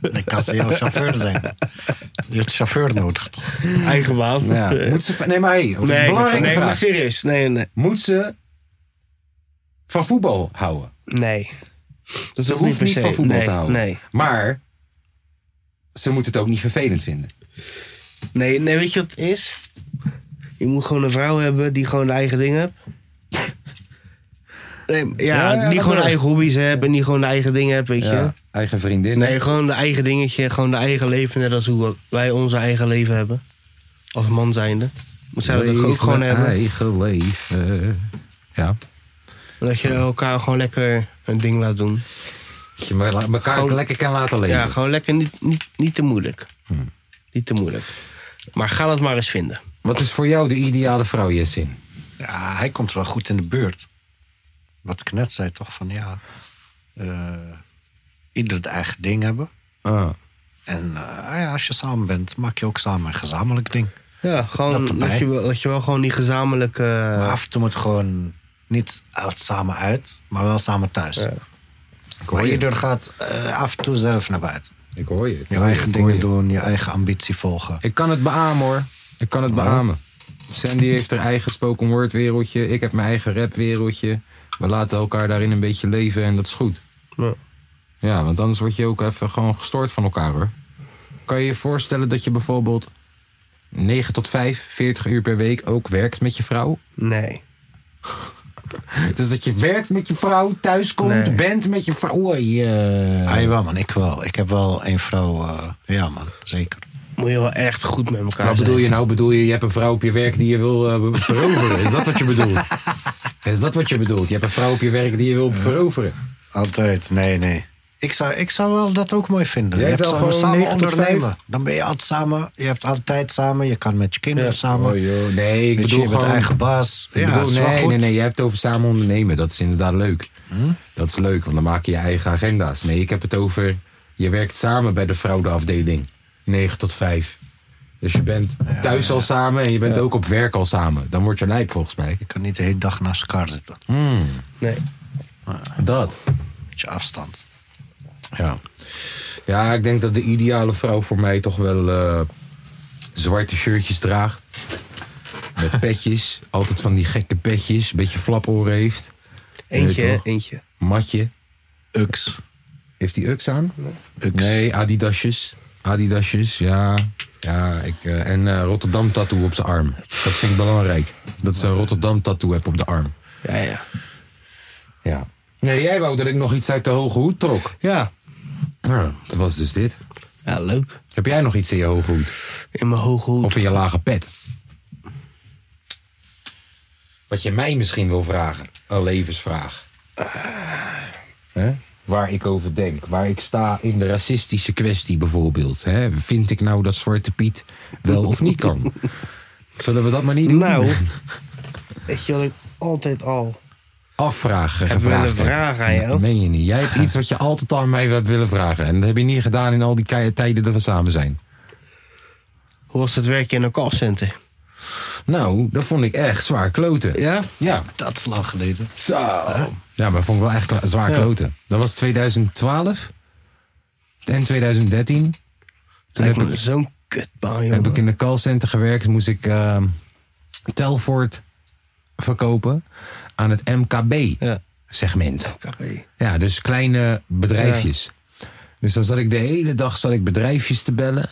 S3: Dan kan ze jouw chauffeur zijn. <laughs> Je hebt chauffeur nodig. toch?
S2: Eigen baan. <laughs>
S1: ja.
S2: Eh,
S1: Moet ze... Nee, maar hey, dat is
S2: nee,
S1: een belangrijke
S2: nee, maar
S1: vraag.
S2: serieus. Nee, nee.
S1: Moet ze van voetbal houden?
S2: nee. Dat
S1: Ze
S2: hoeft
S1: hoeft
S2: per
S1: niet
S2: se.
S1: van voetbal
S2: Nee,
S1: te houden.
S2: Nee.
S1: Maar ze moet het ook niet vervelend vinden.
S2: Nee, nee, weet je wat het is? Je moet gewoon een vrouw hebben die gewoon de eigen dingen hebt. Nee, ja,
S1: Ja, ja,
S2: die
S1: dat
S2: gewoon
S1: wel.
S2: eigen hobby's hebt en die gewoon de eigen dingen hebt, weet
S1: Ja. Eigen vriendin.
S2: je. Nee, gewoon de eigen dingetje, gewoon de eigen leven, net als hoe wij onze eigen leven hebben. Als man zijnde. Moet zij dat ook gewoon
S1: met
S2: hebben.
S1: eigen leven. Ja.
S2: Dat je elkaar gewoon lekker een ding laat doen.
S1: Dat je me- la- elkaar
S2: Gewoon-
S1: lekker kan laten leven.
S2: Ja, gewoon lekker niet, niet, niet te moeilijk. Niet te moeilijk. Maar ga dat maar eens vinden.
S1: Wat is voor jou de ideale vrouw, Jessin?
S3: Ja, hij komt wel goed in de buurt. Wat ik net zei, toch? Van ja. eh, ieder het eigen ding hebben.
S1: Ah.
S3: En eh, ah ja, als je samen bent, maak je ook samen een gezamenlijk ding.
S2: Ja, gewoon
S3: Dat
S2: dat,
S3: erbij.
S2: je, wel- dat je wel gewoon die gezamenlijke...
S3: Maar af en toe moet gewoon niet uit, samen uit, maar wel samen thuis.
S1: Ik
S3: Maar
S1: hoor je.
S3: ieder gaat eh, af en toe zelf naar buiten.
S1: Ik hoor je. Ik
S3: Je
S1: hoor je,
S3: eigen
S1: ik
S3: dingen
S1: hoor je.
S3: doen, je eigen ambitie volgen.
S1: Ik kan het beamen hoor. Ik kan het
S2: Oh.
S1: beamen. Sandy heeft haar eigen spoken word wereldje. Ik heb mijn eigen rap wereldje. We laten elkaar daarin een beetje leven en dat is goed.
S2: Ja.
S1: Ja, want anders word je ook even gewoon gestoord van elkaar hoor. Kan je je voorstellen dat je bijvoorbeeld 9 tot 5, 40 uur per week ook werkt met je vrouw. <laughs>
S2: Nee.
S1: Dus dat je werkt met je vrouw, thuiskomt,
S2: Nee.
S1: bent met je vrouw. Oei, eh.
S3: Ah, jawel, man. Ik wel. Ik heb wel één vrouw. eh, ja, man. Zeker.
S2: Moet je wel echt goed met elkaar
S1: Wat
S2: zijn.
S1: bedoel je nou? Bedoel je, je hebt een vrouw op je werk die je wil eh, be- veroveren? Is dat wat je
S3: <laughs>
S1: bedoelt? Is dat wat je bedoelt? Je hebt een vrouw op je werk die je wil veroveren.
S3: Altijd. Nee, nee. Ik zou, ik zou wel dat ook mooi vinden.
S1: Jij
S3: je
S1: zou
S3: hebt
S1: gewoon
S3: samen
S1: 9 tot 5?
S3: ondernemen. Dan ben je altijd samen. Je hebt altijd samen. Je kan met je kinderen samen.
S1: Oh, joh. Nee, ik
S3: Weet je,
S1: bedoel
S3: je bent
S1: gewoon...
S3: eigen baas.
S1: Ik
S3: ja,
S1: bedoel,
S3: is wel
S1: nee,
S3: goed. Hm?
S1: nee, nee, je hebt het over samen ondernemen. Dat is inderdaad leuk. Dat is leuk, want dan maak je je eigen agenda's. Nee, ik heb het over... Je werkt samen bij de fraudeafdeling. 9 tot 5. Dus je bent thuis al samen en je bent ook op werk al samen. Dan word je lijp volgens mij.
S3: Je kan niet de hele dag naast elkaar zitten.
S1: Hm?
S3: Een
S2: Nee.
S1: Dat.
S3: beetje afstand.
S1: Ja. ja, ik denk dat de ideale vrouw voor mij toch wel eh, zwarte shirtjes draagt. Met petjes. Altijd van die gekke petjes. Een beetje flaporen heeft.
S2: Eentje,
S1: Nee,
S2: hè?
S1: toch?
S2: Eentje.
S1: Matje.
S3: Ux.
S1: Heeft hij UX aan? Nee, Adidasjes. Adidasjes, ja. ja ik, eh, en eh, Rotterdam tattoo op zijn arm. Dat vind ik belangrijk. Dat ze een Rotterdam tattoo hebben op de arm.
S2: Ja, ja.
S1: Ja. Nee, jij wou dat ik nog iets uit de hoge hoed trok.
S2: Ja.
S1: Nou, dat was dus dit.
S2: Ja, leuk.
S1: Heb jij nog iets in je hoge hoed?
S2: In mijn hoge hoed.
S1: Of in je lage pet? Wat je mij misschien wil vragen. Een levensvraag.
S2: Eh.
S1: Hè? Waar ik over denk. Waar ik sta in de racistische kwestie bijvoorbeeld. Hè? Vind ik nou dat Zwarte Piet wel of niet
S2: <laughs>
S1: kan? Zullen we dat maar niet doen?
S2: Nou, <laughs> weet je wat ik altijd al...
S1: Afvragen
S2: Heb wel
S1: gevraagd
S2: een vraag aan jou.
S1: Dat meen je niet. Jij
S2: <laughs>
S1: hebt iets wat je altijd al aan mij hebt willen vragen. En dat heb je niet gedaan in al die kei- tijden dat we samen zijn.
S2: Hoe was het werken in een callcenter?
S1: Nou, dat vond ik echt zwaar kloten.
S2: Ja?
S1: Ja.
S3: Dat is lang geleden.
S1: Zo. Ja, maar vond ik wel echt kla- zwaar kloten. Dat was 2012 en 2013. Toen
S2: Toen
S1: heb
S2: me
S1: ik,
S2: zo'n kutbaan, joh.
S1: heb ik in de callcenter gewerkt. Moest ik ehm, Telfort verkopen aan het
S2: Ja.
S1: MKB-segment.
S2: Café.
S1: Ja, dus kleine bedrijfjes. Dus dan zat ik de hele dag zat ik bedrijfjes te bellen.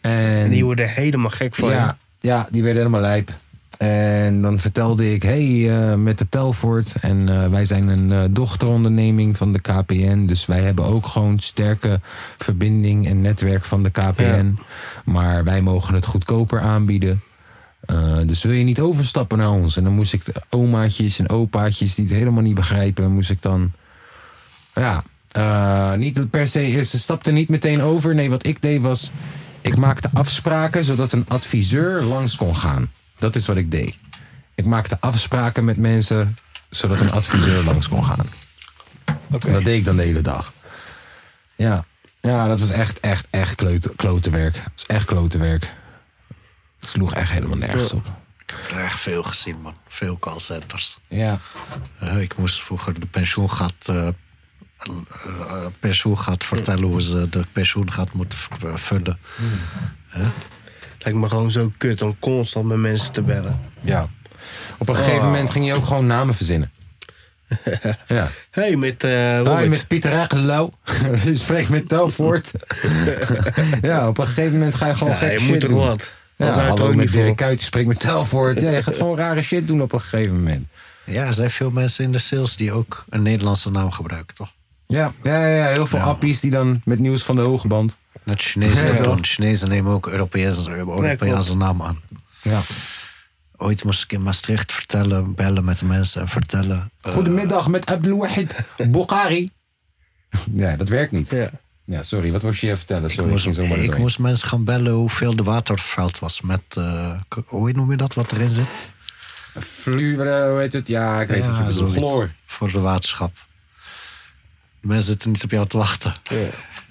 S1: En
S2: En die worden helemaal gek van je.
S1: ja, ja, die werden helemaal lijp. En dan vertelde ik, hey, eh, met de Telfort. En eh, wij zijn een eh, dochteronderneming van de KPN. Dus wij hebben ook gewoon sterke verbinding en netwerk van de KPN. Maar wij mogen het goedkoper aanbieden. Eh, dus wil je niet overstappen naar ons? En dan moest ik de omaatjes en opaatjes die het helemaal niet begrijpen, moest ik dan ja, eh, niet per se. Ze stapte niet meteen over. Nee, wat ik deed was. Ik maakte afspraken zodat een adviseur langs kon gaan. Dat is wat ik deed. Ik maakte afspraken met mensen zodat een adviseur langs kon gaan. En Dat deed ik dan de hele dag. Ja, ja dat was echt, echt, echt klote, klote werk. Dat was echt klote werk. Het sloeg echt helemaal nergens op.
S3: Ik heb er echt veel gezien, man. Veel callcenters.
S1: Ja.
S3: Eh, ik moest vroeger de pensioen gaat, eh, eh, eh, pensioen gaat vertellen hoe ze de pensioen gaat moeten v- eh, vullen.
S2: Hmm.
S3: Eh?
S2: Lijkt me gewoon zo kut om constant met mensen te bellen.
S1: ja. Op een gegeven moment ging je ook gewoon namen verzinnen. ja.
S2: Hé, hey, met eh Robert.
S1: Hoi, met Pieter <laughs> Ragelau. Je spreekt met Telvoort. ja, op een gegeven moment ga je gewoon
S2: Ja,
S1: gek
S2: je
S1: shit
S2: moet toch
S1: doen.
S2: wat?
S1: Ja,
S2: Anders houdt het
S1: hallo
S2: ook
S1: met
S2: niet vol.
S1: Dirk Kuyt, je spreekt met Telvoort. Ja, je gaat gewoon rare shit doen op een gegeven moment.
S3: Ja, er zijn veel mensen in de sales die ook een Nederlandse naam gebruiken, toch?
S1: Ja, ja, ja, ja, heel veel appies die dan met nieuws van de hoge band.
S3: Net Chinezen
S1: Ja,
S3: dat
S1: toch?
S3: doen. Chinezen nemen ook Europese, Europese naam aan.
S1: Ja.
S3: Ooit moest ik in Maastricht vertellen, bellen met de mensen en vertellen. eh,
S1: Goedemiddag met Abdelwahid <laughs> Bukhari. ja, dat werkt niet.
S2: Ja.
S1: Ja, sorry, wat was je vertellen?
S3: ik
S1: Sorry,
S3: moest,
S1: ik, ging zomaar
S3: ik
S1: doorheen.
S3: moest mensen gaan bellen hoeveel de waterveld was met, eh, k- hoe noem je dat, wat erin zit?
S1: Flu, eh, hoe heet het? Ja, ik weet wat je bedoelt.
S3: zoiets.
S1: Floor.
S3: Voor de waterschap. De mensen zitten niet op jou te wachten.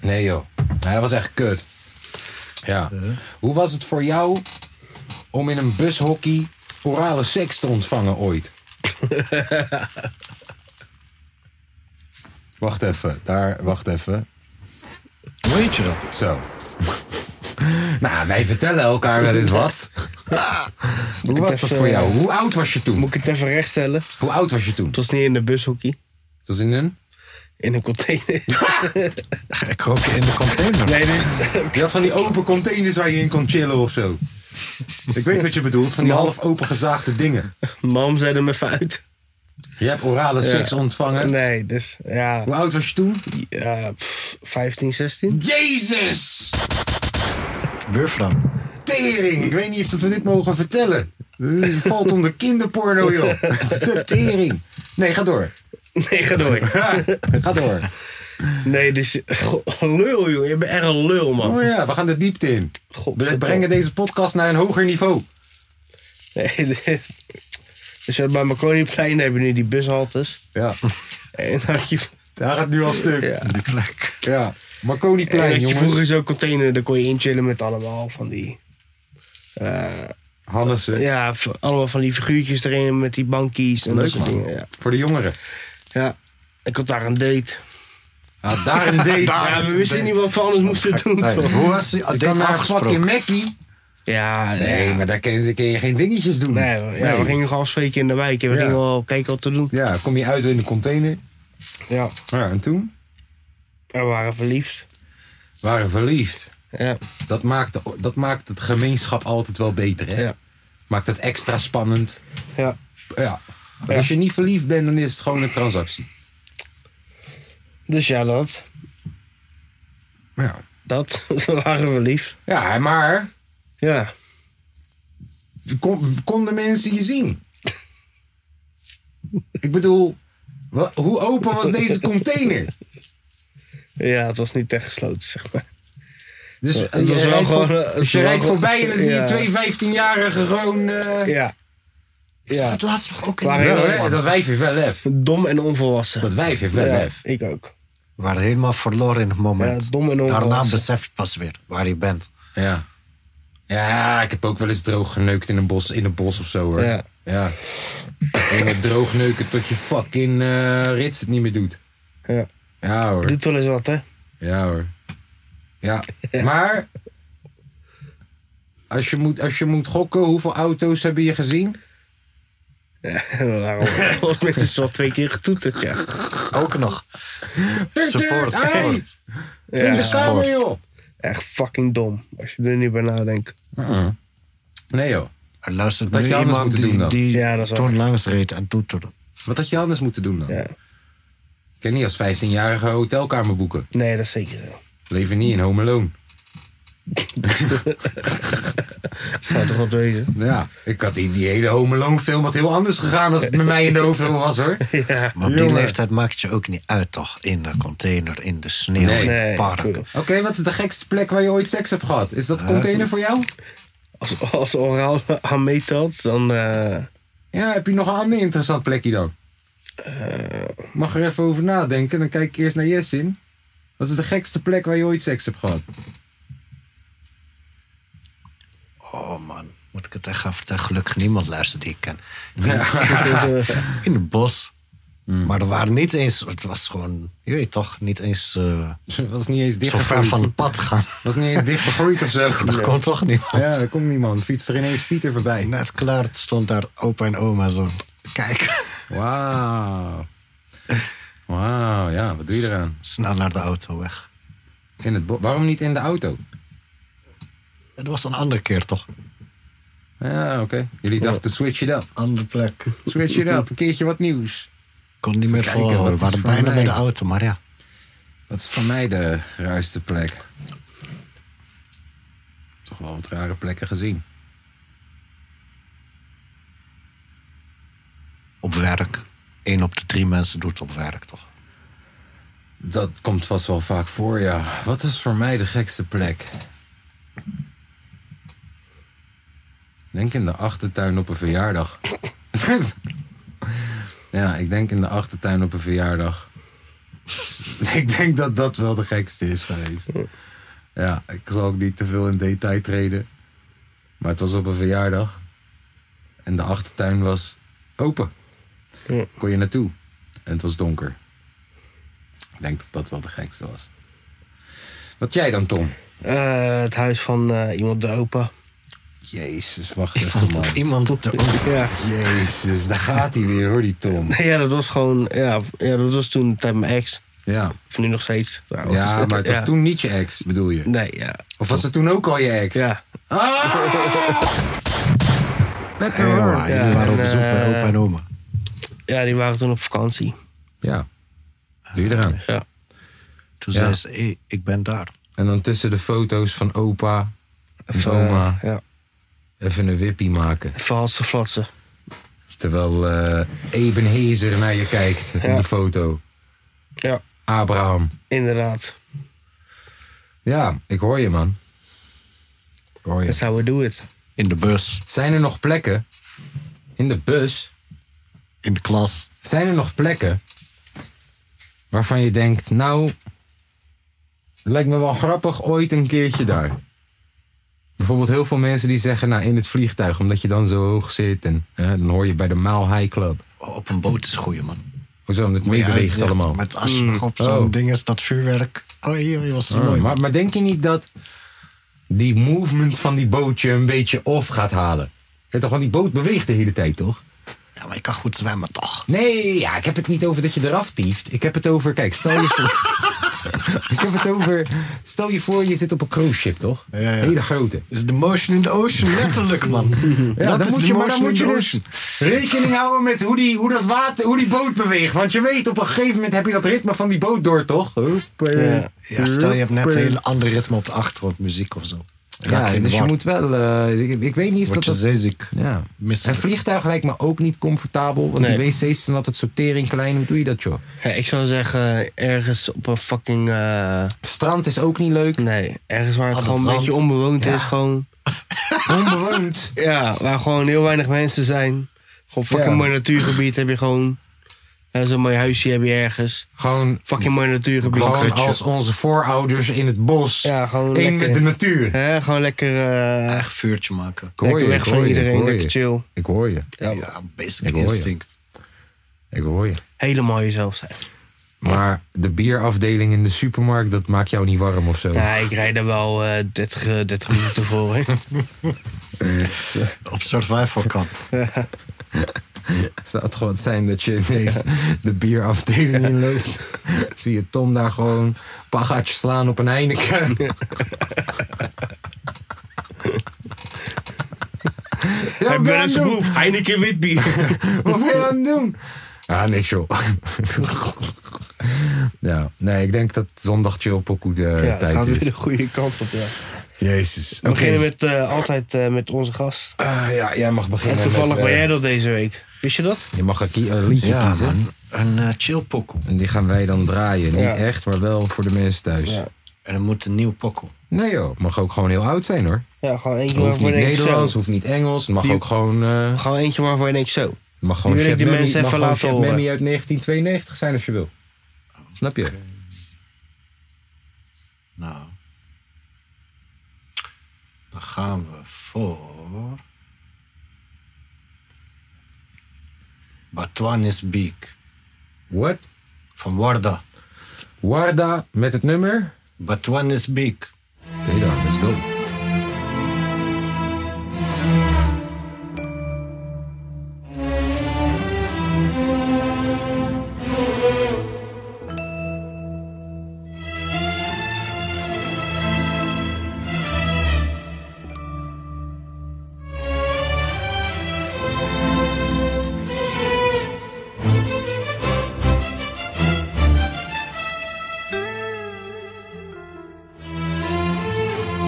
S1: Nee joh. Ja, dat was echt kut. Ja. Hoe was het voor jou om in een bushockey orale seks te ontvangen <laughs> ooit? wacht even. Daar, wacht even.
S3: Weet je dat?
S1: Zo. <laughs> nou, wij vertellen elkaar wel eens <laughs> wat. Hoe was dat voor jou? Hoe oud was je toen?
S2: Moet ik het even rechtstellen?
S1: Hoe oud was je toen?
S2: Het was niet in de bushokkie.
S1: Dat was in een...
S2: In een container.
S3: Ik rook je in de container.
S2: <laughs> nee, dus... <laughs>
S1: Je had van die open containers waar je in kon chillen of zo. Ik weet wat je bedoelt, van die half opengezaagde dingen.
S2: Mam zei hem even uit.
S1: Je hebt orale seks ontvangen.
S2: Nee, dus ja.
S1: Hoe oud was je toen?
S2: ja pff, 15, 16.
S1: Jezus!
S3: Buurvrouw.
S1: Tering! Ik weet niet of dat we dit mogen vertellen. Het valt onder kinderporno,
S2: <laughs>
S1: joh. De tering. Nee, ga door.
S2: <laughs> Nee, ga door.
S1: Ja, ga door.
S2: Nee, dus. goh, Lul, joh. Je bent echt een lul, man.
S1: Oh ja, we gaan de diepte in.
S2: God,
S1: We brengen deze podcast naar een hoger niveau.
S2: Nee, <laughs> dit- dus je had bij Marconiplein hebben nu die bushaltes.
S1: Ja,
S2: En had je,
S1: daar gaat nu al stuk.
S2: Ja.
S1: Ja,
S2: en
S1: Marconiplein,
S2: had je vroeger
S1: jongens.
S2: zo'n container, daar kon je inchillen met allemaal van die... eh,
S1: Hannessen.
S2: ja, v- allemaal van die figuurtjes erin met die bankies en
S1: Leuk,
S2: dat soort
S1: man.
S2: dingen. Ja.
S1: Voor de jongeren.
S2: ja, ik had daar een date.
S1: Ah, daar een
S2: <laughs>
S1: date.
S2: ja, we wisten niet wat we anders moesten doen.
S1: Nee,
S2: toch?
S1: Hoe was je?
S3: date
S1: Dit naar
S3: afgesproken.
S1: nou fucking Mackie.
S2: Ja,
S1: Nee, maar daar kun je, kun je geen dingetjes doen.
S2: Nee, we- ja, we gingen gewoon afspreken in de wijk en we
S1: Ja.
S2: gingen wel kijken wat te doen.
S1: Ja, kom je uit in de container.
S2: Ja.
S1: Ja, en toen?
S2: En we waren verliefd.
S1: We waren verliefd.
S2: Ja.
S1: Dat maakt, dat maakt het gemeenschap altijd wel beter, hè?
S2: Ja.
S1: Maakt het extra spannend.
S2: ja.
S1: Ja. Maar Als je niet verliefd bent, dan is het gewoon een transactie.
S2: Dus ja, dat.
S1: Ja.
S2: Dat. <laughs> We waren verliefd.
S1: Ja, maar
S2: Ja.
S1: kon- konden mensen je zien? Ik bedoel, wa- hoe open was deze container?
S2: Ja, het was niet echt gesloten, zeg maar.
S1: Dus
S2: het was
S1: je
S2: wel
S1: rijdt,
S2: gewoon,
S1: voor-
S2: eh,
S1: als
S2: het
S1: je
S2: was wel
S1: rijdt
S2: gewoon-
S1: voorbij en dan zie je
S2: Ja.
S1: twee 15-jarigen gewoon... eh,
S2: Ja. Ja.
S3: Het laatst nog ook in
S2: Waar
S3: de
S2: hij-
S1: nou,
S3: bus,
S1: hè,
S3: man.
S1: dat wijf heeft wel lef.
S2: Dom en onvolwassen.
S1: Dat wijf heeft wel
S2: ja,
S1: lef.
S2: ik ook.
S3: We waren helemaal verloren in het moment.
S2: Ja, dom en onvolwassen.
S3: Daarna besef je pas weer waar je bent.
S1: Ja. Ja, ik heb ook wel eens droog geneukt in een bos, in een bos of zo hoor.
S2: Ja.
S1: ja. En het droog neuken tot je fucking eh, rits het niet meer doet.
S2: Ja.
S1: Ja hoor.
S2: Doet wel eens wat, hè? <laughs>
S1: Ja hoor. Ja. Maar als je, moet, als je moet gokken, hoeveel auto's hebben je gezien?
S2: Ja, waarom? <laughs> Volgens mij is het wel twee keer getoeterd, ja.
S3: Ook nog. Support,
S1: Hey,
S3: support.
S1: in de kamer joh.
S2: Echt fucking dom. Als je er nu bij nadenkt.
S1: Nee joh.
S3: Er luistert
S1: Dat
S3: nu
S1: je anders
S3: iemand
S1: moet
S3: die,
S1: doen dan.
S3: die
S2: Ja, dat is wel-
S3: toen langs reed en toeterde.
S1: Wat had je anders moeten doen dan?
S2: Ja.
S1: Ik kan niet als 15-jarige hotelkamer boeken.
S2: Nee, dat is zeker zo.
S1: Leven niet in Home Alone.
S2: Dat zou toch wat wezen?
S1: Ja, ik had die, die hele Home Alone film had heel anders gegaan als het met mij in de hoofd was hoor.
S2: Ja.
S3: Maar op die
S1: Jongen.
S3: leeftijd maakt je ook niet uit, toch? In de container, in de sneeuw,
S1: Nee.
S3: in
S2: Nee,
S3: het park.
S2: klopt.
S1: Oké, wat is de gekste plek waar je ooit seks hebt gehad? Is dat container voor jou?
S2: Als, als oraal aan meetelt, dan... eh,
S1: Ja, heb je nog een ander interessant plekje dan? Mag er even over nadenken. Dan kijk ik eerst naar Jessin. Wat is de gekste plek waar je ooit seks hebt gehad? <laughs>
S3: Oh man, moet ik het echt gaan vertellen? Gelukkig niemand luistert die
S1: <laughs>
S3: ik ken. In het bos.
S1: Hmm.
S3: Maar er waren niet eens, het was gewoon, je weet toch, niet eens eh,
S1: Was niet eens
S3: zo ver
S1: dichtgegroeid.
S3: van het pad gaan.
S1: Was niet eens dichtgegroeid of zo.
S3: <laughs> Dat kon toch niet. man?
S1: Ja, daar komt niemand. Fietst er ineens Pieter voorbij.
S3: Net klaar het stond daar opa en oma zo. Kijk,
S1: Wauw. Wauw, ja, wat doe je eraan?
S3: snel naar de auto weg.
S1: In het bo- Waarom niet in de auto?
S3: Dat was een andere keer toch?
S1: Ja, oké. Jullie dachten, switch it up.
S3: Andere plek.
S1: Switch it up, een keertje wat nieuws.
S3: Kon niet meer
S1: kijken, wat
S3: volhouden. We
S1: is
S3: waren
S1: voor
S3: bijna
S1: mij?
S3: bij de auto, maar ja.
S1: Wat is voor mij de raarste plek? Toch wel wat rare plekken gezien.
S3: Op werk. Eén op de drie mensen doet het op werk toch?
S1: Dat komt vast wel vaak voor, ja. Wat is voor mij de gekste plek? Denk in de achtertuin op een verjaardag. <laughs> ja, ik denk in de achtertuin op een verjaardag. <laughs> ik denk dat dat wel de gekste is geweest. Ja, ik zal ook niet te veel in detail treden. Maar het was op een verjaardag. En de achtertuin was open. Kon je naartoe. En het was donker. Ik denk dat dat wel de gekste was. Wat jij dan, Tom?
S2: eh, het huis van eh, iemand de opa.
S1: Jezus, wacht even, man.
S3: Iemand op de
S2: Ja.
S1: Jezus, daar gaat hij weer, hoor, die Tom.
S2: ja, dat was gewoon... Ja, ja, dat was toen tijd mijn ex.
S1: Ja,
S2: Of nu nog steeds. trouwens.
S1: Oh. ja maar het was
S2: Ja.
S1: toen niet je ex, bedoel je?
S2: Nee, ja.
S1: Of was het toen ook al je ex?
S2: Ja.
S1: Lekker
S3: Ja,
S1: hoor.
S3: maar Ah, jullie waren op
S2: en,
S3: bezoek bij
S2: eh,
S3: opa en oma.
S2: ja, die waren toen op vakantie.
S1: Ja. Doe je eraan.
S2: Ja.
S3: Toen
S1: ja.
S3: zei ze, "Hey, ik ben daar.
S1: En dan tussen de foto's van opa en oma
S2: Eh, ja.
S1: even een wippie maken.
S2: Even halsen flatsen.
S1: Terwijl eh Ebenezer naar je kijkt op
S2: Ja.
S1: de foto.
S2: Ja,
S1: Abraham.
S2: inderdaad.
S1: Ja, ik hoor je man. Ik hoor je.
S2: That's how we do it.
S3: In de bus,
S1: Zijn er nog plekken? In de bus?
S3: in de klas.
S1: Zijn er nog plekken waarvan je denkt, nou, lijkt me wel grappig ooit een keertje daar? Bijvoorbeeld heel veel mensen die zeggen, nou, in het vliegtuig, omdat je dan zo hoog zit en hè, dan hoor je bij de Mile High Club.
S3: Op een boot is goeie, man.
S1: Hoezo, omdat het meebeweegt allemaal.
S3: Met als je nog op zo'n
S1: Oh.
S3: ding is, dat vuurwerk. Oh, hier, hier was het
S1: Ah,
S3: mooi.
S1: maar, maar denk je niet dat die movement van die bootje een beetje off gaat halen? Weet toch, want die boot beweegt de hele tijd, toch?
S3: Ja, maar ik kan goed zwemmen, toch?
S1: Nee, ja, ik heb het niet over dat je eraf tieft. Ik heb het over, kijk, stel je voor...
S3: <laughs>
S1: ik heb het over, stel je voor, je zit op een cruise ship, toch?
S3: ja.
S1: Hele grote.
S3: Is Dus de motion in the
S1: <laughs>
S3: ocean, letterlijk, man.
S1: Ja,
S3: dat
S1: dan
S3: is
S1: moet
S3: de
S1: je, maar dan
S3: motion
S1: moet
S3: in
S1: je
S3: the
S1: dus rekening houden met hoe, die, hoe, dat water, hoe die boot beweegt. Want je weet, op een gegeven moment heb je dat ritme van die boot door, toch? eh,
S3: ocean. Ja, stel je hebt net een hele ander ritme op de achtergrond, muziek of zo.
S1: Ja, dus je moet wel... eh, ik, ik weet niet of
S3: Word je
S1: dat... dat
S3: zeeziek.
S1: ja. En
S3: Misselijk.
S1: vliegtuig lijkt me ook niet comfortabel. Want
S2: Nee.
S1: die wc's zijn altijd sortering klein. Hoe doe je dat, joh?
S2: Ja, ik zou zeggen, ergens op een fucking... eh,
S1: Strand is ook niet leuk.
S3: Mm.
S2: nee, ergens waar het
S3: Aan het
S2: gewoon een
S3: zand.
S2: beetje onbewoond is. Gewoon,
S1: Onbewoond.
S2: ja, waar gewoon heel weinig mensen zijn. Gewoon fucking
S1: Ja.
S2: mooi natuurgebied heb je gewoon. Ja, Zo'n mooi huisje heb je ergens.
S1: Gewoon,
S2: Fucking mooi natuurgebied.
S1: gewoon als onze voorouders in het bos.
S2: Ja, gewoon
S1: Eén
S2: lekker.
S1: met de natuur. Ik
S2: Hè, gewoon lekker, eh
S3: Eigen vuurtje maken.
S1: hoor
S2: lekker
S1: je, ik
S2: weg van
S1: hoor je, ik
S2: iedereen.
S1: hoor
S2: Lekker
S1: je.
S2: chill.
S1: Ik hoor je.
S2: Ja,
S3: Ja, basic
S1: Ik hoor je.
S3: instinct.
S1: Ik hoor je.
S2: Helemaal jezelf zijn.
S1: Maar de bierafdeling in de supermarkt, dat maakt jou niet warm of zo.
S2: Ja, ik rijd er wel eh 30, eh, 30 minuten voor. hè.
S3: Op survival kamp.
S1: <laughs> Zou het gewoon zijn dat je ineens de bierafdeling inloopt? <laughs> Zie je Tom daar gewoon een paar gaatjes slaan op een Heineken? <laughs> ja,
S2: Ik
S1: wat ben je
S2: ben
S1: aan
S2: eens
S1: het doen?
S2: geproefd. Heineken Witbier. <laughs>
S1: Wat ben je aan het doen? Ah, niks joh. ja, nee, ik denk dat zondag chill pokoe de
S2: Ja, het
S1: tijd
S2: gaat weer
S1: is.
S2: de goede kant op. Ja.
S1: Jezus.
S2: We
S1: Oké,
S2: beginnen met, eh, altijd eh, met onze gast.
S1: Ah, ja, jij mag beginnen.
S2: En toevallig
S1: met, eh,
S2: ben jij dat deze week. Wist je dat?
S1: Je mag een, ki- een liedje
S3: Ja,
S1: kiezen.
S3: man. Een eh, chill pokoe.
S1: En die gaan wij dan draaien. Niet
S2: Ja.
S1: echt, maar wel voor de mensen thuis.
S2: Ja.
S3: En dan moet een nieuw pokoe.
S1: Nee joh, mag ook gewoon heel oud zijn hoor.
S2: Ja, gewoon eentje
S1: Hoeft
S2: waarvoor
S1: niet
S2: je denkt
S1: Nederlands,
S2: zo.
S1: hoeft niet Engels. Mag ook gewoon... eh
S2: Gewoon eentje waarvoor je denkt zo.
S1: mag gewoon
S2: Nu wil ik
S1: Shep
S2: die
S1: Memmi mag
S2: mensen even
S1: gewoon
S2: laten
S1: Shep
S2: horen.
S1: Memmi uit 1992 zijn als je wil. Snap je?
S3: Nou. Dan gaan we voor. Batwan is Beek.
S1: What?
S3: Van Warda.
S1: Warda met het nummer?
S3: Batwan is Beek.
S1: Oké dan, let's go.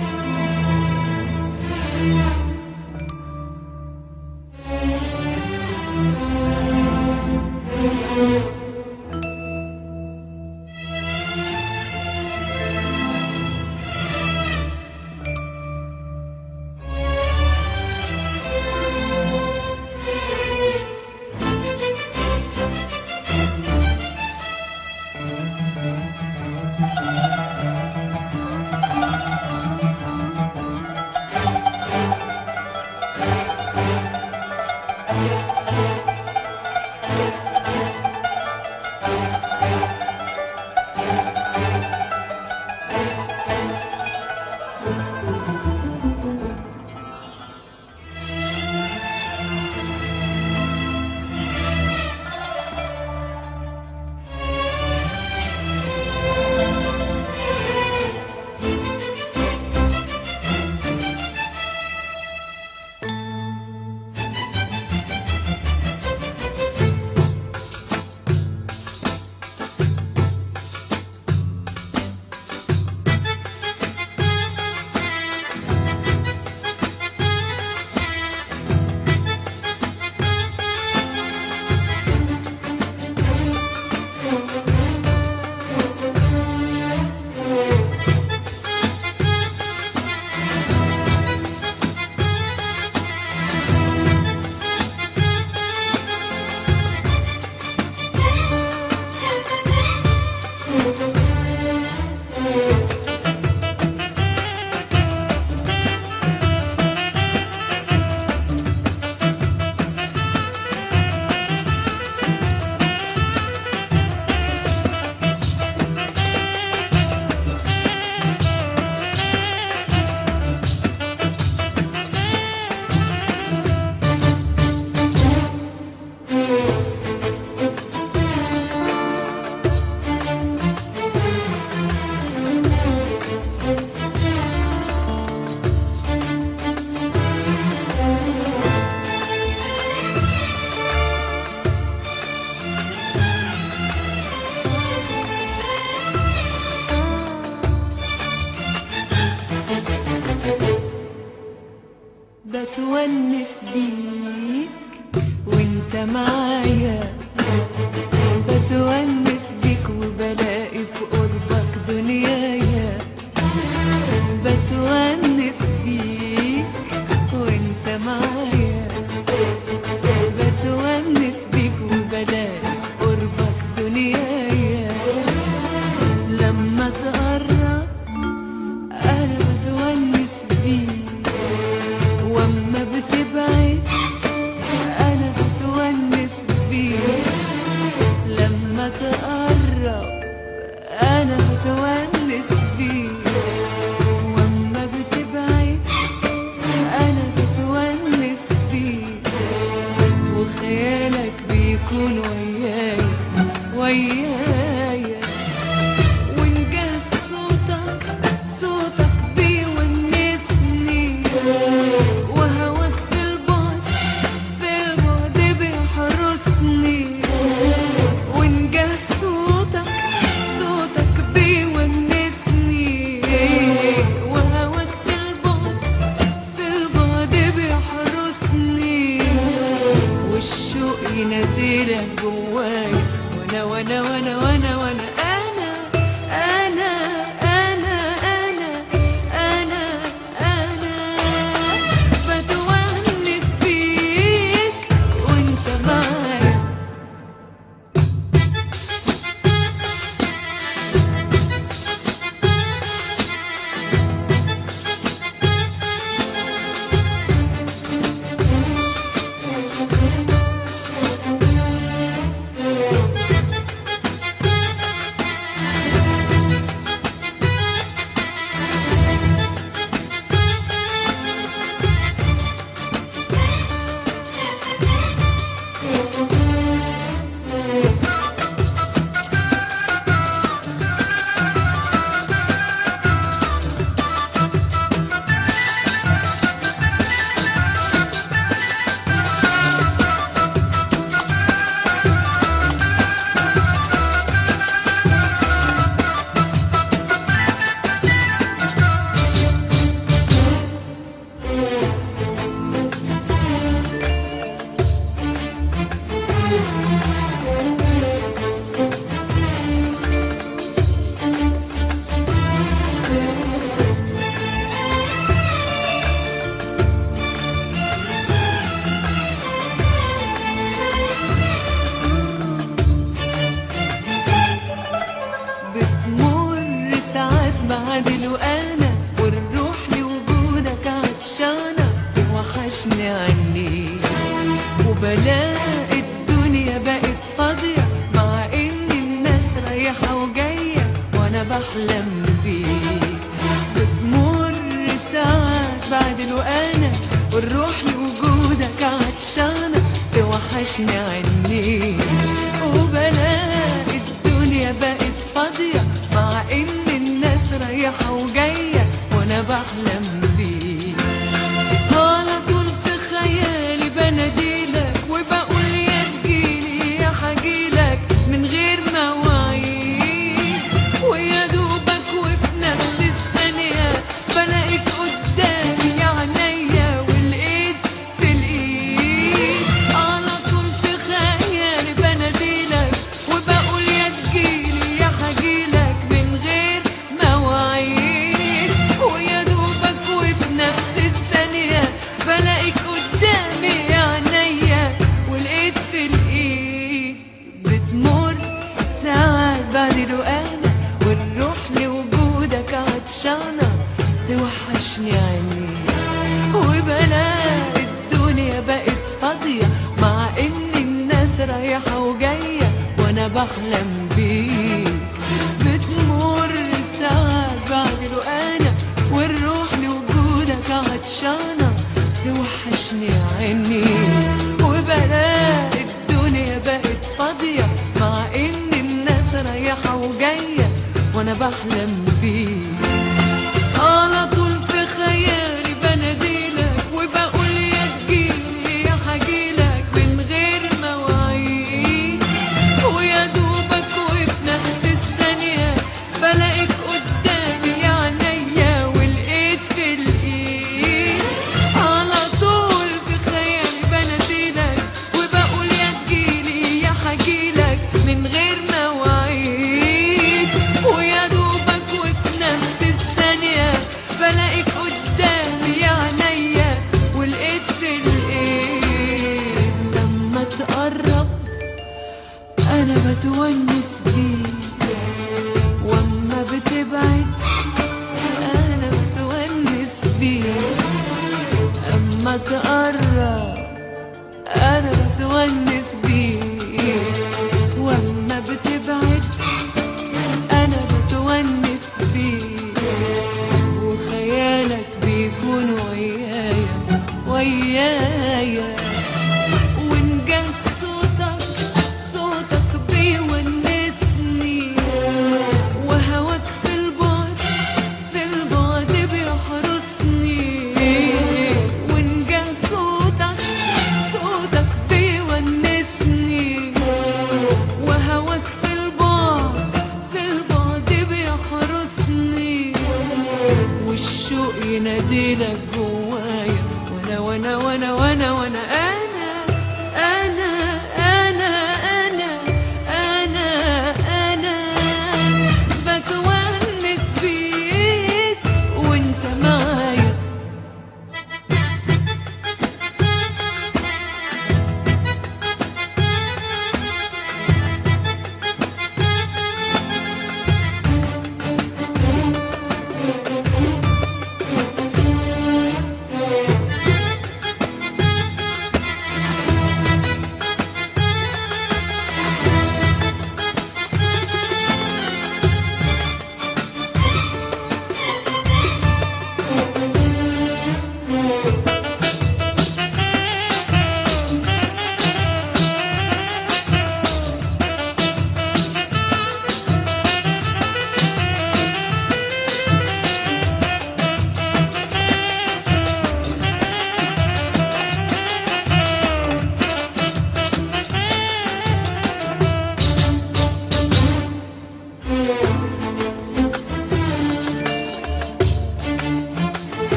S9: Thank وياي وياي ونجاز صوتك صوتك بيونسني وهواك في البعد في البعد بيحرسني ونجاز صوتك صوتك بيونسني وهواك في البعد في البعد بيحرسني والشوق يناديلك جواي وانا وانا وانا وانا وانا انا انا انا انا انا انا بتونس بيك وانت معايا بتمر ساعات بعدل وانا والروح لوجودك عطشانه توحشني عني وبلاقي الدنيا بقت فاضيه مع ان الناس رايحه وجايه وانا بحلم بيك بتمر ساعات بعدل وانا والروح لوجودك عطشانه توحشني عني وبلاقي الدنيا بقت فاضية مع إن الناس رايحة وجاية وأنا بحلم بيك على طول في خيالي بناديلك وبقول يا تجيلي يا حجيلك من غير مواعيد ويا دوبك وفي نفس الثانية بلاقيك قدامي يا عينيا والإيد في الإيد على طول في خيالي بناديلك وبقول يا تجيلي يا حجيلك من غير مواعيد ويا دوبك وفي نفس الثانية بلاقيك قدامي يا عينيا والإيد في الإيد بتمر ساعات بعد الوقانة والروح لوجودك عطشانة توحشني عينيك وبلاقي الدنيا بقت فاضية مع إن الناس رايحة وجاية وأنا بحلم بيك بتمر ساعات بعد الوقانة والروح لوجودك عطشانة توحشني عيني وبلاقي الدنيا بقت فاضية مع إن الناس رايحة وجاية وأنا بحلم بيك على طول في خيالي بناديلك وبقول يا تجيلي يا حجيلك من غير مواعيد ويا دوبك وفي نفس الثانية بلاقيك قدامي يا عينيا والإيد في الإيد على طول في خيالي بناديلك وبقول يا تجيلي يا حجيلك من غير مواعيد ويا دوبك وفي نفس الثانية بلاقيك قدامي يا عينيا والإيد في الإيد لما تقرب أنا بتونس بيك وأما بتبعد أنا بتونس بيك أما تقرب أنا بتونس بيك وأما بتبعد أنا بتونس بيك وخيالك بيكون ويايا ويايا ونجاز صوتك صوتك تعديلك جوايا وانا وانا وانا وانا وانا انا انا انا انا انا انا بتونس بيك وانت معايا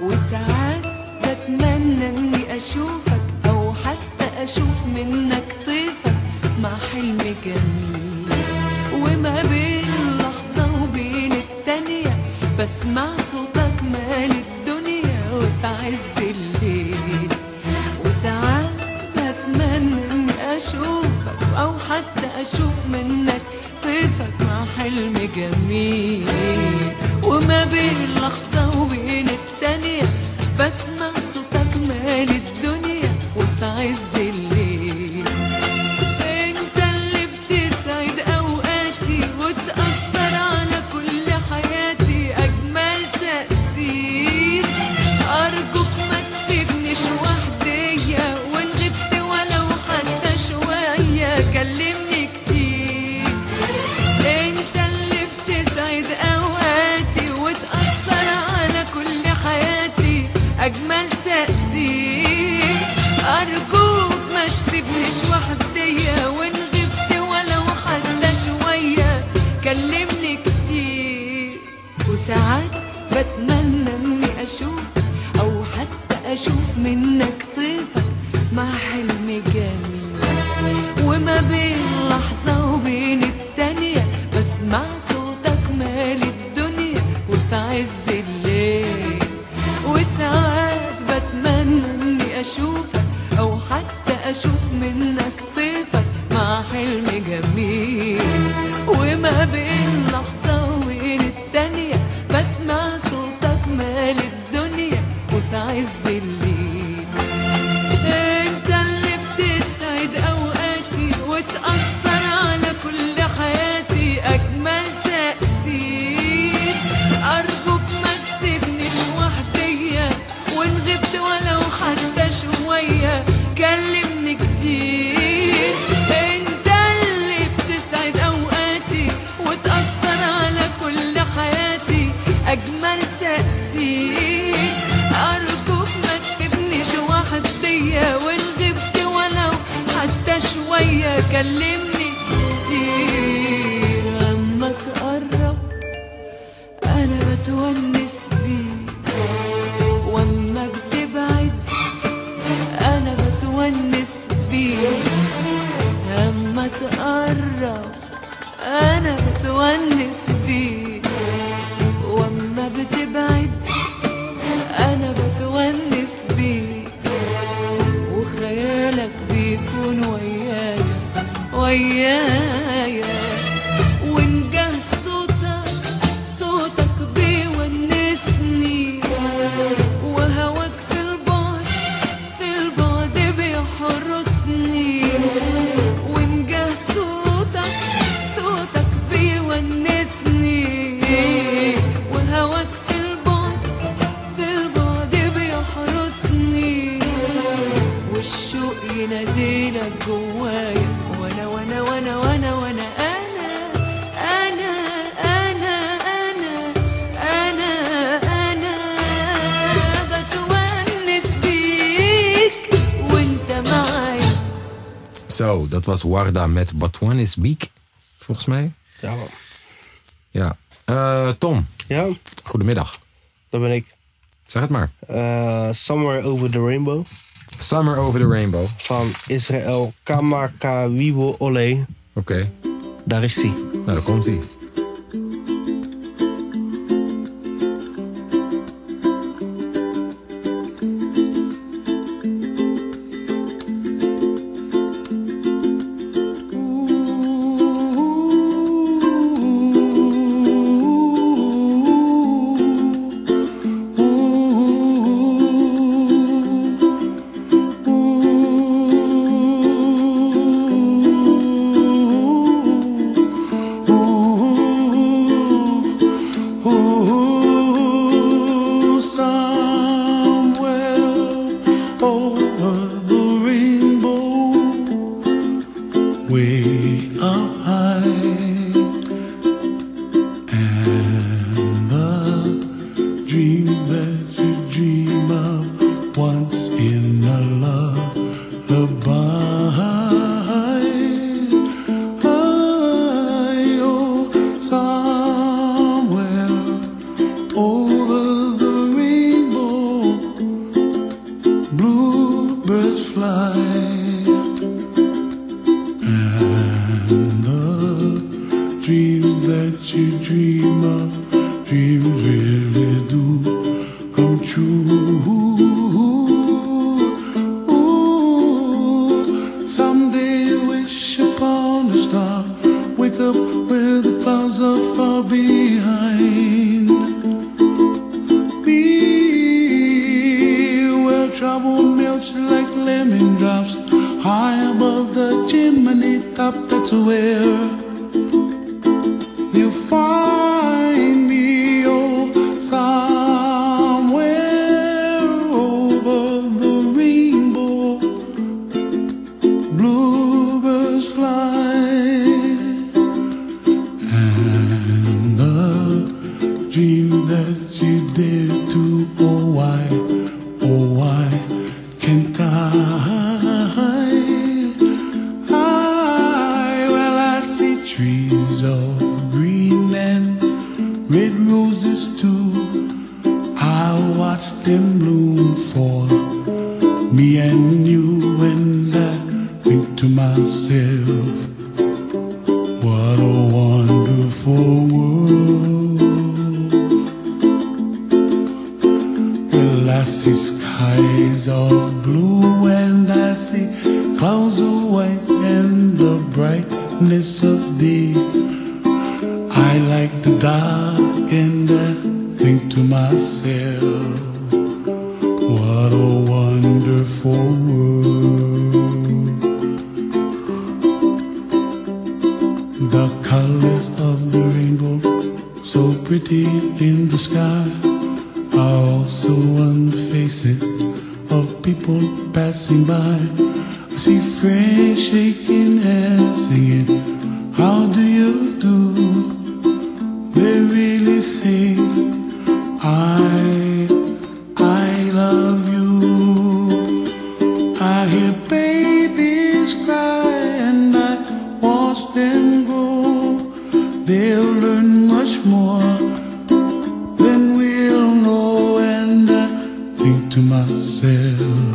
S9: وساعات بتمنى اني اشوفك او حتى اشوف منك طيفك مع حلم جميل وما بين لحظة وبين التانية بسمع صوتك مال الدنيا وتعز الليل وساعات بتمنى اني اشوفك او حتى اشوف منك طيفك مع حلم جميل وما بين لحظة وبين التانية بسمع صوتك مال الدنيا وفي عز الليل انت اللي بتسعد اوقاتي وتأثر على كل حياتي اجمل تأثير ارجوك ما تسيبنيش وحدية وان غبت ولو حتى شوية كلمني كتير انت اللي بتسعد اوقاتي وتأثر على كل حياتي اجمل تأثير ارجوك ما تسيبنيش وحدية وان غبت ولو حتى شوية كلمني كتير وساعات بتمنى اني اشوف او حتى اشوف منك طيفك مع حلم جميل وما بين لحظة وبين التانية بسمع صوتك مال الدنيا وفي عز الليل وساعات بتمنى اني اشوفك او حتى اشوف منك طيفك مع حلم جميل وما بين لحظة وبين التانية بسمع صوتك مال الدنيا وفي عز الليل انت اللي بتسعد اوقاتي وتأثر على كل حياتي اجمل تأثير ارجوك ما تسيبنيش وحدية وان غبت ولو حتى شوية كلمني كتير انت اللي بتسعد اوقاتي وتأثر على كل حياتي اجمل تأثير ارجوك ما تسيبنيش وحدية وان غبت ولو حتى شوية كلمني كتير اما تقرب انا بتونس بيك واما بتبعد انا بتونس بيك اما تقرب انا بتونس بيك واما بتبعد انا بتونس بيك وخيالك بيكون ويايا ويايا وإن جه صوتك صوتك بيونسني وهواك في البعد في البعد بيحرسني وإن جه صوتك صوتك بيونسني وهواك في البعد في البعد بيحرسني والشوق يناديلك جوايا وانا وانا وانا وانا وانا انا انا انا
S1: Zo, dat was Warda met Batouan is Biek, volgens mij.
S2: Ja, man.
S1: Ja. Eh, Tom,
S2: Ja,
S1: goedemiddag.
S2: dat ben ik.
S1: Zeg het maar.
S2: Eh, Somewhere Over the Rainbow
S1: Summer over the rainbow. Oké.
S2: van Israël Kamakawiwo Ole. Daar is hij.
S1: Nou, daar komt hij.
S9: Ooh, somewhere over the rainbow, way up high, and the dreams that you dream of once in a lullaby. I oh, somewhere over the rainbow, bluebirds fly, and the dreams that you dream of, dreams really do come true. Ooh, someday you wish upon a star, wake up where the clouds are far behind be where trouble melts like lemon drops high above the chimney top. That's where you find me, oh, somewhere over the rainbow. Bluebirds fly. And the dream that you did to oh why, oh why can't I? I well I see trees of green and red roses too. I watch them bloom for me and you and I think to myself. What a wonderful world. Well, I see skies of blue and I see clouds of white and the brightness of day. I like the dark and I think to myself, what a wonderful world. The colors of the rainbow, so pretty in the sky, are also on the faces of people passing by. I see friends shaking hands, singing, How do you do? They really say, I, I love you. I hear babies cry and I watch them grow. They'll learn much more than we'll know, and I think to myself,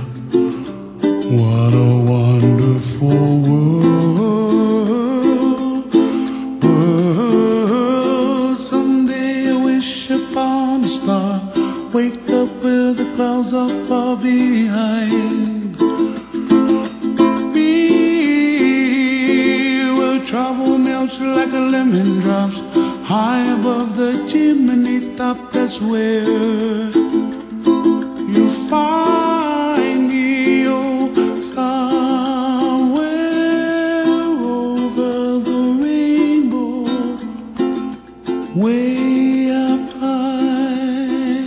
S9: what a wonderful world. World, someday I wish upon a star, wake up where the clouds are far behind be where trouble melts like a lemon drops high above the chimney top. That's where you find me. Oh, somewhere over the rainbow, way up high.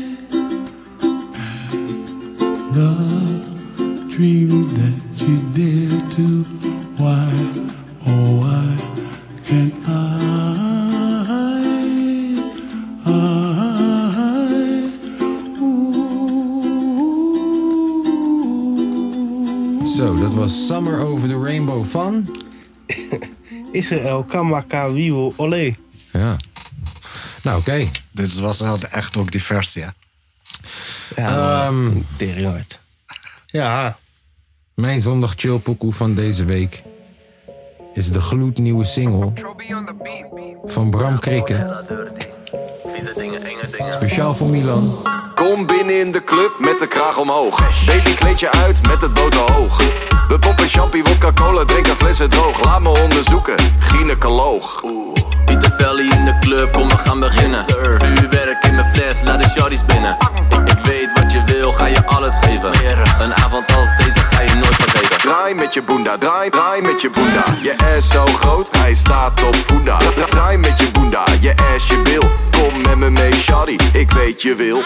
S9: And the dream that you dare to. Why, oh, why can't I? I ooh.
S1: Zo, dat was Summer Over the Rainbow van...
S2: Israël, Kamaka, Wiel, Olé.
S1: Ja. Nou, oké.
S3: Dit was wel echt ook divers, ja.
S2: Ja,
S1: Ehm,
S2: tering hard. Ja,
S1: mijn zondag chillpokoe van deze week... is de gloednieuwe single van Bram Krikke. Speciaal voor Milan.
S10: Kom binnen in de club met de kraag omhoog. Baby, kleed je uit met het boterhoog. We pompen champie, wodka, cola, drinken flessen droog. Laat me onderzoeken, gynaecoloog.
S11: Pieter Valley in de club, kom we gaan beginnen. Vuurwerk in mijn fles, laat de shawty's binnen. Ik, ik weet wat je wil, ga je alles geven. Een avond als deze ga je nooit vergeten.
S10: Draai met je boenda, draai, draai met je boenda. Je ass zo groot, hij staat op voenda. Dra- dra- Draai met je boenda, je ass je wil. Kom met me mee, shawty, ik weet je wil.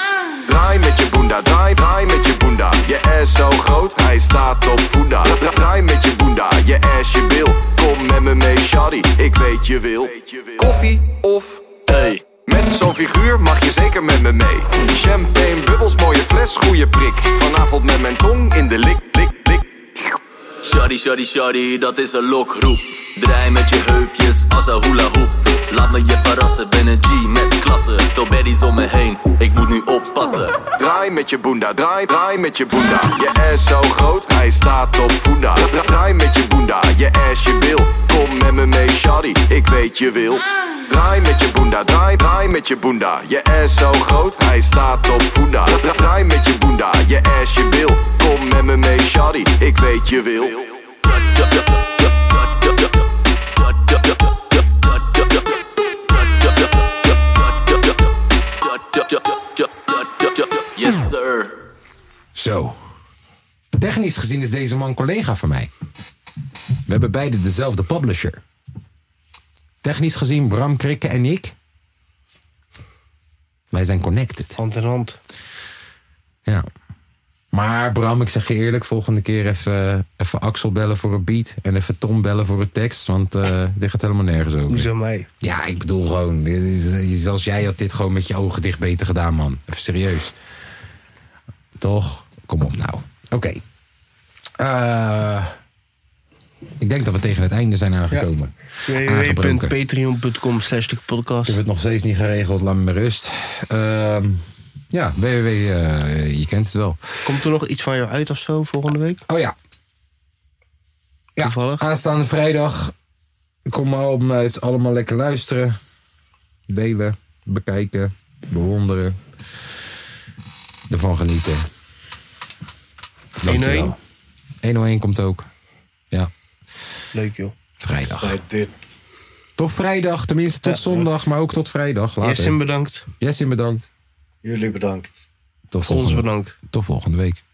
S10: Draai met je boenda, draai, draai met je boenda. Je ass zo groot, hij staat op voenda. Dra- dra- Draai met je boenda, je ass je wil. Kom met me mee, shawty, ik weet je wil. Koffie of thee? Met zo'n figuur mag je zeker met me mee. Champagne, bubbels, mooie fles, goede prik. Vanavond met mijn tong in de lik, lik, lik.
S11: Shawty, shawty, shawty, dat is een lokroep. Draai met je heupjes als een hula hoop. Laat me je verrassen, ben een G met klasse. Veel baddies om me heen, ik moet nu oppassen.
S10: Draai met je boenda, draai, draai met je boenda. Je ass zo groot, hij staat op voenda. Dra- dra- Draai met je boenda, je ass je wil. Kom met me mee, shawty, ik weet je wil. Draai met je boenda, draai, draai met je boenda. Je ass zo groot, hij staat op voenda. Dra- dra- Draai met je boenda, je ass je wil. Kom met me mee, shawty, ik weet je wil.
S11: Yes, sir.
S1: Zo. Technisch gezien is deze man collega van mij. We hebben beide dezelfde publisher. Technisch gezien, Bram Krikke en ik. Wij zijn connected.
S2: hand in hand.
S1: Ja. Maar Bram, ik zeg je eerlijk, volgende keer even, even Axel bellen voor een beat. En even Tom bellen voor een tekst. Want eh dit gaat helemaal nergens over.
S2: Hoezo mij?
S1: Ja, ik bedoel gewoon, dit is- zelfs jij had dit gewoon met je ogen dicht beter gedaan, man. Even serieus. Toch? Kom op nou. Oké. Eh, ik denk dat we tegen het einde zijn aangekomen. Aangebroken.
S2: www.patreon.com slash de
S1: Ik
S2: podcast.
S1: heb het nog steeds niet geregeld, laat me met rust. Ehm, ja, www, eh, je kent het wel.
S2: Komt er nog iets van jou uit of zo volgende week?
S1: Oh ja. Ja,
S2: Toevallig.
S1: aanstaande vrijdag. Kom maar op uit. Allemaal lekker luisteren. Delen, bekijken, bewonderen. Ervan genieten.
S2: 101.
S1: 101 komt ook. Ja,
S2: Leuk joh.
S1: vrijdag.
S3: dit.
S1: Tot vrijdag, tenminste tot zondag, maar ook tot vrijdag.
S2: Yes, en
S1: Later.
S2: bedankt.
S1: Jessin, bedankt.
S3: Jullie bedankt.
S1: Tot
S2: Ons
S1: volgende,
S2: bedankt.
S1: tot volgende week.